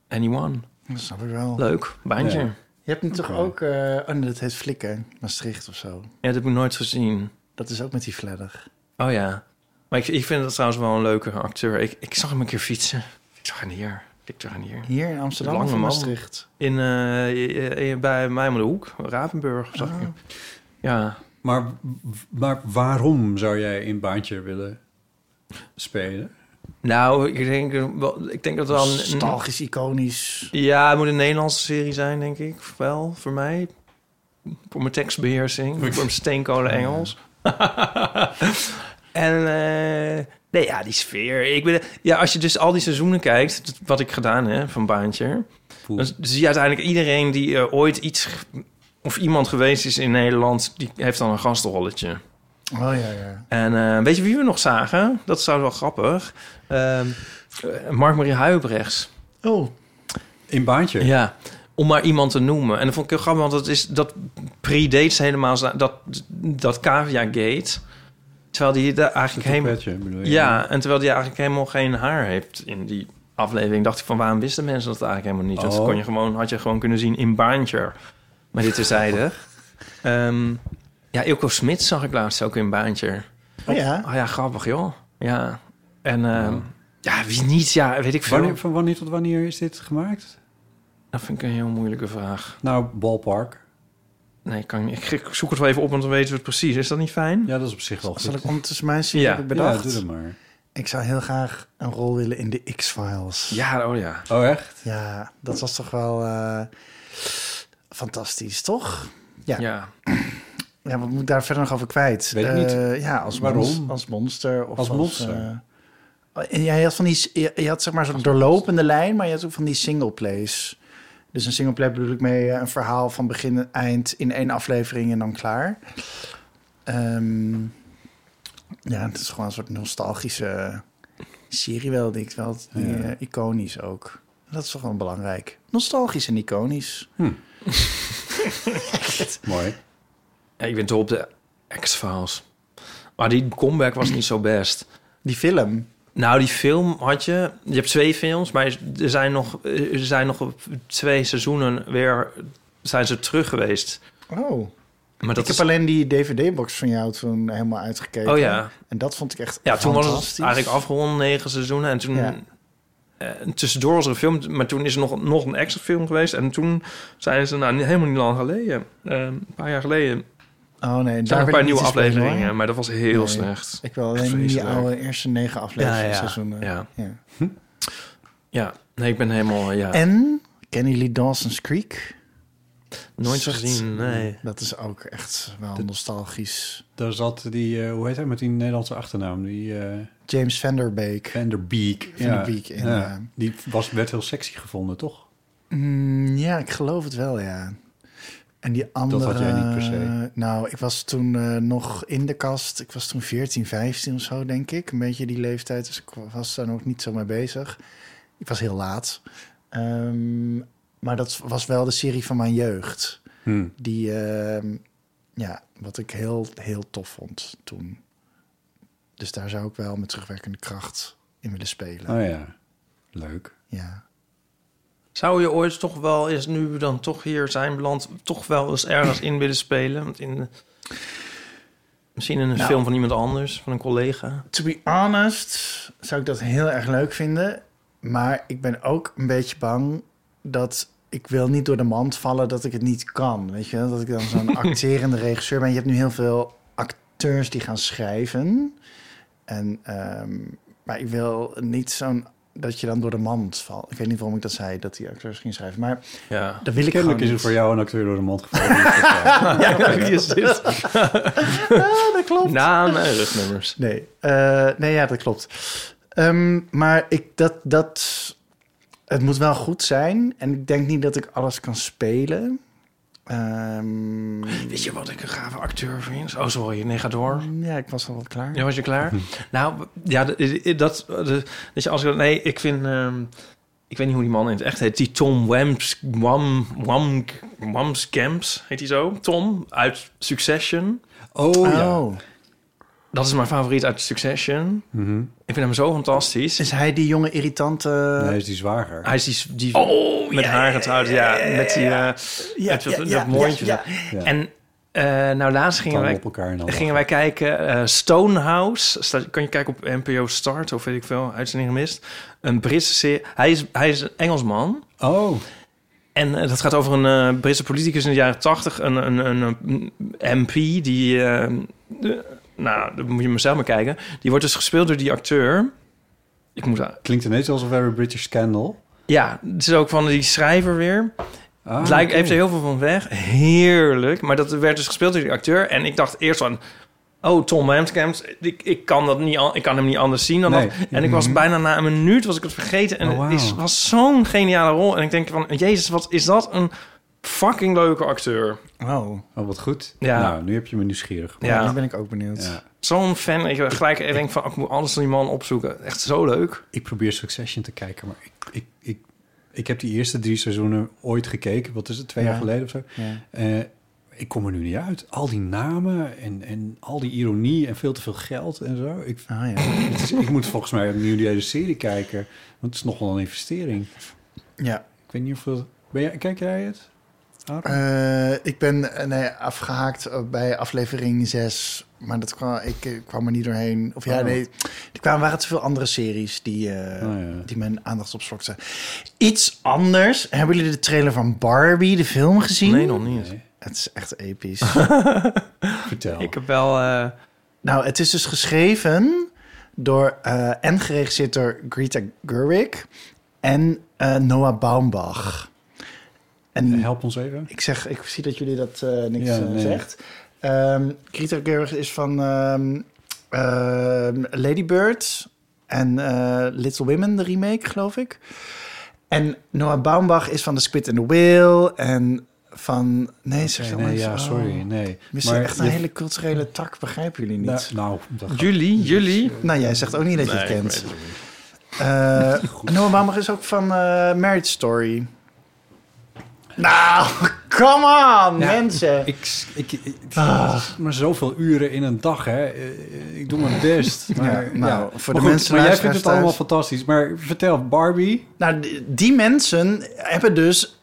S6: Anyone.
S7: Dat snap ik wel.
S6: Leuk, baantje.
S5: Ja.
S7: Je hebt nu toch ook... eh, oh nee, dat heet Flikken, Maastricht of zo.
S6: Ja, dat heb ik nooit gezien.
S7: Dat is ook met die fladder.
S6: Oh ja. Maar ik, ik vind dat trouwens wel een leuke acteur. Ik, ik zag hem een keer fietsen. Ik zag hem hier. Ik zag hem hier.
S7: Hier in Amsterdam
S6: Lange
S7: of in
S6: man.
S7: Maastricht?
S6: In, eh, eh, bij mij om de hoek, Rapenburg, zag ik hem. Ja,
S5: Maar, maar waarom zou jij in Baantje willen spelen?
S6: nou, ik denk, wel- ik denk dat het wel... een-
S7: Nostalgisch, iconisch.
S6: Ja, het moet een Nederlandse serie zijn, denk ik. Wel, voor mij. Voor mijn tekstbeheersing. Voor mijn steenkolen Engels. en eh, nee, ja, die sfeer. Ik ben, ja, als je dus al die seizoenen kijkt, dat- wat ik gedaan heb van Baantje.
S5: Poeh.
S6: Dan zie je uiteindelijk iedereen die eh, ooit iets g- of iemand geweest is in Nederland, die heeft dan een gastrolletje.
S7: Oh ja, ja.
S6: En eh, weet je wie we nog zagen? Dat is trouwens wel grappig. Ehm, eh, Mark-Marie Huibrechts.
S7: Oh,
S5: In Baantje?
S6: Ja, om maar iemand te noemen. En dat vond ik heel grappig, want dat, is, dat predates helemaal za- dat, dat Cavia Gate. Terwijl die daar eigenlijk
S5: Een
S6: helemaal...
S5: petje, bedoel je?
S6: Ja, en terwijl die eigenlijk helemaal geen haar heeft in die aflevering... dacht ik van, waarom wisten mensen dat eigenlijk helemaal niet? Dat
S5: Oh.
S6: kon je gewoon, had je gewoon kunnen zien in Baantje. Maar dit terzijde. Ehm ja, Ilko Smit zag ik laatst ook in Baantje.
S7: oh ja.
S6: Oh ja, grappig joh. Ja, en... ehm, ja, wie niet? Ja, weet ik veel.
S5: Oh. Wanneer, van wanneer tot wanneer is dit gemaakt?
S6: Dat vind ik een heel moeilijke vraag.
S5: Nou, Ballpark.
S6: Nee, ik, kan, ik, ik zoek het wel even op, want dan weten we het precies. Is dat niet fijn?
S5: Ja, dat is op zich wel goed.
S7: Zal ik ondertussen mijn serie
S6: Ja.
S7: heb ik
S5: Ja,
S7: bedacht?
S5: doe dat maar.
S7: ik zou heel graag een rol willen in de X-Files.
S6: Ja, oh ja.
S5: Oh, echt?
S7: Ja, dat was toch wel eh, fantastisch, toch? Ja.
S6: Ja. ja.
S7: Ja, wat moet ik daar verder nog over kwijt?
S5: Weet ik
S7: Eh,
S5: niet.
S7: ja, als,
S5: Waarom?
S7: mons- als monster. Of
S5: Als monster.
S7: eh, en jij had van die, je, je had zeg maar zo'n doorlopende lijn, maar je had ook van die singleplays. Dus een singleplay bedoel ik mee eh, een verhaal van begin en eind in één aflevering en dan klaar. Ehm, ja, het is gewoon een soort nostalgische serie wel, denk ik wel. Die,
S5: Ja.
S7: eh, iconisch ook. Dat is toch wel belangrijk. Nostalgisch en iconisch.
S5: Mooi.
S6: Ik ben dol op de X-Files. Maar die comeback was niet zo best.
S7: Die film.
S6: Nou, die film had je... Je hebt twee films, maar er zijn nog, er zijn nog op twee seizoenen weer... Zijn ze terug geweest.
S7: Oh.
S6: Maar dat
S7: ik heb
S6: is-
S7: alleen die DVD-box van jou toen helemaal uitgekeken.
S6: Oh ja.
S7: En dat vond ik echt
S6: Ja, toen was het
S7: fantastisch.
S6: eigenlijk afgerond, negen seizoenen. En toen...
S7: Ja.
S6: eh, tussendoor was er een film, maar toen is er nog, nog een extra film geweest. En toen zeiden ze, nou, niet- helemaal niet lang geleden, eh, een paar jaar geleden,
S7: Oh nee,
S6: Er zijn nog een paar
S7: wil ik niet
S6: nieuwe
S7: in spelen,
S6: afleveringen,
S7: hoor.
S6: maar dat was heel
S7: Nee.
S6: slecht.
S7: Ik wil alleen die
S6: Vreselijk.
S7: oude eerste negen afleveringen seizoenen.
S6: ja.
S7: Ja.
S6: Ja, nee, ik ben helemaal... Ja,
S7: En kennen jullie Dawson's Creek?
S6: nooit
S7: Zegt-
S6: gezien, nee.
S7: Dat is ook echt wel nostalgisch.
S5: Daar zat die, eh, hoe heet hij met die Nederlandse achternaam? Die eh
S7: James Vanderbeek.
S5: Vanderbeek.
S7: Vanderbeek, inderdaad.
S5: Die was, werd heel sexy gevonden, toch?
S7: Mm, ja, ik geloof het wel, ja. En die andere...
S5: had jij niet per se.
S7: Nou, ik was toen eh, nog in de kast. Ik was toen 14, 15 of zo, denk ik. Een beetje die leeftijd, dus ik was daar nog niet zo mee bezig. Ik was heel laat. Ehm, maar dat was wel de serie van mijn jeugd.
S5: Hmm.
S7: Die, ehm, ja, wat ik heel, heel tof vond toen. Dus daar zou ik wel met terugwerkende kracht in willen spelen.
S5: Oh ja, leuk.
S7: Ja.
S6: Zou je ooit toch wel eens, nu we dan toch hier zijn beland, toch wel eens ergens in willen spelen? Want in, misschien in een
S7: Nou.
S6: film van iemand anders, van een collega.
S7: To be honest, zou ik dat heel erg leuk vinden. Maar ik ben ook een beetje bang dat ik wil niet door de mand vallen dat ik het niet kan. Weet je, wel? dat ik dan zo'n acterende regisseur ben. Je hebt nu heel veel acteurs die gaan schrijven. En, ehm, maar ik wil niet zo'n dat je dan door de mand valt. Ik weet niet waarom ik dat zei, dat die acteurs gingen schrijven. Maar
S6: Ja.
S7: dat wil ik gewoon
S5: Kennelijk is er
S7: niet.
S5: voor jou een acteur door de mond gevallen.
S7: Ja, dat
S5: Nou,
S7: klopt.
S6: Na mijn rugnummers.
S7: Nee, eh, nee ja, dat klopt. Ehm, maar ik, dat, dat, het moet wel goed zijn. En ik denk niet dat ik alles kan spelen. Ehm,
S6: Weet je wat ik een gave acteur vind? Oh, sorry, nee, ga door.
S7: ja, ik was al wel klaar.
S6: Ja, was je klaar?
S5: Mhm.
S6: nou, ja, dat, dat, dat weet je, als ik, nee, ik vind, ehm, ik weet niet hoe die man in het echt heet, die Tom Wams, Wam, Wam, Wamskamps, heet hij zo? Tom uit Succession.
S5: oh ja.
S7: Oh,
S6: Dat is mijn favoriet uit Succession.
S5: Mhm.
S6: Ik vind hem zo fantastisch.
S7: is hij die jonge irritante...
S5: Nee, is die zwager.
S6: Hij is die, die met haar getrouwd, ja, met die, eh,
S7: Oh, Ja,
S6: met dat-
S7: ja,
S6: dat
S7: ja,
S6: mondje.
S7: ja,
S5: ja.
S6: En Eh, nou, laatst gingen
S5: Tanden op
S6: wij,
S5: elkaar en al
S6: gingen wij kijken eh, Stonehouse. Staat- kan je kijken op NPO Start of weet ik veel, uitzending gemist. Een Britse serie. Hij is, hij is een Engelsman.
S5: Oh,
S6: En eh, dat gaat over een eh, Britse politicus in de jaren tachtig, een, een, een, een MP, die. eh, de- nou, dat moet je maar zelf maar kijken. Die wordt dus gespeeld door die acteur. Ik moet. a-
S5: klinkt ineens alsof er een British Scandal.
S6: Ja, het is ook van die schrijver weer.
S5: Ah,
S6: het lijkt,
S5: oké.
S6: heeft er heel veel van weg. Heerlijk. Maar dat werd dus gespeeld door die acteur. En ik dacht eerst van. Oh, Tom Hanks, ik, ik, kan dat niet, al- ik kan hem niet anders zien dan
S5: Nee.
S6: dat. En ik was bijna na een minuut was ik het vergeten. En
S5: Oh, wauw.
S6: het is, was zo'n geniale rol. En ik denk van, jezus, wat is dat een fucking leuke acteur.
S7: Oh,
S5: Oh, wat goed.
S6: Ja.
S5: Nou, nu heb je me nieuwsgierig. gemaakt.
S7: ja.
S6: Ja,
S7: nu ben ik ook benieuwd.
S5: Ja.
S6: zo'n fan. Ik gelijk ik denk van, oh, ik moet alles van die man opzoeken. Echt zo leuk.
S5: Ik probeer Succession te kijken, maar ik, ik, ik, ik heb die eerste drie seizoenen ooit gekeken. Wat is het, twee
S7: Ja.
S5: jaar geleden of zo?
S7: Ja.
S5: Eh, ik kom er nu niet uit. Al die namen en, en al die ironie en veel te veel geld en zo. Ik,
S7: Ah ja.
S5: het is- ik moet volgens mij opnieuw die hele serie kijken, want het is nogal een investering.
S7: ja.
S5: Ik weet niet hoeveel... Ben jij, kijk jij het? Aaron?
S7: Eh, ik ben eh, nee, afgehaakt eh, bij aflevering 6. Maar dat kwam, ik eh, kwam er niet doorheen. Of ja,
S5: Oh.
S7: nee. Er kwamen, waren te veel andere series die, eh,
S5: Oh, ja.
S7: die mijn aandacht opslokten. Iets anders. Hebben jullie de trailer van Barbie, de film, gezien?
S6: Nee, nog niet.
S5: Nee.
S7: Het is echt episch.
S5: Vertel.
S6: Ik heb wel... eh,
S7: nou, het is dus geschreven door eh, en geregisseerd door Greta Gerwig en eh, Noah Baumbach. En
S5: Help ons even.
S7: Ik, zeg, ik zie dat jullie dat eh, niks
S5: Ja,
S7: eh,
S5: nee.
S7: zegt. Ehm Greta Gerwig is van ehm ehm, Lady Bird en eh, Little Women, de remake, geloof ik. En Noah Baumbach is van The Spit and the Wheel en van... Nee, zeg
S5: Nee,
S7: dan
S5: nee,
S7: eens-
S5: ja,
S7: oh,
S5: sorry. Nee.
S7: we missen echt een
S5: je-
S7: hele culturele tak, begrijpen jullie niet.
S5: Nou, nou dat gaat-
S6: jullie, jullie.
S7: Nou, jij zegt ook niet dat je het
S6: Nee, ik
S7: kent.
S6: weet het niet.
S7: Eh Noah Baumbach is ook van eh, Marriage Story. Nou, come on, mensen.
S5: Ik, ik, ik-
S7: Ah.
S5: maar zoveel uren in een dag, hè. Eh, Ik doe mijn best. Maar,
S7: Ja, nou, voor de
S5: Maar
S7: mensen
S5: Maar jij
S7: luisteraars
S5: vindt het
S7: thuis.
S5: allemaal fantastisch. Maar vertel, Barbie.
S7: Nou, die, die mensen hebben dus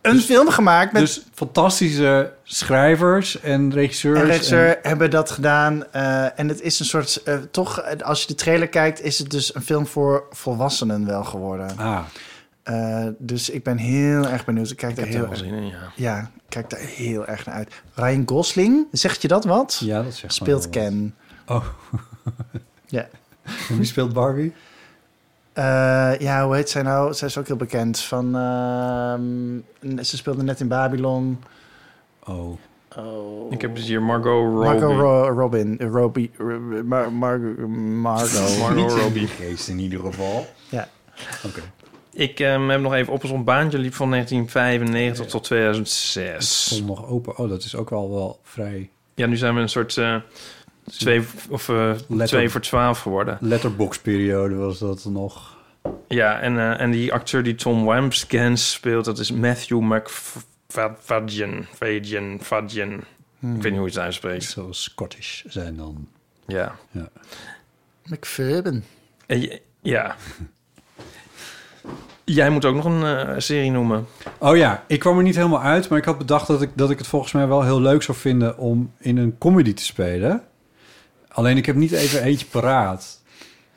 S7: een film gemaakt met
S5: Dus fantastische schrijvers en regisseurs.
S7: en regisseur hebben dat gedaan. eh, en het is een soort, eh, toch, eh, als je de trailer kijkt, is het dus een film voor volwassenen wel geworden.
S5: en- ah,
S7: Eh, dus ik ben heel erg benieuwd. Ik kijk
S6: Ik
S7: daar
S6: heb er
S7: heel
S6: wel
S7: erg,
S6: zin in, ja.
S7: ja, ik kijk daar heel erg naar uit. Ryan Gosling, zegt je dat wat?
S5: ja, dat zegt
S7: Speelt
S5: mij wel wat.
S7: Ken.
S5: Oh.
S7: Ja.
S5: En Wie speelt Barbie?
S7: Eh, ja, hoe heet zij nou? Zij is ook heel bekend. Van, ehm, ze speelde net in Babylon.
S5: Oh.
S7: Oh.
S6: Ik heb dus hier Margot Robbie.
S7: Marco Robin. eh, Robbie. eh, Mar- Mar- Margot.
S6: Margot Robbie.
S5: Geest in ieder geval.
S7: Ja.
S5: Oké.
S6: Ik ehm, heb nog even opgezond baantje. Liep van 1995 tot 2006.
S5: Stond nog open. Oh, dat is ook wel, wel vrij
S6: Ja, nu zijn we een soort eh, twee, of, eh,
S5: Let
S6: twee
S5: op.
S6: voor 12 geworden.
S5: letterbox-periode was dat nog.
S6: Ja, en, eh, en die acteur die Tom Wamskens speelt, dat is Matthew McFadden. Fadjen, Fadjen.
S5: Hmm.
S6: Ik weet niet hoe je het uitspreekt.
S5: Zo Scottish zijn dan.
S6: Ja.
S7: McFadden.
S6: En je- ja. Jij moet ook nog een eh, serie noemen.
S5: Oh ja, ik kwam er niet helemaal uit, maar ik had bedacht dat ik, dat ik het volgens mij wel heel leuk zou vinden om in een comedy te spelen. Alleen ik heb niet even eentje paraat.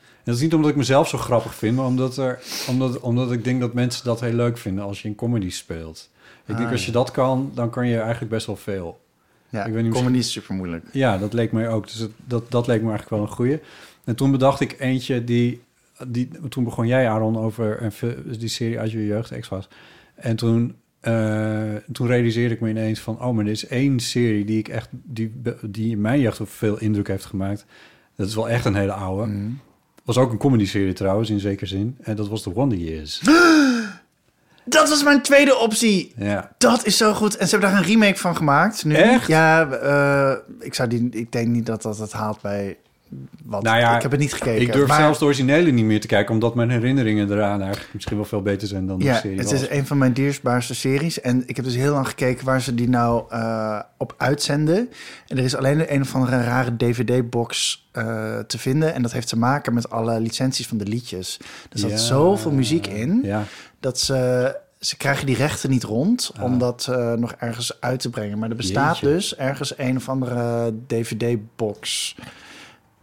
S5: En dat is niet omdat ik mezelf zo grappig vind, maar omdat, er, omdat, omdat ik denk dat mensen dat heel leuk vinden als je in comedy speelt. Ik denk als je dat kan, dan kan je eigenlijk best wel veel.
S7: Ja,
S5: Ik weet niet,
S7: comedy is super moeilijk.
S5: Ja, dat leek mij ook. Dus het- dat, dat leek me eigenlijk wel een goeie. En toen bedacht ik eentje die... die toen begon jij, Aaron, over een, fi- die serie uit je jeugd, X-Files. En toen, eh, toen realiseerde ik me ineens van... oh, maar er is één serie die, ik echt, die, be- die in mijn jeugd veel indruk heeft gemaakt. Dat is wel echt een hele oude.
S7: Mhm.
S5: Was ook een comedy-serie trouwens, in zekere zin. En dat was The Wonder Years.
S7: Dat was mijn tweede optie.
S5: ja.
S7: Dat is zo goed. En ze hebben daar een remake van gemaakt. Nu.
S5: Echt?
S7: Ja, eh, ik, zou die, ik denk niet dat dat het haalt bij... Wat,
S5: Nou ja,
S7: ik heb het niet gekeken.
S5: Ik durf
S7: maar-
S5: zelfs de originele niet meer te kijken... omdat mijn herinneringen eraan eigenlijk misschien wel veel beter zijn dan de
S7: Ja,
S5: serie
S7: het
S5: was.
S7: is een van mijn dierbaarste series. En ik heb dus heel lang gekeken waar ze die nou eh, op uitzenden. En er is alleen een of andere rare DVD-box eh, te vinden. En dat heeft te maken met alle licenties van de liedjes. Er zat
S5: Ja.
S7: zoveel muziek in
S5: Ja.
S7: dat ze... ze krijgen die rechten niet rond om dat eh, nog ergens uit te brengen. Maar er bestaat
S5: Ah. Jeetje.
S7: dus ergens een of andere DVD-box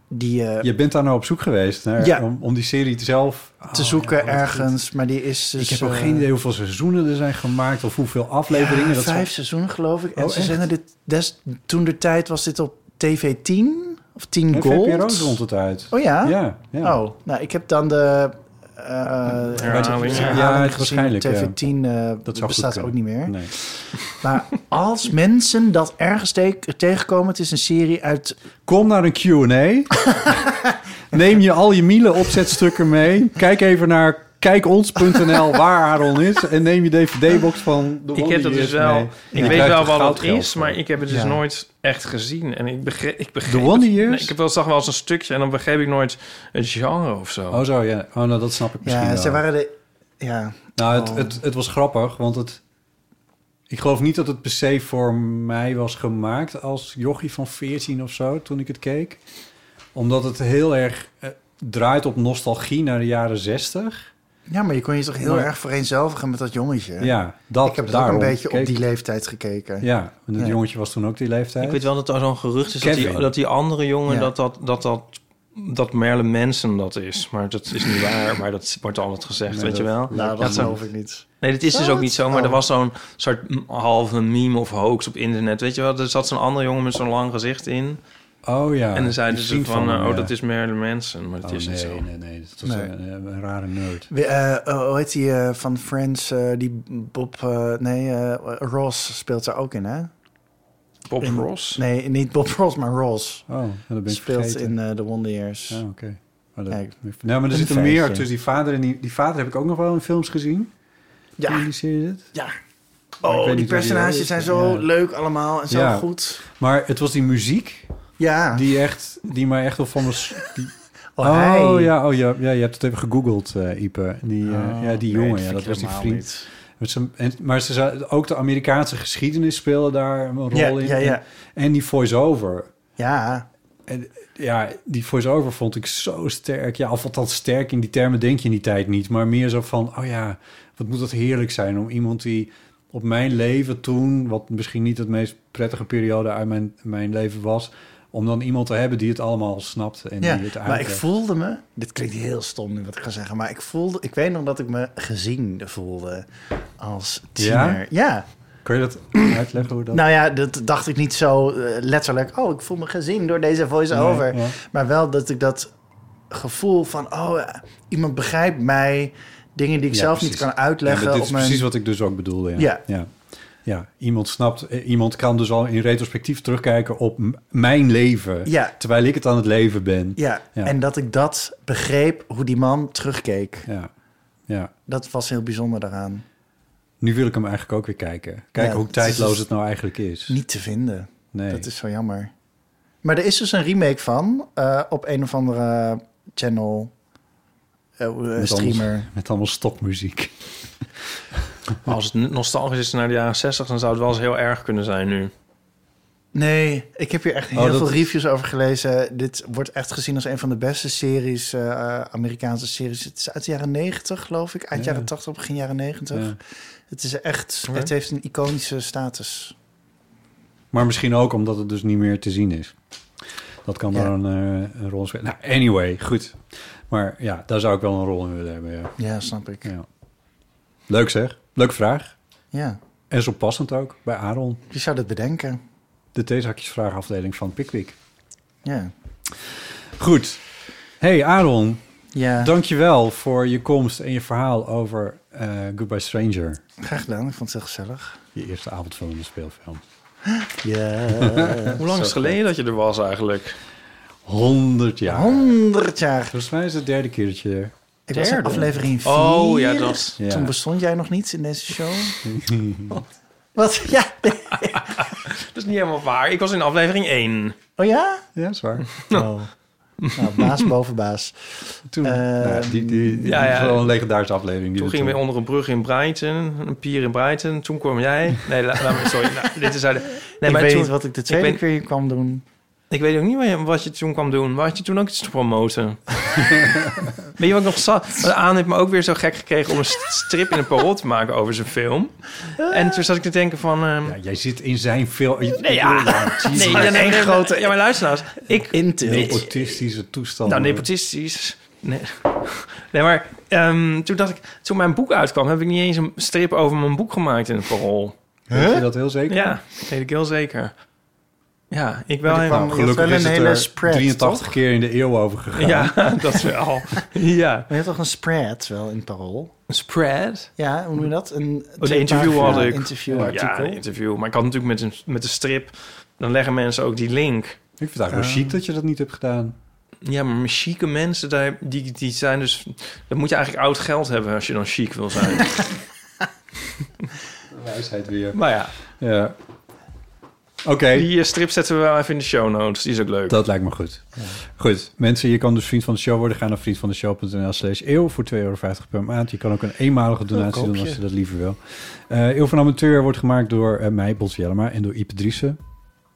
S7: die eh, je
S5: Je bent daar nou op zoek geweest naar,
S7: Ja.
S5: om, om die serie zelf
S7: te
S5: Oh,
S7: zoeken
S5: ja, wat goed.
S7: ergens, maar die is dus...
S5: ik heb ook
S7: eh,
S5: geen idee hoeveel seizoenen er zijn gemaakt of hoeveel afleveringen.
S7: ja,
S5: dat is
S7: vijf seizoenen geloof ik. En
S5: Oh,
S7: ze
S5: echt?
S7: zenden dit... Des, toen de tijd was dit op TV 10 of 10
S5: en
S7: Gold.
S5: VPRO zond het uit.
S7: Oh ja?
S5: Ja, ja.
S7: Oh, nou, ik heb dan de... eh,
S10: nou,
S6: Herhaling.
S7: de
S6: Ja,
S7: herhaling
S5: het
S7: gezien op
S5: waarschijnlijk, ja.
S7: TV 10 eh,
S5: Dat zou
S7: bestaat
S5: goed
S7: ook
S5: kunnen.
S7: niet meer.
S5: Nee.
S7: Maar als mensen dat ergens te- tegenkomen, het is een serie uit.
S5: Kom naar een Q&A. Neem je al je Miele opzetstukken mee. Kijk even naar kijkons.nl waar Aaron is. En neem je dvd-box van de
S10: Ik
S5: Wonder
S10: heb dat
S5: Years
S10: dus wel.
S5: mee.
S10: Ik
S5: En je
S10: weet
S5: krijgt
S10: wel
S5: er
S10: wat
S5: goud
S10: het
S5: geld
S10: is,
S5: voor.
S10: maar ik heb het dus
S7: Ja.
S10: nooit echt gezien. En ik begreep. Ik begreep
S5: The Wonder
S10: het-
S5: Years?
S10: Nee, ik heb wel, zag wel eens een stukje en dan begreep ik nooit het genre of zo.
S5: Oh zo, ja. Oh, nou, dat snap ik misschien
S7: Ja,
S5: wel.
S7: ze waren de. Ja,
S5: Nou, het,
S7: Oh.
S5: het, het was grappig, want het... Ik geloof niet dat het per se voor mij was gemaakt als jochie van 14 of zo, toen ik het keek. Omdat het heel erg eh, draait op nostalgie naar de jaren 60.
S7: ja maar je kon je toch heel
S5: Maar-
S7: erg vereenzelvigen met dat jongetje.
S5: Ja, dat
S7: ik heb dat ook
S5: daarom
S7: een beetje
S5: keek
S7: op die
S5: ik.
S7: leeftijd gekeken.
S5: Ja, en dat
S7: Ja.
S5: jongetje was toen ook die leeftijd.
S6: Ik weet wel dat er zo'n gerucht is dat die,
S5: Kevin.
S6: dat die andere jongen
S7: Ja.
S6: dat, dat, dat, dat, dat Merle Manson dat is. Maar dat is niet waar, maar dat wordt altijd gezegd,
S5: Nee,
S6: weet
S5: dat-
S6: je wel.
S7: Nou,
S6: Ja,
S7: dat
S6: zo-
S7: geloof ik niet.
S6: Nee, dat is dus ook
S7: Wat?
S6: niet zo. Maar
S7: Oh.
S6: er was zo'n soort m- halve meme of hoax op internet. Weet je wel, er zat zo'n andere jongen met zo'n lang gezicht in.
S5: Oh ja.
S6: en dan zeiden
S5: die
S6: ze
S5: vriend
S6: van, eh,
S5: hem,
S6: oh,
S5: ja.
S6: dat is Marilyn Manson. Maar dat
S5: Oh,
S6: is niet
S5: nee,
S6: zo.
S5: nee, nee. Dat was
S7: Nee.
S5: Een, eh, een rare nerd.
S7: We, eh, eh, hoe heet die eh, van Friends? eh, die Bob. eh, nee, eh, Ross speelt daar ook in, hè?
S10: Bob
S7: in-
S10: Ross.
S7: Nee, niet Bob Ross, maar Ross.
S5: Oh, dat ben ik
S7: Speelt
S5: vergeten.
S7: in eh, The Wonder Years.
S5: Ja, Oh, oké. Maar dat-
S7: Kijk,
S5: nou, maar er
S7: een
S5: zit er meer
S7: feitje.
S5: tussen die vader en die... Die vader heb ik ook nog wel in films gezien.
S7: Ja.
S5: In die serie zit.
S7: Ja.
S5: Maar ik weet
S7: Oh,
S5: niet
S7: die
S5: hoe die
S7: personages
S5: heet.
S7: zijn zo
S5: Ja.
S7: leuk allemaal en zo
S5: Ja.
S7: goed.
S5: Maar het was die muziek
S7: Ja.
S5: die echt, die mij echt op van was. Die...
S7: Oh, hij.
S5: ja, oh ja, ja, je hebt het even gegoogeld, eh, Ipe. Die, eh,
S7: Oh,
S5: ja, die
S7: nee,
S5: jongen, ja,
S7: vind
S5: dat
S7: ik
S5: was die
S7: helemaal
S5: vriend.
S7: niet.
S5: Met zijn- en, maar ze zei- ook de Amerikaanse geschiedenis speelde daar een rol
S7: Ja,
S5: in.
S7: ja, ja.
S5: En, en die voice-over.
S7: Ja,
S5: En ja, die voice-over vond ik zo sterk. Ja, of althans sterk in die termen denk je in die tijd niet. Maar meer zo van, oh ja, wat moet dat heerlijk zijn om iemand die op mijn leven toen... wat misschien niet het meest prettige periode uit mijn, mijn leven was... om dan iemand te hebben die het allemaal snapt en
S7: ja.
S5: die het
S7: maar ik
S5: uitlegt.
S7: voelde me... Dit klinkt heel stom nu wat ik ga zeggen, maar ik voelde... Ik weet nog dat ik me gezien voelde als tiener. Ja?
S5: Kun je dat uitleggen hoe dat...
S7: Nou ja, dat dacht ik niet zo eh, letterlijk. Oh, ik voel me gezien door deze voice-over.
S5: Nee, ja.
S7: Maar wel dat ik dat gevoel van... Oh, eh, iemand begrijpt mij. Dingen die ik
S5: Ja,
S7: zelf
S5: precies.
S7: niet kan uitleggen.
S5: Ja, dit
S7: op
S5: is
S7: mijn-
S5: precies wat ik dus ook bedoelde. Ja.
S7: Ja.
S5: Ja. Ja, iemand snapt, eh, iemand kan dus al in retrospectief terugkijken op m- mijn leven.
S7: Ja.
S5: Terwijl ik het aan het leven ben.
S7: Ja,
S5: Ja.
S7: en dat ik dat begreep hoe die man terugkeek.
S5: Ja. ja.
S7: Dat was heel bijzonder daaraan.
S5: Nu wil ik hem eigenlijk ook weer kijken. Kijken
S7: Ja,
S5: hoe
S7: het
S5: tijdloos
S7: is- dus
S5: het nou eigenlijk is.
S7: Niet te vinden.
S5: nee.
S7: Dat is zo jammer. Maar er is dus een remake van eh, op een of andere channel. eh, eh, streamer.
S5: Met allemaal stopmuziek.
S6: Als het nostalgisch is naar de jaren 60, dan zou het wel eens heel erg kunnen zijn nu.
S7: Nee, ik heb hier echt heel
S5: Oh, dat-
S7: veel reviews over gelezen. Dit wordt echt gezien als een van de beste series, eh, Amerikaanse series. Het is uit de jaren 90, geloof ik. Uit
S5: Ja.
S7: jaren 80, begin jaren 90.
S5: Ja.
S7: Het is echt,
S6: Oké.
S7: het heeft een iconische status.
S5: Maar misschien ook omdat het dus niet meer te zien is. Dat kan
S7: Ja.
S5: daar een, eh, een rol spelen. Nou, anyway, goed. Maar ja, daar zou ik wel een rol in willen hebben. Ja.
S7: Ja, snap ik.
S5: Ja. Leuk zeg. Leuke vraag.
S7: ja.
S5: En zo passend ook bij Aaron.
S7: Wie zou dat bedenken?
S5: De theezakjesvraagafdeling van Pickwick.
S7: Ja.
S5: Goed. Hey Aaron,
S7: Ja,
S5: dankjewel voor je komst en je verhaal over eh, Goodbye Stranger.
S7: graag gedaan. Ik vond het heel gezellig.
S5: Je eerste avondvullende speelfilm.
S7: Ja.
S6: Hoe lang is het geleden dat je er was eigenlijk?
S5: 100 jaar.
S7: 100 jaar.
S5: Volgens mij is het de derde keer dat je...
S7: Ik was in
S6: Derde.
S7: aflevering 4.
S6: Oh ja, dat is...
S5: Ja.
S7: Toen bestond jij nog niet in deze show. Wat? Ja.
S6: Dat is niet helemaal waar. Ik was in aflevering 1.
S7: Oh ja?
S5: Ja, is waar.
S7: Oh. Nou, baas boven baas.
S5: Toen,
S7: Eh,
S5: nou, die, die, die,
S6: ja,
S5: die is
S6: ja.
S5: wel een legendarische aflevering. Die
S6: Toen
S5: we
S6: gingen we onder een brug in Brighton, een pier in Brighton. Toen kwam jij. Nee, la- laat me- sorry. Nou, dit is uit de- Nee,
S7: ik
S6: maar
S7: weet
S6: toen-
S7: niet wat ik de tweede
S6: ik ben-
S7: keer hier kwam doen.
S6: Ik weet ook niet wat je, wat je toen kwam doen. Maar had je toen ook iets te promoten? weet je wat ik nog zat? Aan heeft me ook weer zo gek gekregen om een st- strip in een parool te maken over zijn film. En toen zat ik te denken van... ehm,
S5: Ja, jij zit in zijn film.
S6: Nee, ja. Nee, ja, nee, nee, maar- Ja, maar luister nou eens. Ik, Nee,
S5: Nepotistische toestand.
S6: nou, nepotistisch. Nee, nee maar ehm, toen dacht ik... Toen mijn boek uitkwam, heb ik niet eens een strip over mijn boek gemaakt in het parool.
S5: Weet je dat heel zeker?
S6: Ja, dat weet ik heel zeker. Ja, ik wel
S7: Maar die
S6: helemaal.
S7: kwam- Dat is
S5: Gelukkig
S7: wel
S5: is
S7: een
S5: het
S7: hele
S5: er
S7: spread,
S5: 83
S7: toch?
S5: keer in de eeuw over gegaan.
S6: Ja, dat wel. Ja.
S7: Maar je hebt toch een spread wel in het parool?
S6: Een spread?
S7: Ja, hoe noem je dat? Een
S6: Oh, de
S7: twee
S6: interview
S7: pagina
S6: had ik. Ja,
S7: interviewartikel.
S6: een interview. Maar ik had natuurlijk met een, met een strip... Dan leggen mensen ook die link.
S5: Ik vind het eigenlijk wel chic dat je dat niet hebt gedaan.
S6: Ja, maar chique mensen, daar, die, die zijn dus... Dan moet je eigenlijk oud geld hebben als je dan chic wil zijn.
S5: Wijsheid weer.
S6: maar ja,
S5: Ja. Oké,
S6: die eh, strip zetten we wel even in de show notes. Die is ook leuk.
S5: dat lijkt me goed. Goed, mensen, je kan dus vriend van de show worden. Ga naar vriendvandeshow.nl slash eeuw voor 2,50 euro per maand. Je kan ook een eenmalige donatie doen als je dat liever wil. Eh eeuw van Amateur wordt gemaakt door eh, mij, Bots Jellema, en door Ipe Driessen.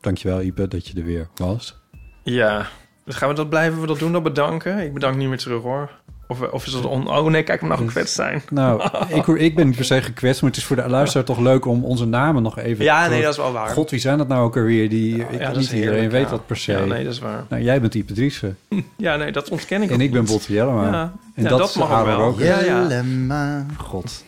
S5: Dankjewel, Ipe, dat je er weer was.
S6: Ja. Dus gaan we dat blijven we dat doen? Dat bedanken? Ik bedank niet meer terug, hoor. Of, of is dat on... Oh nee, kijk, ik mag gekwetst zijn.
S5: Nou, ik, hoor- ik ben niet per se gekwetst, maar het is voor de luisteraar toch leuk om onze namen nog even...
S6: Ja,
S5: te-
S6: nee, dat is wel waar.
S5: God, wie zijn dat nou ook alweer? Die,
S6: Ja,
S5: ik,
S6: ja, dat
S5: niet
S6: is
S5: iedereen
S6: heerlijk,
S5: weet
S6: ja.
S5: dat per se.
S6: Ja, nee, dat is waar.
S5: Nou, jij bent Ipe Driessen
S6: Ja, nee, dat ontken ik
S5: en
S6: ook
S5: ik ben
S6: niet.
S5: Botte Jellema.
S6: Ja,
S5: En
S6: ja,
S5: dat
S6: dat,
S5: is
S6: mag ook
S5: Harold
S6: wel.
S5: Roker.
S6: Ja, ja.
S7: Jellema.
S5: God.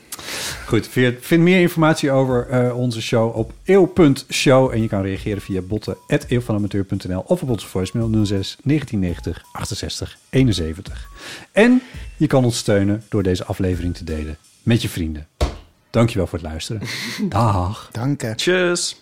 S5: Goed, vind vind meer informatie over eh, onze show op eeuw.show. En je kan reageren via botten.eeuwvanamateur.nl of op onze voicemail 06 1990 68 71. En je kan ons steunen door deze aflevering te delen met je vrienden. Dankjewel voor het luisteren. Dag.
S7: Dank je.
S6: Tjus.